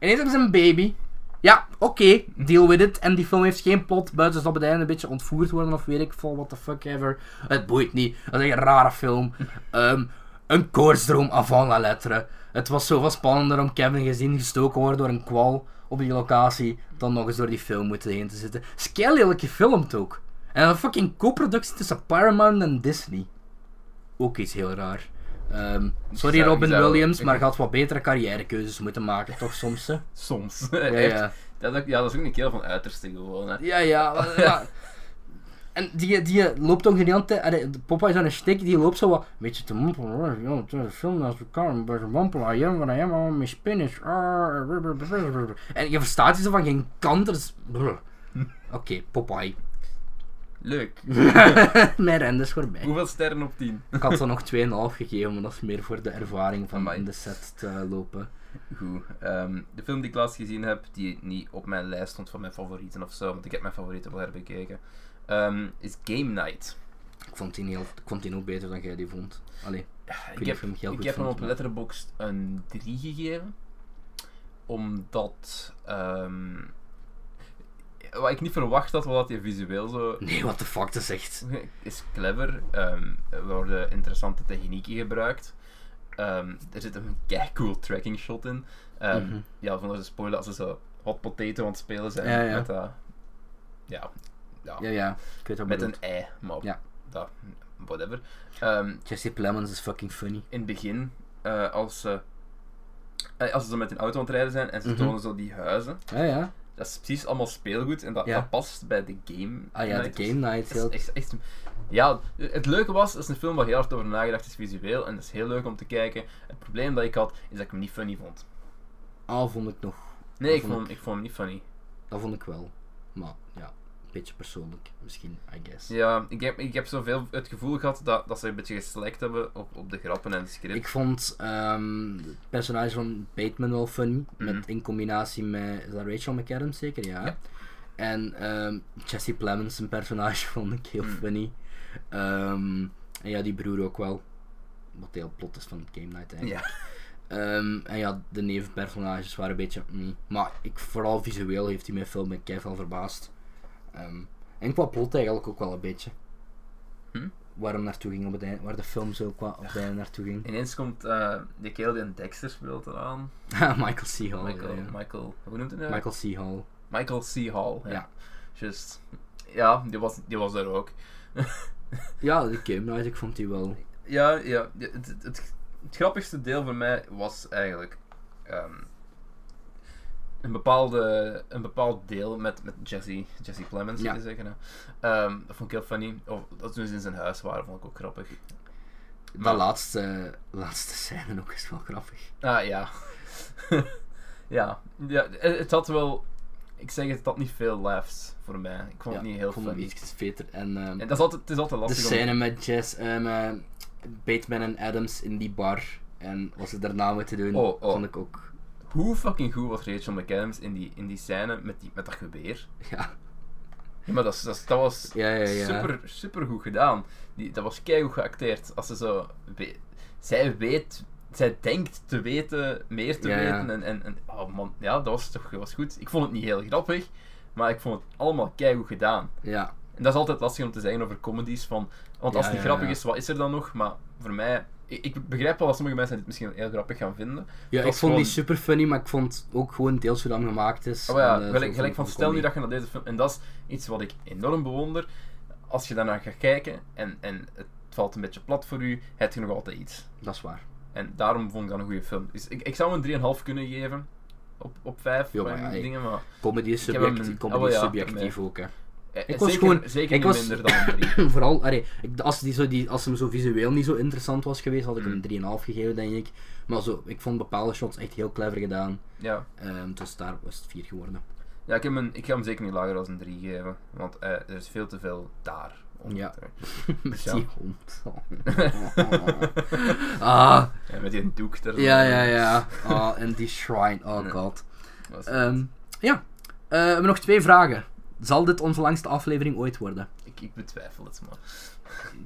ineens hebben ze een baby. Ja, oké, deal with it. En die film heeft geen plot, buiten dus dat op het einde een beetje ontvoerd worden of weet ik veel, what the fuck ever. Het boeit niet. Dat is echt een rare film. Ehm, een koortsdroom avant la lettre. Het was zoveel spannender om Kevin gezien gestoken worden door een kwal op die locatie, dan nog eens door die film moeten heen te zitten. Skel lelijk gefilmd ook. En een fucking co-productie tussen Paramount en Disney. Ook iets heel raar. Ehm, sorry Zou- Robin zou- Williams, maar je had wat betere carrièrekeuzes moeten maken, toch soms? Hè? Soms. Ja, Echt. ja. Dat is ook, ja, dat is ook een keel van uiterste gewoon, hè. Ja, ja. maar- ja. En die, die loopt ook de hele tijd. allee, de Popeye is aan een stik, die loopt zo wat. Een beetje te mompelen. hoor. Ja, het is een film naast elkaar. Een beetje mompelen. I am what I am. I'm my spinach. Ah, blablabla. En je verstaat die zo van geen kant. dus- Oké, Popeye. Leuk. Mijn renders voorbij. Hoeveel sterren op 10? Ik had er nog 2,5 gegeven, maar dat is meer voor de ervaring van Amai. in de set te lopen. Goed. ehm, de film die ik laatst gezien heb, die niet op mijn lijst stond van mijn favorieten of zo, want ik heb mijn favorieten wel herbekeken, ehm, is Game Night. Ik vond die, heel, ik vond die nog beter dan jij die vond. Allee, Ik niet heb of je hem heel ik goed heb hem vond, op maar- Letterboxd een 3 gegeven. Omdat. ehm, wat ik niet verwacht had, was dat hij visueel zo. nee, what the fuck, dat is echt. is clever. ehm, er worden interessante technieken gebruikt. Ehm, er zit een kei cool tracking shot in. Ehm, Mhm. Ja, zonder te spoilen, als ze zo hot potato aan het spelen zijn. Ja, ja. Met dat. Ja, ja, Ja, ja. Ik weet wat met bedoelt. een ei, maar Ja. dat, whatever. Ehm, Jesse Plemons is fucking funny. in het begin, eh, als, ze, eh, als ze zo met een auto aan het rijden zijn en ze Mhm. tonen zo die huizen, Ja, ja. dat is precies allemaal speelgoed en dat, Ja. dat past bij de game. Ah ja, de night. Game Night. Het is heel- echt, echt- ja, het leuke was, het is een film waar heel hard over nagedacht is visueel en dat is heel leuk om te kijken. Het probleem dat ik had, is dat ik hem niet funny vond. Ah, vond ik nog. Nee, Dat ik vond vond, hem, ik vond hem niet funny. Dat vond ik wel. Maar ja, een beetje persoonlijk misschien, I guess. Ja, ik heb, ik heb zoveel het gevoel gehad dat, dat ze een beetje geslekt hebben op, op de grappen en het script. Ik vond ehm, het personage van Bateman wel funny. Mhm. Met, in combinatie met is dat Rachel McAdams zeker, ja. Ja. En ehm, Jesse Plemons, zijn personage, vond ik heel Mm. funny. Ehm, en ja, die broer ook wel. Wat heel plot is van Game Night eigenlijk. Ja. Ehm, en ja, de nevenpersonages waren een beetje. mm. Maar ik, vooral visueel heeft hij mijn film met keihard verbaasd. Ehm, en qua plot eigenlijk ook wel een beetje. Hm? Waar hem naartoe ging op het einde, waar de film zo qua op het einde naartoe ging. Ineens komt eh de kerel die een Dexter speelt eraan. Michael C. Hall. Michael, Oh, ja, ja. Michael, hoe noemt hij nou? Michael C. Hall. Michael C. Hall. Ja. Ja. Just, ja, die was, die was er ook. Ja, de Game Night, ik vond die wel. Ja, ja het, het, het, het grappigste deel voor mij was eigenlijk ehm, een, bepaalde, een bepaald deel met, met Jesse, Jesse Plemons, Ja. te zeggen. hè. Ehm, dat vond ik heel funny. Of dat toen ze in zijn huis waren, vond ik ook grappig. Dat laatste, laatste scène ook is wel grappig. Ah, ja. ja. Ja, het, het had wel... Ik zeg het, het had niet veel laughs voor mij. Ik vond Ja, het niet heel ik vond hem funny. iets beter. En, ehm, En dat is altijd, het is altijd de lastig om... scène met Jess, ehm, eh, Bateman en Adams in die bar. En wat ze daarna moeten doen, Oh, oh. vond ik ook. Hoe fucking goed was Rachel McAdams in die, in die scène met, die, met dat geweer? Ja, Ja, maar dat, is- dat, is- dat was ja, ja. ja. super, super goed gedaan. Die, dat was keigoed geacteerd. Als ze zo... we- zij weet... Zij denkt te weten, meer te Ja, ja. weten. En, en, en, oh man, ja, dat was toch dat was goed. Ik vond het niet heel grappig, maar ik vond het allemaal keigoed gedaan. Ja, En dat is altijd lastig om te zeggen over comedies. Van, want Ja, als het niet ja, grappig ja. is, wat is er dan nog? Maar voor mij... Ik, ik begrijp wel dat sommige mensen dit misschien heel grappig gaan vinden. ja ik was vond gewoon- die super funny, maar ik vond ook gewoon deels hoe dat hem gemaakt is. Oh ja, en, eh, gelijk, zo gelijk van de stel nu comedy. dat je naar deze film... En dat is iets wat ik enorm bewonder. Als je daarnaar gaat kijken en, en het valt een beetje plat voor u, heb je nog altijd iets. Dat is waar. En daarom vond ik dat een goede film. Dus ik, ik zou hem een 3,5 kunnen geven. Op, op 5 Ja, bij maar mijn ja, ik- dingen, maar... Comedy is Ik heb hem- subjectief, oh comedy ja, is ik heb subjectief ook, hè. eh, Ik was zeker, gewoon- Zeker niet ik was- minder dan een 3. Vooral, allee, ik- als, die zo, die, als hem zo visueel niet zo interessant was geweest, had ik Mm. hem 3,5 gegeven, denk ik. Maar zo, ik vond bepaalde shots echt heel clever gedaan. Ja. Ehm, dus daar was het 4 geworden. Ja, ik, heb hem- ik ga hem zeker niet lager dan een 3 geven. Want eh, er is veel te veel daar. om Ja. te- Dus Met Ja. die hond. Oh. ah, Ja, eh, met die doek er. ja, ja, ja. Ah, en die shrine, oh god. Dat is- Ehm, ja, Eh, we hebben nog twee vragen. Zal dit onze langste aflevering ooit worden? ik, ik betwijfel het, maar.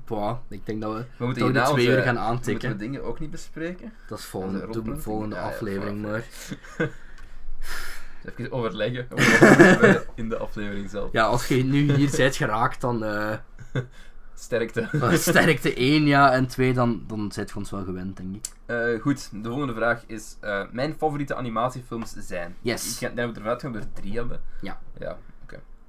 Boah, ik denk dat we We moeten toch de hierna twee onze- uur gaan Moeten we aantikken. dingen ook niet bespreken? Dat is Onze volgende, de rolpunten? volgende Ja, ja, aflevering, voilà, maar... Dus Even overleggen. over- in de aflevering zelf. Ja, als je nu hier bent geraakt, dan eh, Sterkte. sterkte 1 ja, en 2 dan, dan zit je ons wel gewend, denk ik. Eh, goed, de volgende vraag is: eh, Mijn favoriete animatiefilms zijn. Yes. Ik denk dat we ervan uitgaan dat we er drie hebben. Ja. ja.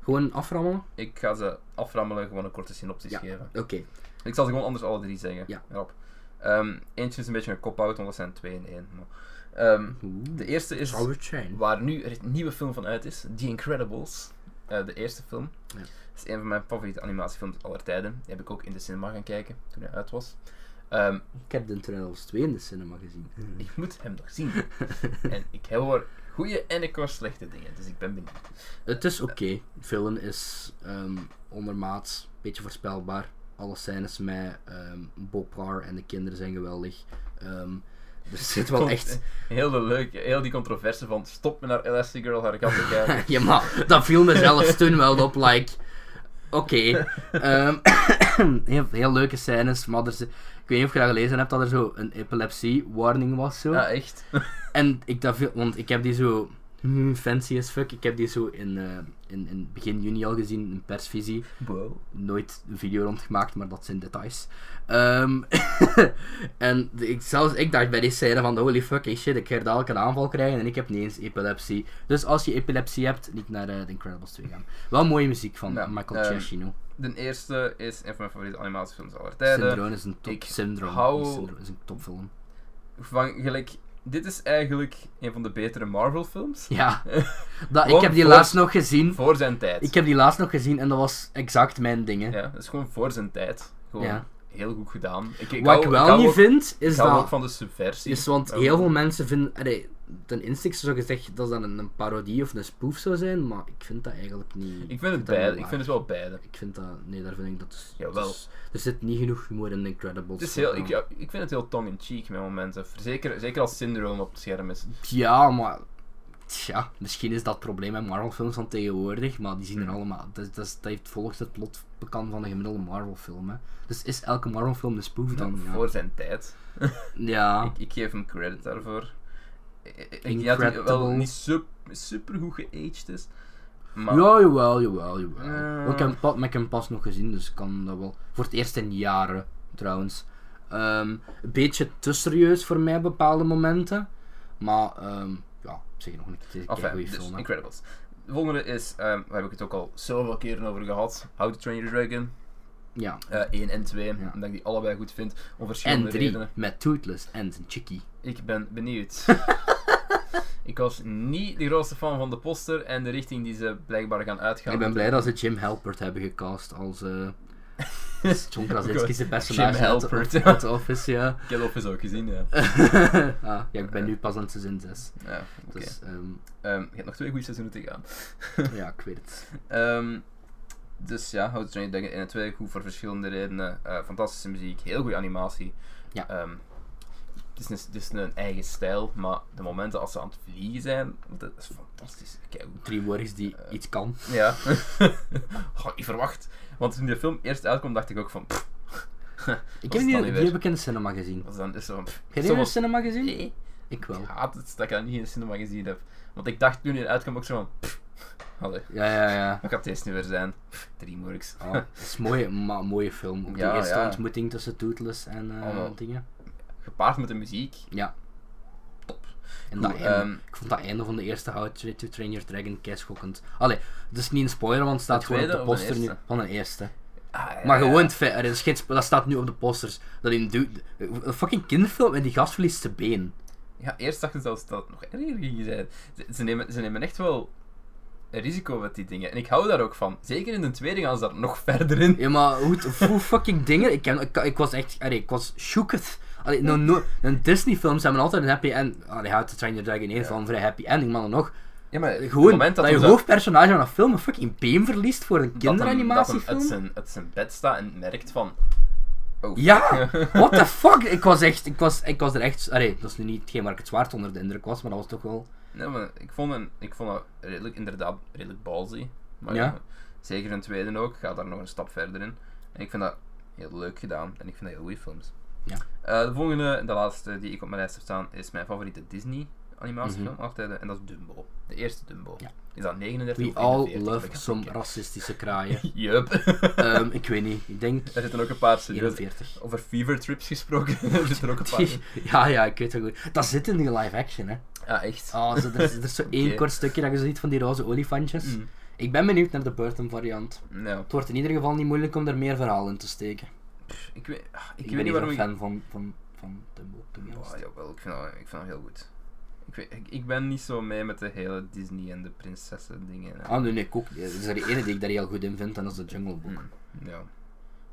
Gewoon aframmelen? Ik ga ze aframmelen, gewoon een korte synopsis Ja. geven. Oké. Ik zal ze gewoon anders alle drie zeggen. Ja. Rap. Ehm, eentje is een beetje een cop-out, want dat zijn twee in één. Maar, ehm, de eerste is Zou het zijn? waar nu er een nieuwe film van uit is: The Incredibles. Eh, de eerste film. Ja. Dat is een van mijn favoriete animatiefilms aller tijden. Die heb ik ook in de cinema gaan kijken toen hij uit was. Ehm, Ik heb de Trails 2 in de cinema gezien. ik moet hem nog zien. en ik hoor goede en ik hoor slechte dingen, dus ik ben benieuwd. Het is oké. Villain is ehm, ondermaats, beetje voorspelbaar. Alle scènes met ehm Bob Carr en de kinderen zijn geweldig. Ehm, er zit wel Komt, echt... Heel de leuke, heel die controverse van stop me naar Elastigirl, haar kat te kijken. ja, maar dat viel me zelfs toen wel op, like... Oké. ehm, heel, heel leuke scènes, maar er zi- ik weet niet of je dat gelezen hebt, dat er zo een epilepsie-warning was, zo. Ja, echt. En ik dat veel, want ik heb die zo hmm, fancy as fuck. Ik heb die zo in, eh, in, in begin juni al gezien, in persvisie. Wow. nooit een video rondgemaakt, maar dat zijn details. Ehm, en de- ik, zelfs ik dacht bij die scène van holy fucking shit, ik ga hier dadelijk een aanval krijgen en ik heb niet eens epilepsie. Dus als je epilepsie hebt, niet naar eh, The Incredibles 2 gaan. Wel mooie muziek van Ja, Michael ehm, Giacchino. De eerste is een van mijn favoriete animatiefilms aller tijden. Syndrome is een top ik syndrome. hou- niet syndrome, is een topfilm. Van, gelijk, dit is eigenlijk een van de betere Marvel films. Ja. dat, ik Gewoon heb die voor- laatst nog gezien. Voor zijn tijd. Ik heb die laatst nog gezien en dat was exact mijn ding. hè. Ja, dat is gewoon voor zijn tijd. Gewoon Ja. heel goed gedaan. Ik, ik Wat hou- ik ik hou wel niet ook, vind, is ik hou dat... ook van de subversie. Is want Maar heel goed. veel mensen vinden. Allee, ten instinct zou gezegd dat dat een, een parodie of een spoof zou zijn, maar ik vind dat eigenlijk niet. Ik vind het dat niet beide. Ik waar. vind het wel beide. Ik vind dat. Nee, daar vind ik dat. Is, Jawel. dat is- er zit niet genoeg humor in The Incredibles. Het is heel, ik, ja. ja, ik vind het heel tongue-in-cheek met momenten. Zeker, zeker als Syndrome op het scherm is. maar. Tja, misschien is dat het probleem met Marvel-films van tegenwoordig, maar die zien er Hmm. allemaal. Dat, dat, is- dat heeft volgens het plot bekend van een gemiddelde Marvel-film. hè. Dus is elke Marvel-film een spoof dan? Ja. Voor zijn tijd. ja. Ik, ik geef hem credit daarvoor. Ik- Ik denk dat hij wel Incredible. niet sup, super goed geaged is. Maar Ja, jawel, jawel, jawel. Eh. Maar Ik, heb hem pa- maar ik heb hem pas nog gezien, dus ik kan dat wel. Voor het eerst in jaren, trouwens. Ehm, een beetje te serieus voor mij, bepaalde momenten. Maar, ehm, ja, zeg nog een keer. een Enfin, goede dus film. hè. Incredibles. De volgende is, ehm, waar heb ik het ook al zoveel keren over gehad, How to Train Your Dragon Ja. eh 1 en 2, Ja. omdat ik die allebei goed vind, om verschillende En drie, redenen. met Toothless en zijn chickie. Ik ben benieuwd. ik was niet de grootste fan van de poster en de richting die ze blijkbaar gaan uitgaan. ik ben blij dat ze Jim Halpert hebben gecast als... eh John Krasinski Jim zijn personage uit de- Halpert. uit The Office, ja. Ik heb Office ook gezien, ja. ah, ja, ik ben nu pas aan seizoen 6. ja oké. Dus, ehm, Ehm, je hebt nog twee goede seizoenen te gaan. ja, ik weet het. Ehm, dus ja, How to Train Your Dragon 1 en 2, goed voor verschillende redenen. Eh, fantastische muziek, heel goede animatie. Ja. Ehm, het is, een, het is een eigen stijl, maar de momenten als ze aan het vliegen zijn, dat is fantastisch. Kijk, Drie worries die Eh. iets kan. ja. oh, ik verwacht. Want toen de film eerst uitkwam, dacht ik ook van, pff, Ik Was heb het die, dan die weer? heb ik in de cinema gezien. wat is dan is zo van, pff. Heb je die in de Soms- cinema gezien? Nee. Ik Ik wel. haat het dat ik dat niet in de cinema gezien heb. Want ik dacht toen hij uitkwam ook zo van, pff, allee, Ja, ja, ja. wat gaat deze nu weer zijn? Pff, Dreamworks. Ah, het is een mooie, ma- mooie film. Ook Ja, die eerste ja. ontmoeting tussen Tootles en eh, Allemaal. dingen. Gepaard met de muziek. Ja. Top. En dat Goed, einde. ehm, ik vond dat einde van de eerste How to to Train Your Dragon keischokkend. Allee, het is niet een spoiler, want het staat De gewoon op de tweede of de poster nu. eerste? Van een eerste. Ah, ja, Maar ja. gewoon het feit, er is geen spo- dat staat nu op de posters. Dat in dude, een fucking kinderfilm en die gast verliest zijn been. Ja, eerst dacht ik zelfs dat het nog erger ging zijn. Ze, ze nemen, ze nemen echt wel risico met die dingen. En ik hou daar ook van. Zeker in de tweede gaan ze daar nog verder in. Ja, maar hoe, hoe fucking dingen. Ik, ken, ik, ik was echt. Allee, ik was shooked. Allee, nou, no, een Disney-films hebben altijd een happy end. Allee, How to Train Your Dragon heeft wel een vrij happy ending, maar dan nog. Ja, maar Gewoon dat, je hoofdpersonage van een film een fucking been verliest voor een kinderanimatiefilm. Dat hem uit zijn, uit zijn bed staat en merkt van... Oh, Ja, what the fuck? Ik was echt, ik was, ik was er echt, allee, dat is nu niet hetgeen waar ik het zwaard onder de indruk was, maar dat was toch wel... Nee, maar ik vond, een, ik vond dat redelijk, inderdaad redelijk ballsy. Maar Ja. ja, zeker een tweede ook. Ga daar nog een stap verder in. En ik vind dat heel leuk gedaan. En ik vind dat heel goede films. Ja. Eh, de volgende, en de laatste die ik op mijn lijst heb staan, is mijn favoriete Disney animatiefilm altijd eh, En dat is Dumbo. De eerste Dumbo. Mhm. Ja. Is dat 39 We of all 41? love Ik heb some geen- racistische kraaien. Jup. Ehm, ik weet niet, ik denk Er zitten ook een paar serieus. 41. Over fever trips gesproken. er zitten ook een paar. Die- in. Ja, ja, ik weet het wel goed. Dat zit in die live action, hè. Ja, echt. Oh, zo, er, is, er is zo één Oké. kort stukje dat je zo ziet van die roze olifantjes. Mm. Ik ben benieuwd naar de Burton variant. Nou, Het wordt in ieder geval niet moeilijk om er meer verhaal in te steken. pff, ik weet, ah, ik Ik, weet ben niet niet waarom zo'n ik... Oh, fan van, van, van Dumbo, to be honest. Ja, jawel, ik vind dat, ik vind dat heel goed. Ik, weet, ik, ik ben niet zo mee met de hele Disney en de prinsessen dingen. hè. Ah, nee, nee, ik ook. niet. Er is er één die ik daar heel goed in vind, en dat is de Jungle Book. Hm, Ja.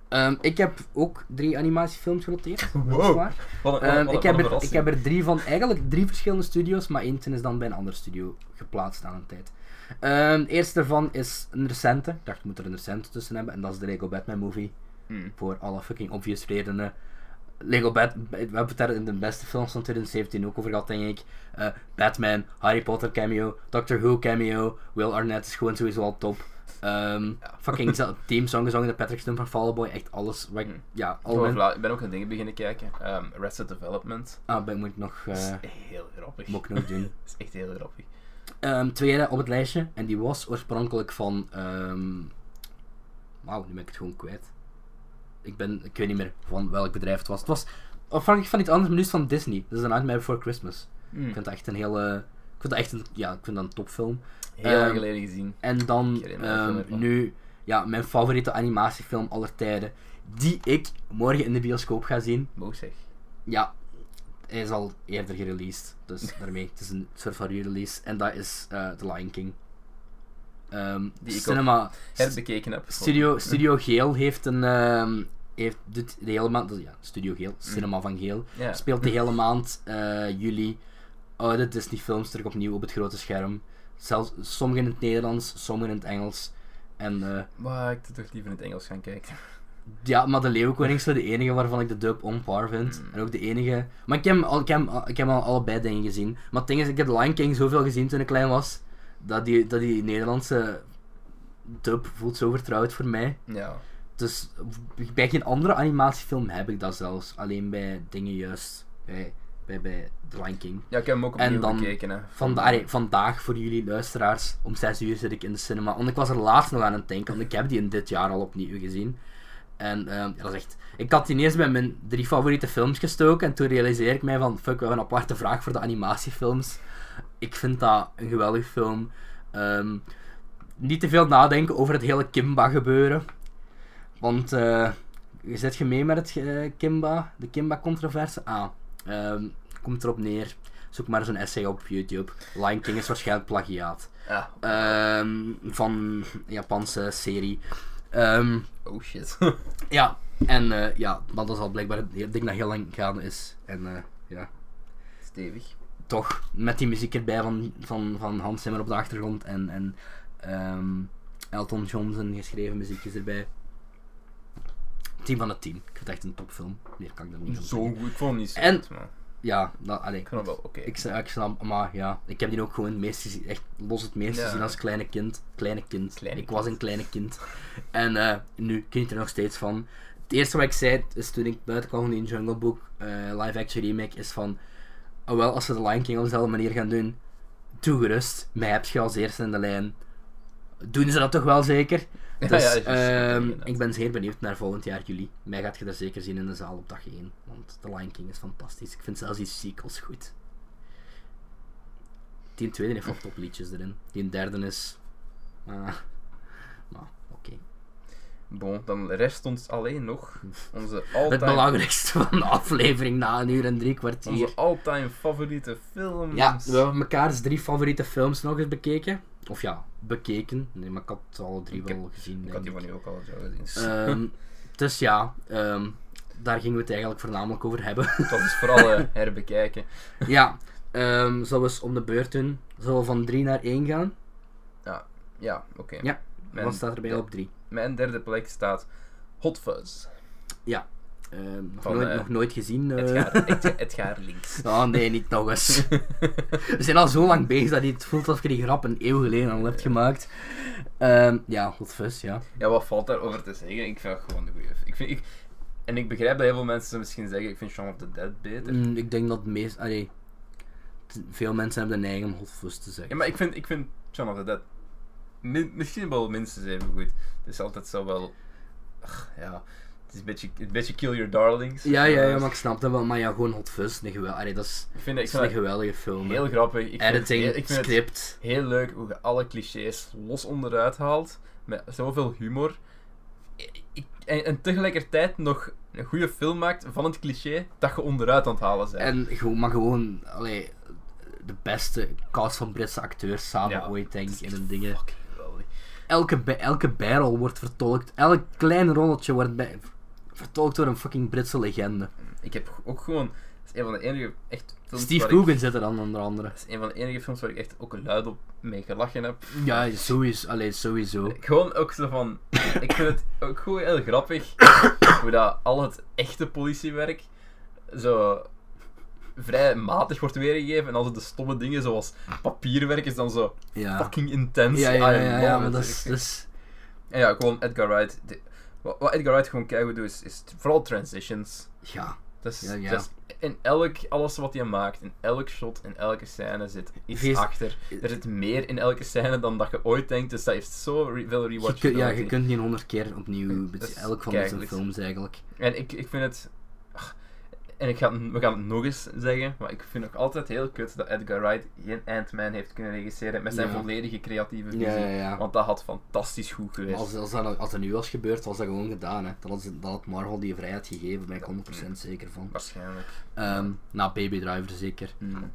Ehm, ik heb ook drie animatiefilms genoteerd. Wow. weliswaar. Wat een- Ehm, wat een- ik, wat heb een er, ik verrassing. heb er drie van, eigenlijk drie verschillende studios, maar eentje is dan bij een andere studio geplaatst aan een tijd. Ehm, de eerste daarvan is een recente. Ik dacht, ik moet er een recente tussen hebben. En dat is de Lego Batman movie. Hm, Voor alle fucking obvious redenen. Lego Batman, we hebben het daar in de beste films van 2017 ook over gehad, denk ik. Eh, Batman, Harry Potter cameo, Doctor Who cameo, Will Arnett is gewoon sowieso al top. Ehm, Fucking zelf- theme song gezongen, de Patrick Stump van Fall Boy, echt alles. Wat ik, Hm. Ja, Ik al ben mijn... vla- ik ben ook aan dingen beginnen kijken. Ehm Arrested Development. Ah, ben, moet ik nog, Dat eh, is heel grappig. moet ik nog doen. Dat is echt heel grappig. Ehm, tweede op het lijstje, en die was oorspronkelijk van. ehm Wauw, nu ben ik het gewoon kwijt. Ik, ben, ik weet niet meer van welk bedrijf het was. Het was afhankelijk van iets anders, maar nu is het van Disney. Dat is een Nightmare Before Christmas. Hm, Ik vind dat echt een hele. Ik vind dat echt een, ja, ik vind dat een topfilm. Heel lang ehm, geleden gezien. En dan Ik herinner me daar veel ehm, meer van. nu, ja, mijn favoriete animatiefilm aller tijden. Die ik morgen in de bioscoop ga zien. Mooi zeg. Ja, hij is al eerder gereleased. Dus daarmee, het is een soort van re-release. En dat is eh The Lion King. Ehm, Die ik ook Oh, cinema. Herbekeken heb. Studio, Studio Geel heeft een. ehm, heeft, doet de hele maand. Ja, Studio Geel, Cinema van Geel. Mm. Ja. Speelt de hele maand eh, juli oude Disney-films terug opnieuw op het grote scherm. Zelfs, sommige in het Nederlands, sommige in het Engels. En eh, Maar ik zou toch liever in het Engels gaan kijken. ja, maar de Leeuwkoning is zo de enige waarvan ik de dub on par vind. En ook de enige. Maar ik heb, hem al, ik, heb, hem al- ik heb hem al allebei dingen gezien. Maar het ding is, ik heb Lion King zoveel gezien toen ik klein was. Dat die, dat die Nederlandse dub voelt zo vertrouwd voor mij. Ja. Dus bij geen andere animatiefilm heb ik dat zelfs. Alleen bij dingen juist. Bij, bij, bij The Lion King. Ja, ik heb hem ook En opnieuw dan bekeken. Hè. Vandaar, hey, vandaag voor jullie luisteraars, om 6 uur zit ik in de cinema. Want ik was er laatst nog aan het denken, want ik heb die in dit jaar al opnieuw gezien. En ehm, ja, dat is echt... Ik had die eerst bij mijn drie favoriete films gestoken. En toen realiseer ik mij van, fuck, we hebben een aparte vraag voor de animatiefilms. Ik vind dat een geweldig film. Ehm, niet te veel nadenken over het hele Kimba gebeuren. Want, eh, je zit je mee met het eh, Kimba, de Kimba-controverse? Ah, ehm, komt erop neer. Zoek maar zo'n essay op YouTube. Lion King is waarschijnlijk plagiaat. Ah, Ehm, van een Japanse serie. Ehm, oh shit. ja, en eh, ja, maar dat is al blijkbaar het ding dat heel lang gaande is. En eh, ja, Stevig. toch, met die muziek erbij van, van, van Hans Zimmer op de achtergrond en, en ehm, Elton John zijn geschreven muziekjes erbij. 10 van de 10. Ik vind het echt een topfilm. Meer kan ik er niet van Zo zeggen. goed. Ik vond hem niet zo En- goed, maar Ja, dat, allee, ik vond hem wel oké. Ik, sna- ik snap, maar ja, ik heb die ook gewoon het meest gezien, echt los het meest Ja. gezien als kleine kind. Kleine kind. Kleine ik kind. was een kleine kind. En eh, nu kun je er nog steeds van. Het eerste wat ik zei, is toen ik buiten kwam van die Jungle Book eh, live action remake, is van, oh wel, als ze de Lion King op dezelfde manier gaan doen, toegerust, mij heb je als eerste in de lijn. Doen ze dat toch wel zeker? Ja, Dus, ja, dat is juist. ehm, Inderdaad. ik ben zeer benieuwd naar volgend jaar juli. Mij gaat je er zeker zien in de zaal op dag 1. Want The Lion King is fantastisch. Ik vind zelfs die sequels goed. Die tweede heeft wel topliedjes erin. Die derde is... ah, maar, oké. Bon, dan rest ons alleen nog onze Het all-time, belangrijkste van de aflevering na een uur en drie kwartier. onze all-time favoriete films. Ja, we hebben mekaars drie favoriete films nog eens bekeken. Of ja, bekeken. Nee, maar ik had alle drie Ik wel gezien. Ik had die denk van ik. u ook al zo gezien. Ehm, dus ja, ehm, daar gingen we het eigenlijk voornamelijk over hebben. Dat is vooral eh, herbekijken. ja, ehm zullen we eens om de beurt doen? Zullen we van 3 naar 1 gaan? Ja, oké. Ja, Mijn- Wat staat er bij jou op 3? Mijn derde plek staat Hot Fuzz. Ehm, nog, Van, nooit, eh, nog nooit gezien. eh. Edgar, Edgar, Edgar Links. Oh nee, niet nog eens. We zijn al zo lang bezig dat het voelt alsof je die grap een eeuw geleden al hebt gemaakt. Ehm, ja, hot fuzz, ja. Ja, wat valt daarover te zeggen? Ik vind het gewoon de goede. Ik vind, ik, en ik begrijp dat heel veel mensen misschien zeggen: ik vind Shaun of the Dead beter. Mm, ik denk dat de meest... Allee, t- veel mensen hebben de neiging om hot fuzz te zeggen. Ja, maar ik vind, ik vind Shaun of the Dead min- misschien wel minstens even goed. Het is altijd zo wel. Ach, ja, het is een beetje, een beetje kill your darlings. ja, ja, ja, Eh, maar ik snap dat wel. Maar ja, gewoon hot fuzz, een gewel... Allee, dat is, Ik vind, ik dat vind is een het geweldige film. hè. heel grappig. Ik vind, het Editing, heel- ik vind het script. heel leuk hoe je alle clichés los onderuit haalt. Met zoveel humor. Ik- ik- en, en tegelijkertijd nog een goede film maakt van het cliché dat je onderuit aan het halen bent. En gewoon, maar gewoon, allee, de beste cast van Britse acteurs samen Ja, ooit, denk het is ik, in echt een dingen. fucking geweldig. elke, ba- elke barrel wordt vertolkt. Elk klein rolletje wordt bij- vertolkt door een fucking Britse legende. Ik heb ook gewoon. Het is een van de enige echt films Steve waar ik- Coogan zit er dan onder andere. Dat is een van de enige films waar ik echt ook luid op mee gelachen heb. Ja, sowieso. Allee, sowieso. Gewoon ook zo van. Ik vind het ook gewoon heel grappig hoe dat al het echte politiewerk zo vrij matig wordt weergegeven. En altijd de stomme dingen zoals papierwerk is dan zo Ja. fucking intens. Ja, ja, I ja, ja, love maar it. dat is... dat is- En ja, gewoon Edgar Wright. de- wat wat Edgar Wright gewoon keihard doet is, is vooral transitions. ja. Dat is, Ja, ja. dat is- in elk, alles wat hij maakt, in elk shot, in elke scène zit iets Geest- achter. Er zit meer in elke scène dan dat je ooit denkt, dus dat heeft zo re- veel Je, rewatch. kun- ja, je kunt die honderd keer opnieuw... Dat is Elk van zijn keigoed. films eigenlijk. En ik, ik vind het... ach, En ik ga, het- we gaan het nog eens zeggen, maar ik vind het ook altijd heel kut dat Edgar Wright geen Ant-Man heeft kunnen regisseren met zijn Ja. volledige creatieve visie. Ja, ja, ja. Want dat had fantastisch goed Maar geweest. als, als, dat, nou- als dat nu was gebeurd, was dat gewoon gedaan. Hè. Dat, had, dat had Marvel die vrijheid gegeven, daar ben ik 100% zeker van. Waarschijnlijk. Ehm, na Baby Driver zeker. Hmm.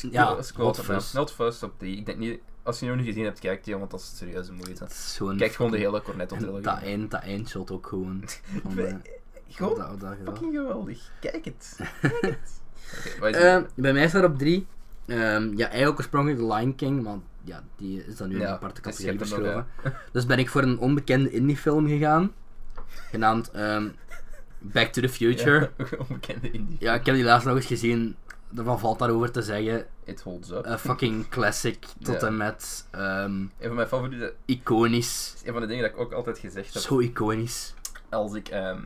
Ja, Ja, Hot Squad Fuzz. Not Fuzz op die. Ik denk niet... Als je hem nog niet gezien hebt, kijk die, want dat is serieuze moeite. Het is gewoon... Kijk gewoon de hele cornet op En dat, eind, dat eindshot ook gewoon. Van, eh, Gewoon dat, dat geweld. fucking geweldig. Kijk het. Kijk het. Oké, wat is Eh, het? bij mij staat op 3. ja, eigenlijk oorspronkelijk The Lion King, maar ja, die is dan nu in Ja, een aparte dus je categorie hebt hem nog, verschoven. Dus ben ik voor een onbekende indiefilm gegaan, genaamd ehm, Back to the Future. Ja. Ja, onbekende indie. ik heb die laatst nog eens gezien. Daarvan valt daarover te zeggen. It holds up. Een fucking classic tot Ja. en met. ehm, Een van mijn favoriete... iconisch. is een van de dingen dat ik ook altijd gezegd heb. Zo iconisch. Als ik... ehm,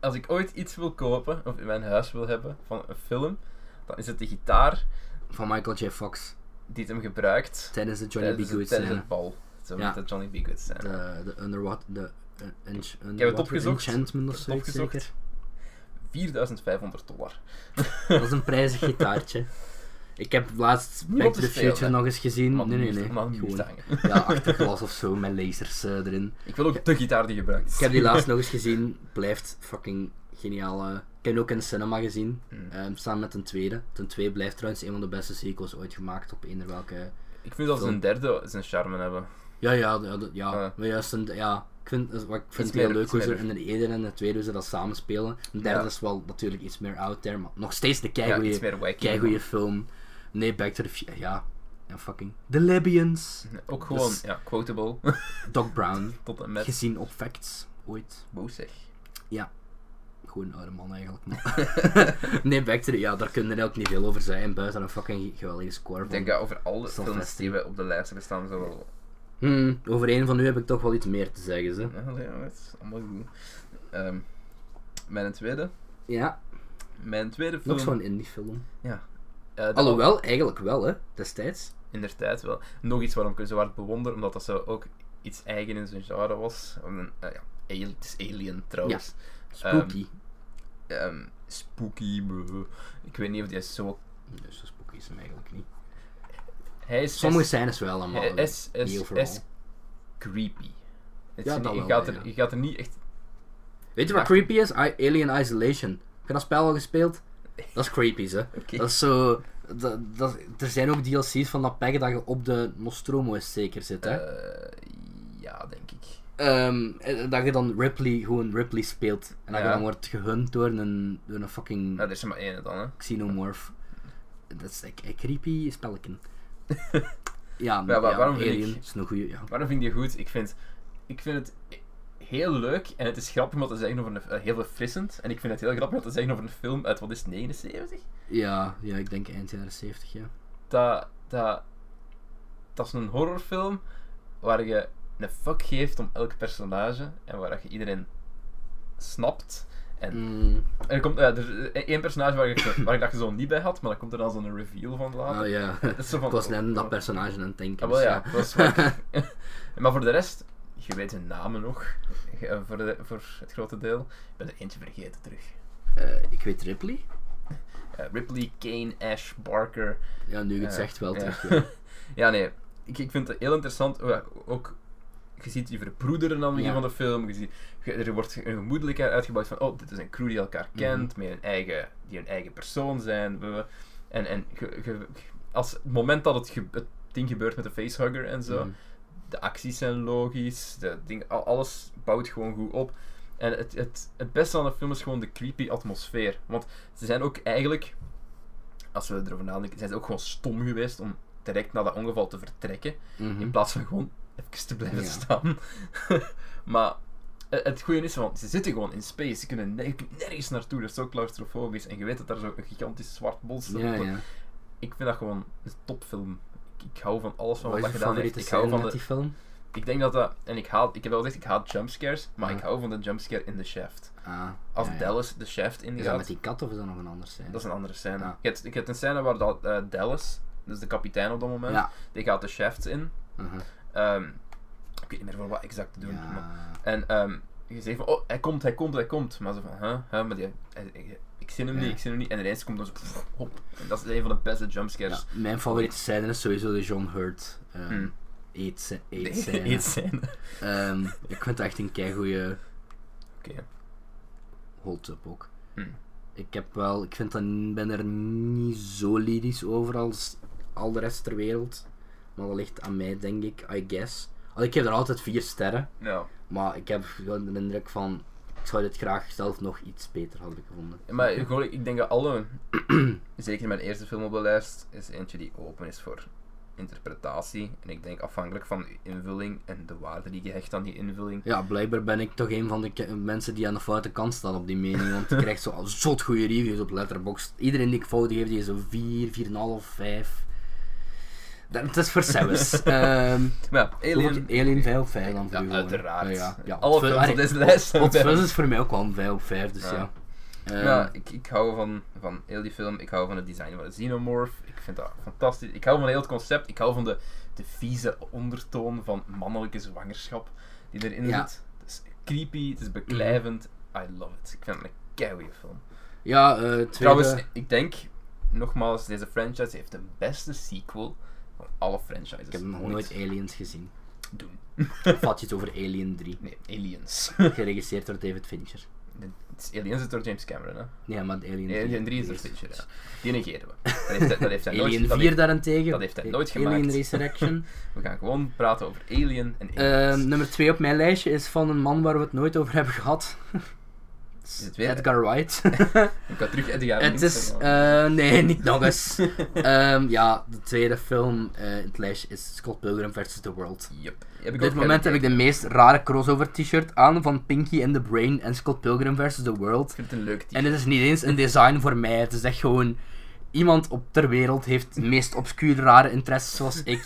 als ik ooit iets wil kopen, of in mijn huis wil hebben, van een film, dan is het de gitaar Van Michael J. Fox die het hem gebruikt tijdens de Johnny B. tijdens, Goode tijdens scène. het bal. Zo Ja. met de Johnny B. Good scène. De, de underwater. De, eh, ench- Ik heb het underwater opgezocht. Enchantment of Ik zo. heb het opgezocht. 4500 dollar. Dat is een prijzig gitaartje. Ik heb laatst Niet Back op to te the Future spelen, hè. nog eens gezien. Man, nee, nee, die nee. moest- man, die moest Gewoon, hangen. ja, achterglas of zo met lasers eh, erin. Ik wil ook de gitaar die gebruikt is. Ik heb die laatst nog eens gezien. Blijft fucking geniaal. eh. Ik heb die ook in de cinema gezien. Mm. eh, samen met een tweede. Ten twee blijft trouwens een van de beste sequels ooit gemaakt op eender welke. Ik vind dat ze Film. een derde zijn charme hebben. Ja, ja, ja. dat- ja. Eh. Maar juist, een, ja. Ik vind, dat is wat ik vind Iets het heel meer- leuk iets hoe ze meer- in de eerder en de tweede hoe ze dat samenspelen. De derde Ja. is wel natuurlijk iets meer out there, maar nog steeds de ja, keigoeie iets meer wacky. Kijk goede film. Nee, Back to the Future. Ja. En fucking The Libyans. Ook gewoon, Dus- ja, quotable. Doc Brown. Tot en met. Gezien op Facts. Ooit. Boos zeg. Gewoon een oude man eigenlijk. Maar. nee, Back to the... Ja, daar kunnen er ook niet veel over zijn. Buiten een fucking geweldige score Ik van. denk dat over alle Sylvester. films die we op de lijst hebben staan, zo wel. Hmm, over één van u heb ik toch wel iets meer te zeggen. Ze. Ja, ja, het is allemaal goed. Ehm, mijn tweede. Ja, Mijn tweede film. nog zo'n indie film. eh, dat- Alhoewel, eigenlijk wel hè. Destijds. Inderdaad wel. Nog iets waarom ik hem zo hard bewonder, omdat dat zo ook iets eigen in zijn genre was. Een, eh, ja, al- het Oh, is Alien trouwens. Spooky. Ehm, spooky. bleh. Ik weet niet of die is zo. Nee, zo spooky is hem eigenlijk niet. Hij is Sommige scènes wel allemaal. Hij is, is, niet is, overal. creepy. Het Ja, is- dat je, wel, gaat ja. er, je gaat er niet echt. Weet je wat Ja. creepy is? I- Alien Isolation. Heb je dat spel al gespeeld? Dat is creepy, hè. Oké. Dat is zo dat, dat, er zijn ook DLC's van dat pack dat je op de Nostromo zeker zit, hè? Eh, ja, denk ik. Ehm, eh, dat je dan Ripley, gewoon Ripley speelt. En dat je Ja. dan wordt gehunt door een, door een fucking Nou, er is er maar één dan, hè. xenomorph. Dat is like, een creepy spelletje. ja, wa- ja, waarom vind Alien ik- is een goeie, ja. Waarom vind ik die goed? Ik vind, ik vind het heel leuk en het is grappig om dat te zeggen over een, eh, heel verfrissend. En ik vind het heel grappig om dat te zeggen over een film uit, wat is het, 79? ja. Ja, ik denk eind jaren 70, ja. Dat, dat, dat is een horrorfilm waar je een fuck geeft om elk personage en waar je iedereen snapt. En Mm, er komt ja, er is één personage waar ik, zo- waar ik dat je zo niet bij had, maar dan komt er dan zo'n reveal van later. oh ja. Ah, Dat is zo van- Oh. ik was net aan dat personage aan het denken. Ah, wel dus ja, dat is waar. maar voor de rest, je weet hun namen nog, Je- eh, voor, de, voor het grote deel. Ik ben er eentje vergeten terug. Eh, ik weet Ripley. Eh, Ripley, Kane, Ash, Barker. Ja, nu je het Eh, zegt wel ja. terug. ja. Ja, nee, ik, ik vind het heel interessant. Oh ja, Ook, je ziet die verbroederen aan het begin Ja. van de film. Je ziet, je- er wordt een gemoedelijkheid uitgebouwd van, oh, dit is een crew die elkaar Mhm. kent, met hun eigen, die hun eigen persoon zijn. we- we- En, en ge- ge- als, het moment dat het, ge- het ding gebeurt met de facehugger en zo, Mm. de acties zijn logisch, de ding, al- alles bouwt gewoon goed op. En het, het, het beste aan de film is gewoon de creepy atmosfeer. Want ze zijn ook eigenlijk, als we erover nadenken, zijn ze ook gewoon stom geweest om direct na dat ongeval te vertrekken. Mhm. In plaats van gewoon even te blijven Ja. staan. maar eh, het goede is, want ze zitten gewoon in space. Ze kunnen ne- je kunt nergens naartoe. Dat is zo claustrofobisch. En je weet dat daar zo'n gigantisch zwart bol staat. Ja, ja. Ik vind dat gewoon een topfilm. Ik, ik hou van alles van Wat wat, is dat je gedaan favoriete heeft. Ik hou scène van uit de die film? ik denk dat dat. En ik haal. Ik heb wel gezegd, ik haat jumpscares. Maar Ja. ik hou van de jumpscare in The Shaft. Ah, Als ja, ja. Dallas The Shaft in Is dat met gaat. die kat of is dat nog een ander scène? Dat is een andere scène. Ja. Je, hebt, je hebt een scène waar dat, eh, Dallas, dus de kapitein op dat moment, Ja. die gaat The Shaft in. Mhm. Ehm, ik weet niet meer voor wat exact te doen. maar- Ja. En ehm, je zegt van, oh, hij komt, hij komt, hij komt. Maar zo van, huh, huh, maar die, hij- hij- ik zie hem Ja. niet, ik zie hem niet. En ineens komt dan zo, pff, hop. En dat is een van de beste jumpscares. Ja, mijn favoriete scène is sowieso de John Hurt ehm Hmm. eet sc- eet Nee, scène. Eén scène. Ehm, ik vind het echt een keigoeie Oké. hold-up ook. Hmm. Ik heb wel, ik vind dat, ben er niet zo lyrisch over als al de rest ter wereld. Maar dat ligt aan mij, denk ik, I guess. Al, ik heb er altijd vier sterren, Nou, maar ik heb gewoon de indruk van, ik zou dit graag zelf nog iets beter hadden gevonden. Maar gewoon, ik denk dat alle, zeker mijn eerste film op de lijst, is eentje die open is voor interpretatie. En ik denk afhankelijk van uw invulling en de waarde die je hecht aan die invulling. Ja, blijkbaar ben ik toch een van de ke- mensen die aan de foute kant staan op die mening. Want ik krijg zo zot goede reviews op Letterboxd. Iedereen die ik fouten geef, die is een 4, 4,5, 5. Dat, het is voor Sevis. Ehm Maar ja, Alien, Alien, Alien 5 op 5 dan voor ja, u. uiteraard. Ja, ja. Alle Fuzz- films op allee, deze lijst zijn Hot bij- Fuzz is voor mij ook wel een 5 op 5, dus ja. Ja. Ehm, Ja, ik, ik hou van, van heel die film. Ik hou van het design van de Xenomorph. Ik vind dat fantastisch. Ik hou van heel het concept. Ik hou van de, de vieze ondertoon van mannelijke zwangerschap die erin Ja. zit. Het is creepy, het is beklijvend. I love it. Ik vind het een keigoeie film. ja, eh, tweede... Trouwens, ik denk, nogmaals, deze franchise heeft de beste sequel van alle franchises. ik heb nog ooit nooit e- Aliens gezien. doen. Of had je het over Alien 3? Nee, Aliens. Geregisseerd door David Fincher. Het is Aliens is door James Cameron, hè. Nee, maar Alien 3. Alien 3 is door Fincher, ja. Die negeren we. Dat heeft, hij- dat heeft hij nooit... Alien dat 4 heeft- daarentegen. dat heeft hij nooit Alien gemaakt. Resurrection. we gaan gewoon praten over Alien en Ehm, Aliens. nummer 2 op mijn lijstje is van een man waar we het nooit over hebben gehad. Is het weer- Edgar Wright. Ik ga terug uit de jaren Ehm, het is... 90. eh, nee, niet nog eens. Ehm, ja, de tweede film eh, in het lijstje is Scott Pilgrim vs. The World. Yep. Heb ik Op dit ook moment heb gekeken. ik de meest rare crossover t-shirt aan van Pinky and the Brain en Scott Pilgrim vs. The World. Ik vind het een leuk team. En het is niet eens een design voor mij. Het is echt gewoon. Iemand op ter wereld heeft de meest obscure, rare interesses zoals ik.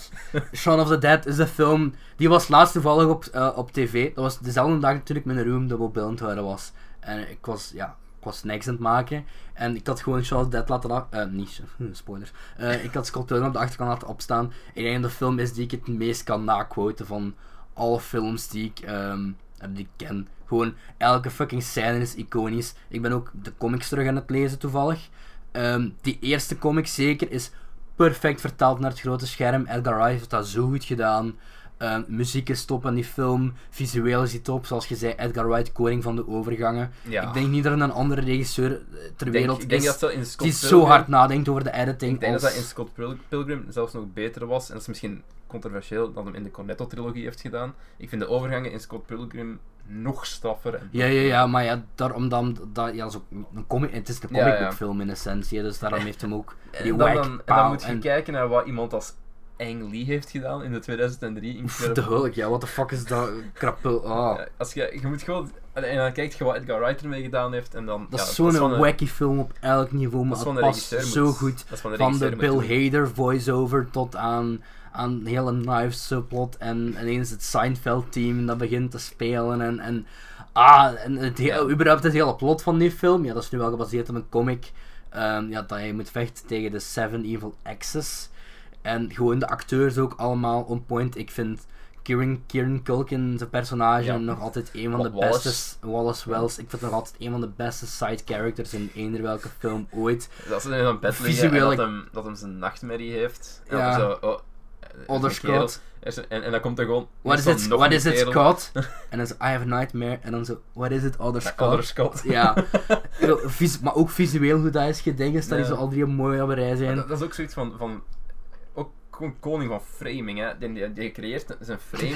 Shaun of the Dead is een film. Die was laatst toevallig op, eh, op tv. Dat was dezelfde dag natuurlijk mijn room dat we op beeld houden was. En ik was, ja, ik was niks aan het maken. En ik had gewoon Shaun of the Dead laten af. eh, niet, Shaun- spoilers. Eh, ik had Scott Pilgrim op de achterkant laten opstaan. Ik denk dat de film is die ik het meest kan naquoten van alle films die ik, ehm, heb die ik ken. Gewoon elke fucking scène is iconisch. Ik ben ook de comics terug aan het lezen toevallig. Ehm, die eerste comic zeker is perfect vertaald naar het grote scherm. Edgar Wright heeft dat zo goed gedaan. Ehm, muziek is top aan die film. Visueel is die top. Zoals je zei, Edgar Wright, koning van de overgangen. Ja. Ik denk niet dat er een andere regisseur eh, ter Ik denk- wereld ik denk is dat ze in Scott die zo Pilgrim- hard nadenkt over de editing. Ik denk als... dat dat in Scott Pil- Pilgrim zelfs nog beter was. En dat is misschien controversieel dat hem in de Cornetto-trilogie heeft gedaan. Ik vind de overgangen in Scott Pilgrim nog straffer. En Ja, ja, ja, maar ja, daarom dan, dat, ja, dat is ook een comic, het is een Ja, comic ja. book film in essentie, hè, dus daarom heeft hem ook En die dan, whack dan, en dan paal moet je en- kijken naar wat iemand als Ang Lee heeft gedaan in de 2003. In Pff, de hulk, ja, what the fuck is dat, krapul, ah. Ja, Als je, je moet gewoon... En dan kijkt je wat Edgar Wright ermee gedaan heeft en dan... Dat ja, is zo'n wat een- wacky film op elk niveau, maar dat is het wat een past regisseur zo moet- goed. dat is wat een Van de regisseur Bill moet doen. Hader voice-over tot aan, aan hele Knives subplot en ineens het Seinfeld-team dat begint te spelen en... en ah, en het hele, Ja. überhaupt het hele plot van die film, ja, dat is nu wel gebaseerd op een comic, ehm, ja, dat je moet vechten tegen de Seven Evil Axes. En gewoon de acteurs ook allemaal on point. Ik vind Kieran, Kieran Culkin, zijn personage, Ja. nog altijd een van Wa- de Wallace. beste... Wallace Wells, ik vind nog altijd een van de beste side characters in eender welke film ooit. Dat ze in een bed liggen Visueel- en dat hem, dat hem zijn nachtmerrie heeft. En Ja. dan zo... Oh, er is een kerel. Onderscott. Er is een- En, en dan komt er gewoon... What er is staat it, nog what een is it kerel. Scott? En dan zo, I have a nightmare. En dan zo, what is it, other Ja, Scott? Onderscott. Ja, Ik bedoel, vis- maar ook visueel hoe dat is gedenkt, dat die Ja. zo al drie mooi op een rij Maar zijn. Dat, dat is ook zoiets van... van ook gewoon koning van framing, hè. Die, die, die creëert zijn frame.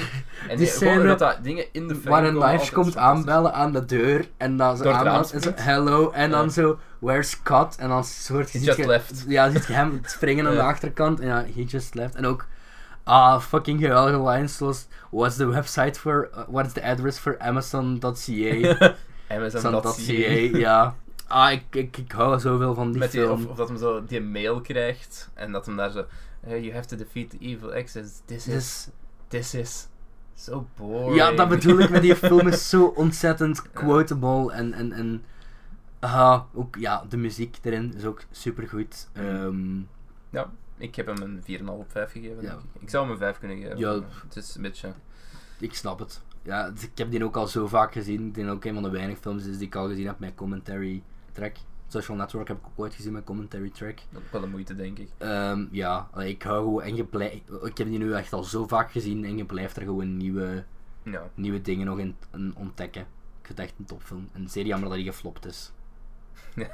En die, gewoon scène dat, dat dingen in de frame Waar een komen, live altijd komt fantastisch. aanbellen aan de deur en dan ze Door het raam aanbellen en zo, springt. hello, en dan Ja. zo, where's Scott? En dan soort He je ziet just je- left. Ja, ziet je hem springen aan de Ja. achterkant en ja, he just left. En ook, ah, fucking geweldige lines zoals, what's the website for, uh, what's the address for Amazon.ca? MSM.ca. Amazon.ca, ja. Ah, ik, ik, ik hou zoveel van die Met die, film. of, of dat hem zo die mail krijgt en dat hem daar zo. "Hey, you have to defeat the evil exes. This is. Dus- This is. So boring. ja, dat bedoel ik met die film is zo ontzettend quotable en, en, en ah, ook ja, de muziek erin is ook supergoed. Ehm Ja, ik heb hem een 4,5 op 5 gegeven. Ja. denk ik. Ik zou hem een 5 kunnen geven. Ja. maar Het is een beetje. ik snap het. Ja, het- ik heb die ook al zo vaak gezien. Ik denk dat ook een van de weinig films is die ik al gezien heb met commentary track. Social Network heb ik ook ooit gezien met commentary track. ook wel een moeite, denk ik. Ehm, ja, allee, ik hou gewoon en je blij- Ik heb die nu echt al zo vaak gezien en je blijft er gewoon nieuwe, Ja. nieuwe dingen nog in, in ontdekken. Ik vind het echt een topfilm. En zeer jammer dat hij geflopt is. Ja.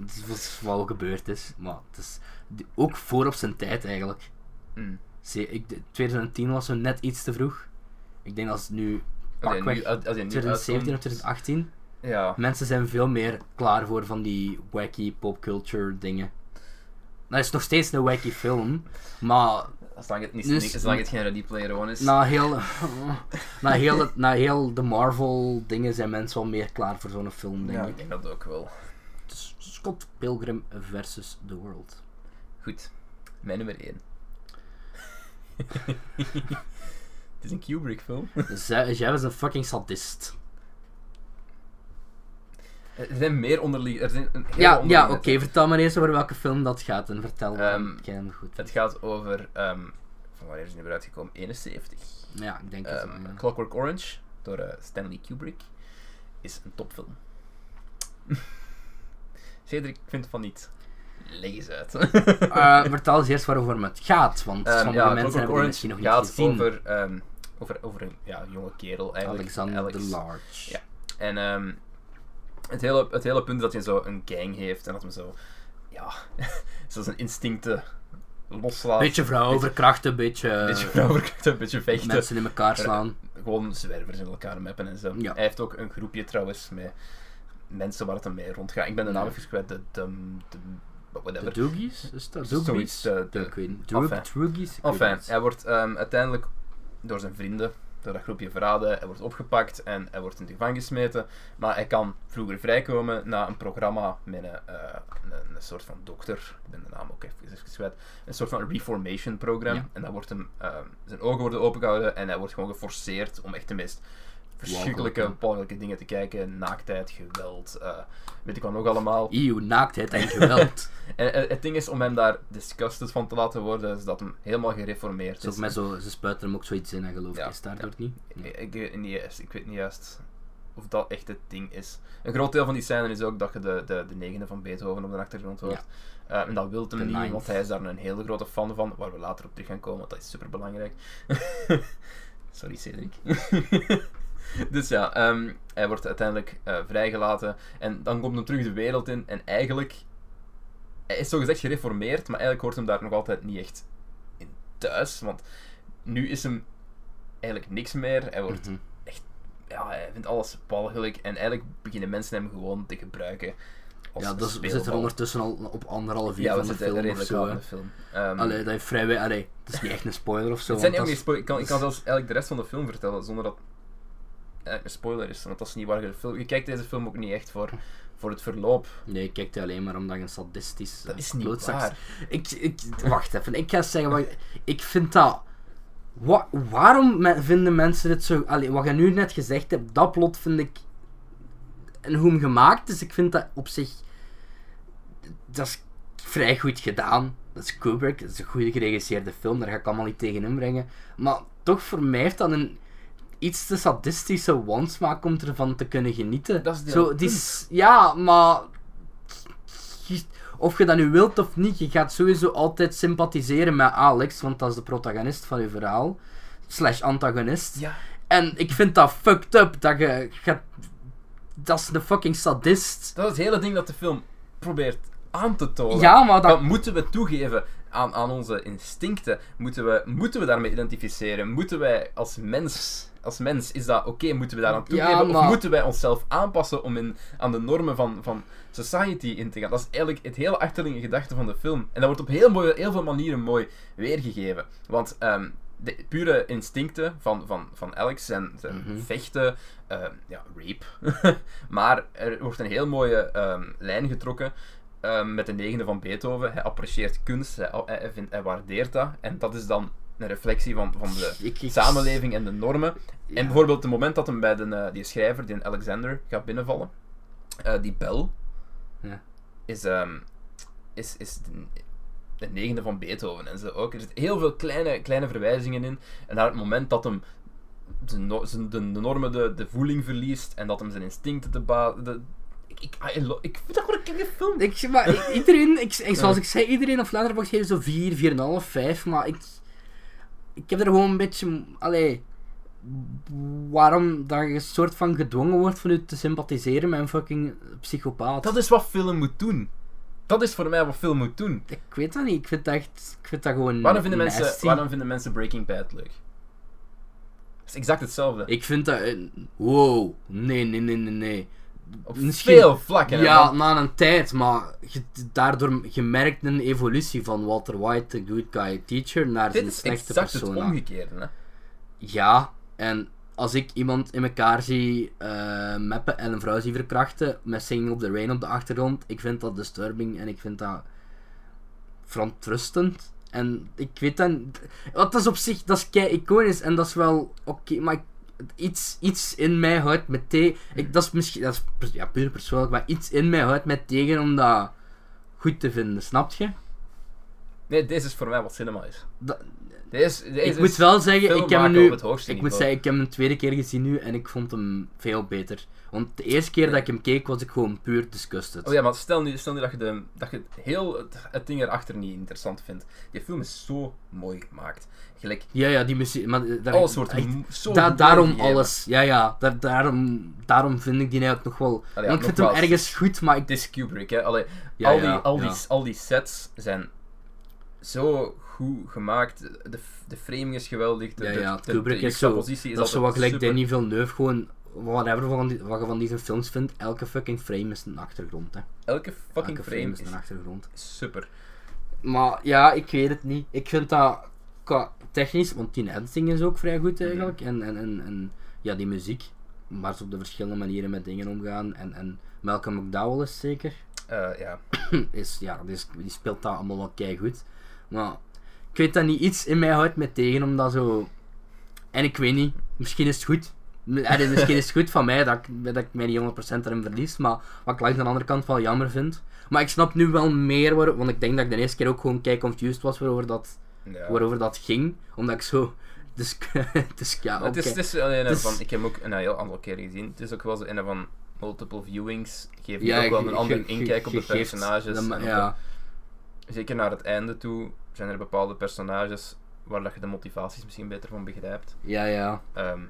Het is wat- wat al gebeurd is, maar het is die- ook voor op zijn tijd eigenlijk. Mm. Zie- ik, de- 2010 was zo net iets te vroeg. Ik denk dat het nu Als je nu pakweg uit- als je nu 2017 of uitkomt- 2018. Ja. Mensen zijn veel meer klaar voor van die wacky popculture dingen. Dat is nog steeds een wacky film, maar Zolang het, niet, Dus- Nou, zolang het geen Ready Player One is. na heel, na heel, het- na heel de Marvel dingen zijn mensen wel meer klaar voor zo'n film, denk ja, ik. ik denk dat ook wel. Het is Scott Pilgrim versus The World. Goed. Mijn nummer 1. het is een Kubrick film. Dus Zij, jij was een fucking sadist. Eh, Er zijn meer onderliggende. Er zijn een hele Ja, ja onderliggende oké, vertel maar eens over welke film dat gaat en vertel Ehm, ik ken hem goed. Het gaat over. ehm, van wanneer is die weer uitgekomen? 71. Ja, ik denk het wel, Ehm, ja. Clockwork Orange door eh, Stanley Kubrick is een topfilm. Cedric vindt van niet. Leg eens uit. Eh, vertel eens eerst waarover het gaat, want Ehm, sommige ja, mensen Clockwork hebben het Orange misschien nog niet gaat gezien. over, ehm, over, over een ja, jonge kerel eigenlijk. Alexander Alex. the Large. Ja. En ehm, het, hele, het hele punt is dat hij zo een gang heeft en dat hij zo, ja, zo zijn instincten loslaat. Beetje vrouwen verkrachten, beetje, Een beetje vrouwen krijgt, een beetje vechten. mensen in elkaar slaan. Gewoon zwervers in elkaar mappen en zo. Ja. Hij heeft ook een groepje trouwens met mensen waar het dan mee rondgaat. Ik ben de naam Ja. even kwijt. De, de, de, De whatever. Doogies? Is dat Doogies? Zoiets, de- de- ik weet niet. Enfin. Droog- Droogies? Ik weet Enfin, niet. eh, hij wordt ehm, uiteindelijk door zijn vrienden, door dat groepje verraden, hij wordt opgepakt en hij wordt in de gevangenis gesmeten. Maar hij kan vroeger vrijkomen na een programma met een, eh, een, een soort van dokter, ik ben de naam ook even, even kwijt, een soort van reformation program. Ja. En dan wordt hem, ehm, zijn ogen worden opengehouden en hij wordt gewoon geforceerd om echt de meest verschrikkelijke, Walgelijke. walgelijke dingen te kijken. Naaktheid, geweld, eh, weet ik wat nog allemaal. Eeuw, E naaktheid en geweld. En eh, het ding is om hem daar disgusted van te laten worden, is dat hem helemaal gereformeerd Zo, is. met zo, ze spuiten hem ook zoiets in, hè, geloof ik. Ja, Is daardoor niet? Nee. Ik, ik, weet niet juist- ik weet niet juist of dat echt het ding is. Een groot deel van die scène is ook dat je de, de, de negende van Beethoven op de achtergrond hoort. Eh, en dat wil hem De niet, ninth. want hij is daar een hele grote fan van, waar we later op terug gaan komen, want dat is super belangrijk. Sorry, Cedric. dus ja, ehm, hij wordt uiteindelijk eh, vrijgelaten. En dan komt hem terug de wereld in. En eigenlijk... Hij is zogezegd gereformeerd, maar eigenlijk hoort hem daar nog altijd niet echt in thuis. Want nu is hem eigenlijk niks meer. Hij wordt Mhm. ja, hij vindt alles belgelijk en eigenlijk beginnen mensen hem gewoon te gebruiken. Als Ja, dat is- we speelbal. zitten ondertussen al op anderhalf uur ja, we van de zitten film of redelijk zo. aan hè. de film. Ehm, Allee, dat is vrij... Allee, dat is niet echt een spoiler of zo. het zijn niet want ook niet dat spo- ik, kan, ik kan zelfs eigenlijk de rest van de film vertellen zonder dat het een spoiler is. Want dat is niet waar je de film. Je kijkt deze film ook niet echt voor, voor het verloop. is- Nee, ik kijk die alleen maar omdat je een sadistisch Dat eh, is niet klootzak waar. Ik, ik, wacht even, ik ga zeggen, wat, ik vind dat... Wa- waarom me- vinden mensen dit zo... Allee, wat je nu net gezegd hebt, dat plot vind ik een hoem gemaakt. Dus ik vind dat op zich... Dat is vrij goed gedaan. Dat is Kubrick, dat is een goede geregisseerde film, daar ga ik allemaal niet tegen inbrengen. Maar toch, voor mij heeft dat een iets te sadistische wansmaak om ervan te kunnen genieten. Dat is deel zo, het die, s- ja, maar je- of je dat nu wilt of niet, je gaat sowieso altijd sympathiseren met Alex, want dat is de protagonist van je verhaal. Slash antagonist. Ja, En ik vind dat fucked up dat je. je- dat is een fucking sadist. dat is het hele ding dat de film probeert aan te tonen. Ja, maar Nou, dat. Dat moeten we toegeven aan, aan onze instincten. Moeten we, moeten we daarmee identificeren? Moeten wij als mens, als mens is dat oké? moeten we daaraan toegeven? Of maar- moeten wij onszelf aanpassen om in, aan de normen van, van society in te gaan? Dat is eigenlijk het hele achterliggende gedachte van de film. En dat wordt op heel, mooi, heel veel manieren mooi weergegeven. Want ehm, de pure instincten van, van, van Alex zijn, zijn Mhm. vechten, ehm, ja, rape. maar er wordt een heel mooie ehm, lijn getrokken ehm, met de negende van Beethoven. Hij apprecieert kunst, hij, hij, hij vindt, hij waardeert dat. En dat is dan een reflectie van, van de ik- ik- samenleving en de normen. Ja. En bijvoorbeeld het moment dat hem bij de, eh, die schrijver, die Alexander, gaat binnenvallen. eh, die bel Ja. is, ehm, is, is de, de negende van Beethoven en zo ook. Er zitten heel veel kleine, kleine verwijzingen in. En naar het moment dat hem de, no- zijn- de, de normen de, de voeling verliest en dat hem zijn instincten te ba... De, ik, ik, I lo- ik vind dat gewoon een keer film. Ik, zeg maar, i- iedereen, ik, ik- zoals ik zei, iedereen op Letterboxd geeft zo 4, 4,5, 5, maar ik, ik heb er gewoon een beetje, allee, waarom dat je een soort van gedwongen wordt van u te sympathiseren met een fucking psychopaat. Dat is wat film moet doen. Dat is voor mij wat film moet doen. Ik weet dat niet, ik vind dat echt, ik vind dat gewoon Waarom vinden, nasty. mensen, waarom vinden mensen Breaking Bad leuk? Dat is exact hetzelfde. Ik vind dat, een- wow, nee, nee, nee, nee, nee. Op misschien- veel vlakken. hè, Ja, man. na een tijd, maar je, daardoor gemerkt een evolutie van Walter White, de good guy teacher, naar Dit zijn is slechte exact het persona. omgekeerde. Hè? Ja, en als ik iemand in elkaar zie eh meppen en een vrouw zie verkrachten met Singing op the Rain op de achtergrond, ik vind dat disturbing en ik vind dat verontrustend. En ik weet dan, wat dat is op zich, dat is kei iconisch en dat is wel oké, maar ik- iets, iets in mij houdt me tegen. Ik, dat is misschien, dat is pers- ja, puur persoonlijk, maar iets in mij houdt me tegen om dat goed te vinden, snap je? Nee, deze is voor mij wat cinema is. Dat- Deze, deze Ik is moet wel zeggen, ik heb hem filmmaker nu. op het hoogste Ik moet niveau. zeggen, ik heb hem een tweede keer gezien nu en ik vond hem veel beter. Want de eerste keer dat ik hem keek, was ik gewoon puur disgusted. Oh ja, maar stel nu, stel nu dat je, de, dat je het heel het, het ding erachter niet interessant vindt. Die film is zo mooi gemaakt. Gelijk, ja, ja, die muziek. Maar eh, daar, alles wordt echt- mo- zo da- mooi daarom gegeven. alles. Ja, ja. da- daarom, daarom vind ik die eigenlijk nog wel. ja, want ik vind hem nogmaals. ergens goed, maar ik. Het is Kubrick, hè. Allee, Ja, al, die, ja, al, die, ja. al die sets zijn zo goed gemaakt. De, de framing is geweldig. De, Ja, de- ja, de, Kubrick de is zo. juxtapositie dat is zo wat altijd gelijk super. Danny Villeneuve gewoon. Whatever van die, wat je van deze films vindt, elke fucking frame is een achtergrond. Hè. Elke fucking Elke frame is is een achtergrond. super. Maar ja, ik weet het niet. Ik vind dat qua technisch, want die editing is ook vrij goed eigenlijk. En, en, en, en ja, die muziek. Maar ze op de verschillende manieren met dingen omgaan. En, en Malcolm McDowell is zeker. Eh, ja. Is, ja, die, is- die speelt dat allemaal wel kei goed. Maar ik weet dat niet. Iets in mij houdt me tegen om dat zo. En ik weet niet. Misschien is het goed. M- allee, misschien is het goed van mij dat ik, dat ik mij niet 100% erin verlies. Maar wat ik langs de andere kant wel jammer vind. Maar ik snap nu wel meer waarom. Want ik denk dat ik de eerste keer ook gewoon kei confused was waarover dat, ja. waarover dat ging. Omdat ik zo. Dus, dus ja, Maar het is, oké. het is alleen een Het is- van, ik heb hem ook een heel aantal keer gezien. Het is ook wel zo een van multiple viewings. Geeft je Ja, ook wel een ge- andere ge- inkijk op de ge- geeft personages. de ma- en op ja. de- zeker naar het einde toe zijn er bepaalde personages waar dat je de motivaties misschien beter van begrijpt. Ja, ja. Ehm,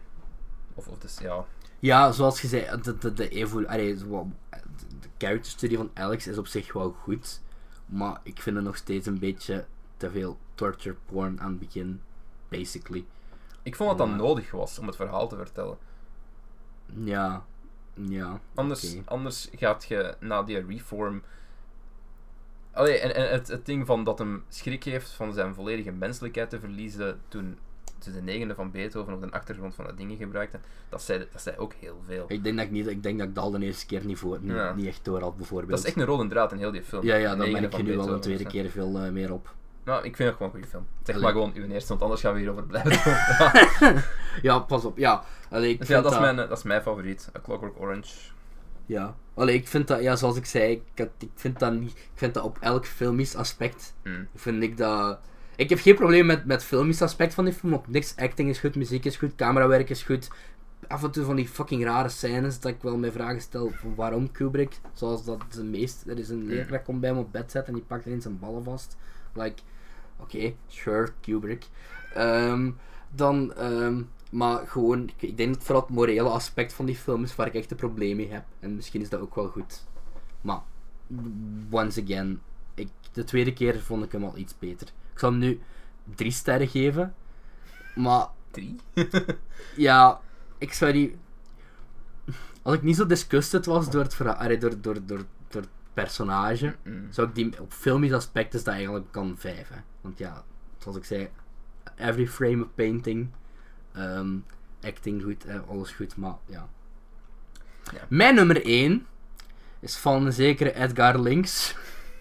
of, of dus, ja. Ja, zoals je zei, de, de, de, evol- allee, zo wat- de- de character study van Alex is op zich wel goed. Maar ik vind het nog steeds een beetje te veel torture porn aan het begin, basically. Ik vond dat dat Ja. nodig was om het verhaal te vertellen. Ja, ja. Anders, Oké. anders gaat je na die reform. Allee, en, en het, het ding van dat hem schrik heeft van zijn volledige menselijkheid te verliezen toen toen de negende van Beethoven op de achtergrond van dat dingen gebruikte, dat zei, dat zei ook heel veel. Ik denk dat ik, niet, ik, denk dat ik dat al de eerste keer niet, voor, niet, Ja. niet echt door had, bijvoorbeeld. Dat is echt een rode draad in heel die film. Ja, ja, De daar ben negende ik van je nu al een Beethoven, tweede dus, keer veel eh, meer op. hè. Nou, ik vind het gewoon een goede film. Zeg Allee. maar gewoon uw eerste, want anders gaan we hierover blijven doorpraten. Ja, pas op, ja. Allee, ik Dus ja, vind dat is, mijn, eh, dat is mijn favoriet. A Clockwork Orange. Ja. Allee, ik vind dat, ja, zoals ik zei, ik, had- ik vind dat niet... Ik vind dat op elk filmisch aspect, Mm. vind ik dat... Ik heb geen probleem met, met filmisch aspect van die film, want niks acting is goed, muziek is goed, camerawerk is goed. Af en toe van die fucking rare scènes dat ik wel mijn vragen stel van waarom Kubrick, zoals dat de meest... Er is een leerkracht komt bij hem op bed zetten en die pakt ineens zijn ballen vast. Like, oké, sure, Kubrick. Ehm, dan, ehm, maar gewoon, ik, ik denk dat vooral het morele aspect van die film is waar ik echt een probleem mee heb. En misschien is dat ook wel goed. Maar, once again, ik, de tweede keer vond ik hem al iets beter. Ik zal hem nu drie sterren geven. Maar Drie? ja, ik zou die. Als ik niet zo disgusted was door het, verha- allee, door, door, door, door het personage, Mm. zou ik die op filmisch aspect is dat eigenlijk kan vijf. Hè? Want ja, zoals ik zei, every frame of painting, ehm, acting goed, eh, alles goed, maar ja. Ja. Mijn nummer 1 is van een zekere Edgar Links.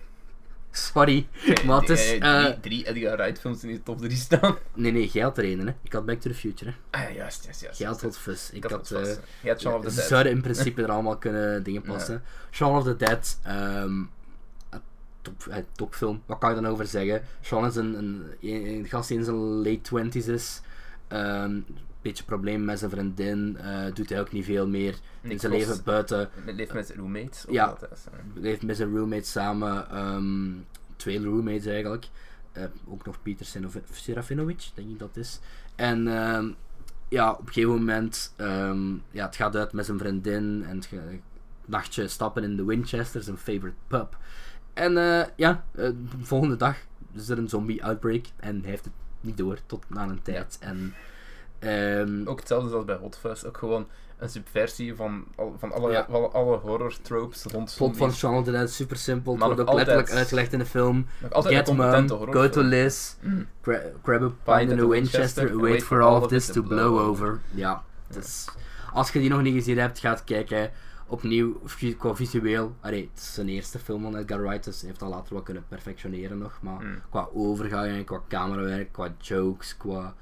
Sorry, maar het is. Eh, drie, eh, drie Edgar Wright films in de top 3 staan. nee, nee, jij had er één, hè? Ik had Back to the Future, hè? Ah, ja, juist, juist, juist. Jij had Hot Fuzz. Ik Dat had. was eh, vast. Je had Shaun of the Ze Dead. zouden in principe er allemaal kunnen dingen passen. Shaun of the Dead, ehm, eh, top, eh, topfilm. Wat kan je dan over zeggen? Shaun is een, een, een- een gast die in zijn late twenties is. Ehm beetje probleem met zijn vriendin. eh, doet hij ook niet veel meer. in Niks zijn los. leven buiten. Het Leeft met roommates. eh, of Ja. wat, hè, zo. Leeft met zijn roommate samen. ehm, twee roommates eigenlijk. Eh, ook nog Peter Sinov- Serafinovic, denk ik dat is. En ehm, ja, op een gegeven moment, ehm, ja, het gaat uit met zijn vriendin en het ge- nachtje stappen in de Winchester, zijn favorite pub. En eh, ja, eh, de volgende dag is er een zombie-outbreak en hij heeft het niet door tot na een tijd. En, ehm, Ook hetzelfde als bij Hot Fuzz. Ook gewoon een subversie van, al- van alle, Ja. van alle horror tropes rond plot van zombies. Shaun of the Dead, super simpel. Het Maar wordt ook nog altijd- letterlijk uitgelegd in de film. Nog altijd Get een mum, competente go to horrorfilm. Liz, Mm. gra- grab a pint in a Winchester, and wait for all of this to blow over. Ja, dus als je die nog niet gezien hebt, gaat kijken. Opnieuw, vi- qua visueel, allee, het is zijn eerste film van Edgar Wright, dus hij heeft dat later wel kunnen perfectioneren nog. Maar Mm. qua overgang, qua camerawerk, qua jokes, qua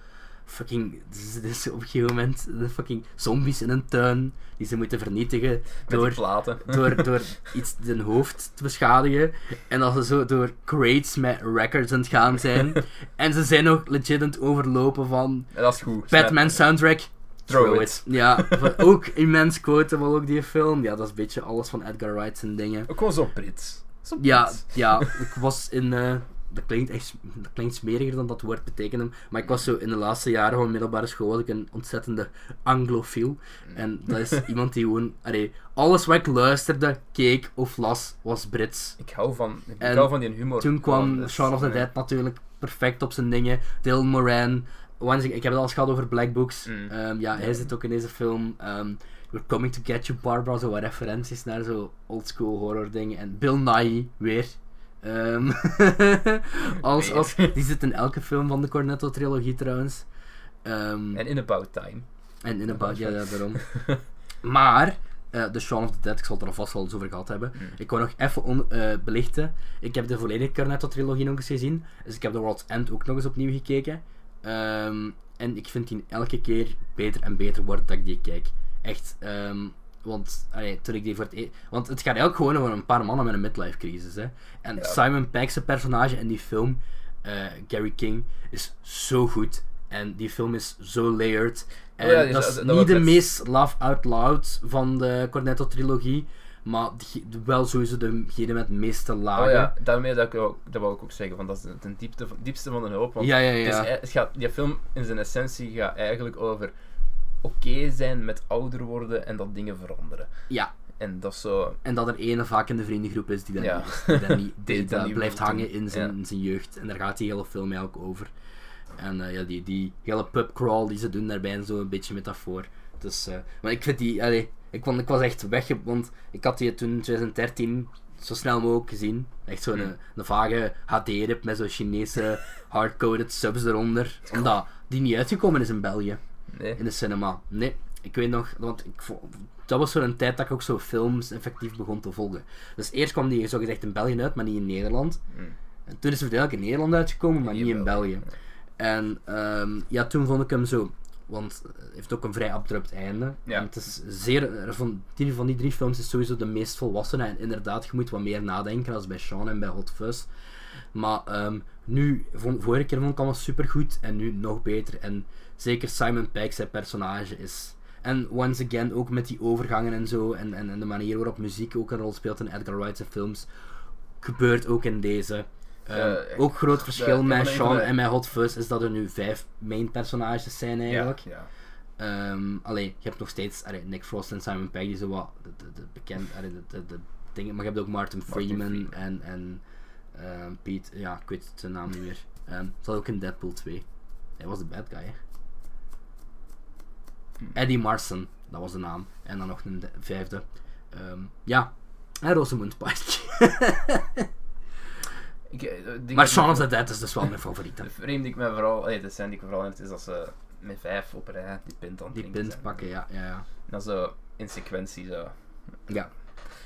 fucking... Dus, dus op een gegeven moment de fucking zombies in een tuin, die ze moeten vernietigen Met door die platen. door, door iets hun hoofd te beschadigen. En dat ze zo door crates met records aan het gaan zijn. En ze zijn nog legit aan het overlopen van Ja, dat is goed. Snap- Batman soundtrack. Throw it. Ja, van- ook immens quotable ook die film. Ja, dat is een beetje alles van Edgar Wright's en dingen. Ook gewoon zo Brits. Zo Ja, Brits. ja, ik was in... eh, dat klinkt echt sm- dat klinkt smeriger dan dat woord betekende. Maar ik was zo in de laatste jaren van middelbare school was ik een ontzettende anglofiel. En dat is iemand die gewoon... Allee, alles wat ik luisterde, keek of las, was Brits. Ik hou van, ik En hou van die humor. Toen Gewoon, kwam dus, Shaun of the eh, Dead natuurlijk perfect op zijn dingen. Dylan Moran. Once, ik heb het al eens gehad over Black Books. Mm. Ehm, ja, hij zit ook in deze film. ehm, We're Coming to Get You, Barbara. Zo wat referenties naar zo oldschool horror dingen. En Bill Nye weer. Ehm, als, Weer. als, die zit in elke film van de Cornetto-trilogie trouwens. Ehm, En In About Time. en in een dat bad, is ja, wel- ja, daarom. maar, eh The Shaun of the Dead, ik zal het er alvast wel eens over gehad hebben. Ik wou nog even on- eh, belichten. Ik heb de volledige Cornetto-trilogie nog eens gezien. Dus ik heb The World's End ook nog eens opnieuw gekeken. Ehm, en ik vind die elke keer beter en beter wordt dat ik die kijk. Echt, ehm, want allee, toen ik die voor het e- Want het gaat eigenlijk gewoon over een paar mannen met een midlife crisis. Hè. En Ja. Simon Pegg's personage in die film, eh, Gary King, is zo goed. En die film is zo layered. En Oh ja, die dat is- is dat niet wordt de het- meest laugh out loud van de Cornetto-trilogie. maar die- wel sowieso degene met de meeste Oh lagen. ja, daarmee dat, ik ook, dat wou ik ook zeggen, van dat is de, de diepte, van- diepste van de hoop. Want ja, ja. het is ja. ei- het gaat, die film in zijn essentie gaat eigenlijk over oké zijn met ouder worden en dat dingen veranderen. Ja. En dat is zo... En dat er ene vaak in de vriendengroep is die dat Ja. niet is, die dat niet, die dat dat niet blijft wil doen. hangen in zijn, Ja. in zijn jeugd. En daar gaat die hele film eigenlijk over. En eh, ja, die, die hele pubcrawl die ze doen daarbij en zo een beetje metafoor. Dus, eh, maar ik vind die, allee, ik, vond- ik was echt weg, want ik had die toen in 2013 zo snel mogelijk gezien. Echt zo'n eh, Hmm. een, vage HD-rip met zo'n Chinese hardcoded subs eronder. Omdat die niet uitgekomen is in België Nee. in de cinema. Nee, ik weet nog, want ik vo- dat was zo'n tijd dat ik ook zo films effectief begon te volgen. Dus eerst kwam die zogezegd in België uit, maar niet in Nederland. Mm. En toen is hij eigenlijk in Nederland uitgekomen, maar Hmm. niet in België. En ehm, ja, toen vond ik hem zo, want het heeft ook een vrij abrupt einde. Ja. En het is zeer, er van die, van die drie films is sowieso de meest volwassene. En inderdaad, je moet wat meer nadenken als bij Sean en bij Hot Fuzz. Maar ehm, nu, von, vorige keer vond ik allemaal supergoed en nu nog beter. En zeker Simon Pegg, zijn personage is. En once again, ook met die overgangen en zo, en, en, en de manier waarop muziek ook een rol speelt in Edgar Wright's films, gebeurt ook in deze. Ehm, Eh, ook groot verschil de- met een van Sean de- en met Hot Fuzz is dat er nu vijf main personages zijn eigenlijk. Ja, ja. Ehm, allee, je hebt nog steeds allee, Nick Frost en Simon Pegg, die zo wat de, de, de bekend, allee, de, de, de dingen, maar je hebt ook Martin Martin Freeman, Freeman. en, en ehm, Pete, ja, ik weet zijn naam niet meer. Ehm zat ook in Deadpool 2. Hij was de bad guy, hè. Hmm. Eddie Marson, dat was de naam. En dan nog een de- vijfde. Ehm, ja, en Rosamund Pike. Ik, eh, het ding maar dat Shaun ik- of the Dead is dus wel mijn favoriet. hè. Het vreemde die ik me vooral... allee, de scène die ik me vooral herinnerd is dat ze met vijf op rij die pint aan het Die drinken pint zijn. pakken, ja, ja, ja. En dan zo in sequentie zo. Ja.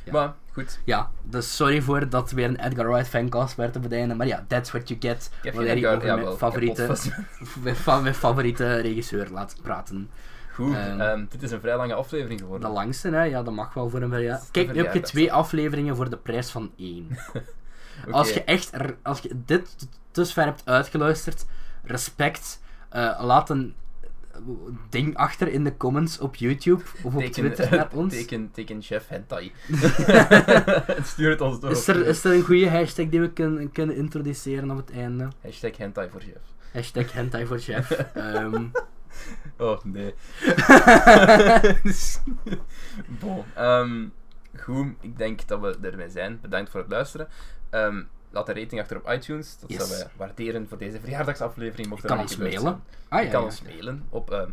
Ja. Maar, goed. Ja, dus sorry voor dat weer een Edgar Wright fancast werd op het einde, maar ja, that's what you get. Ik heb Wanneer geen je over ja, mijn wel, favoriete, kapot was. mijn fa- mijn favoriete regisseur laat praten. Goed, Ehm, ehm, dit is een vrij lange aflevering geworden. De langste, hè? Ja, dat mag wel voor een verjaardag. Kijk, nu heb je verjaardag. twee afleveringen voor de prijs van één. Oké. Als je echt er- als je dit t- dusver hebt uitgeluisterd, respect. Eh, laat een eh, ding achter in de comments op YouTube of op Teken- Twitter naar ons. Teken, teken chef hentai. Stuur het ons door. Is op er, Twitter. is er een goede hashtag die we kunnen, kunnen introduceren op het einde? Hashtag hentai voor chef. Hashtag hentai voor chef. Ehm, Oh, nee. bon. ehm, goed, ik denk dat we ermee zijn. Bedankt voor het luisteren. Ehm, laat een rating achter op iTunes. Dat Yes. zouden we waarderen voor deze verjaardagsaflevering. Mocht Je dat kan nog ons niet gebeurd mailen. zijn. ah, Je ja, kan ja. ons mailen op ehm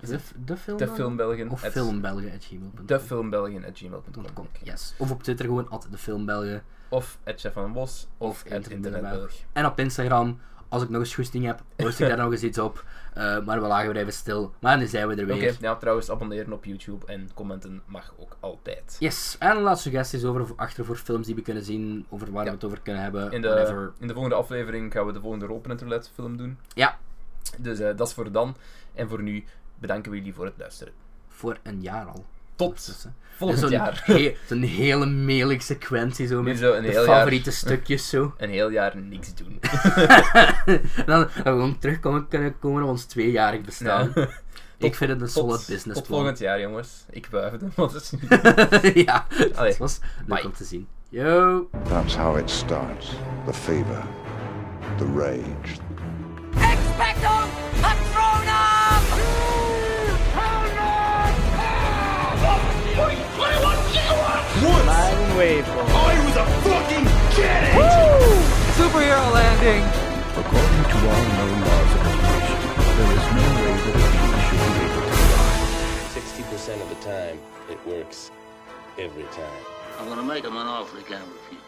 De, f- de film? de dan? filmbelgen. Of filmbelgen.gmail.com. Defilmbelgen.gmail.com. Yes. Of op Twitter gewoon at de filmbelgen. Of at Chef van Bos. Of, at internetbelg. internetbelg. En op Instagram, als ik nog eens goesting heb, post ik daar nog eens iets op. Eh, maar we lagen weer even stil. Maar nu zijn we er Oké, weer. ja, trouwens, abonneren op YouTube en commenten mag ook altijd. Yes. En laat suggesties over, achter voor films die we kunnen zien, over waar Ja. we het over kunnen hebben. In de, whatever. in de volgende aflevering gaan we de volgende Ropen Roulette film doen. Ja. Dus eh, dat is voor dan. En voor nu bedanken we jullie voor het luisteren. Voor een jaar al. Tot Dus, hè. volgend Zo'n jaar. he- Zo'n hele melig sequentie zo Nu met zo een de heel jaar, favoriete stukjes zo. een heel jaar niks doen. En dan, dan gewoon terugkomen kunnen komen op ons tweejarig bestaan. Nou, ik vind het een solid tot, tot businessplan. volgend jaar, jongens. Ik wuifde, want het is niet... ja, Allee, dat was leuk bye. om te zien. Yo! That's how it starts. The fever, the rage, Expecto Patronum! According to all known laws of creation, there is no way that a being should be able to fly. 60% of the time, it works every time. I'm gonna make him an offer he can't refuse.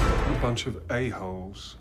A bunch of a-holes.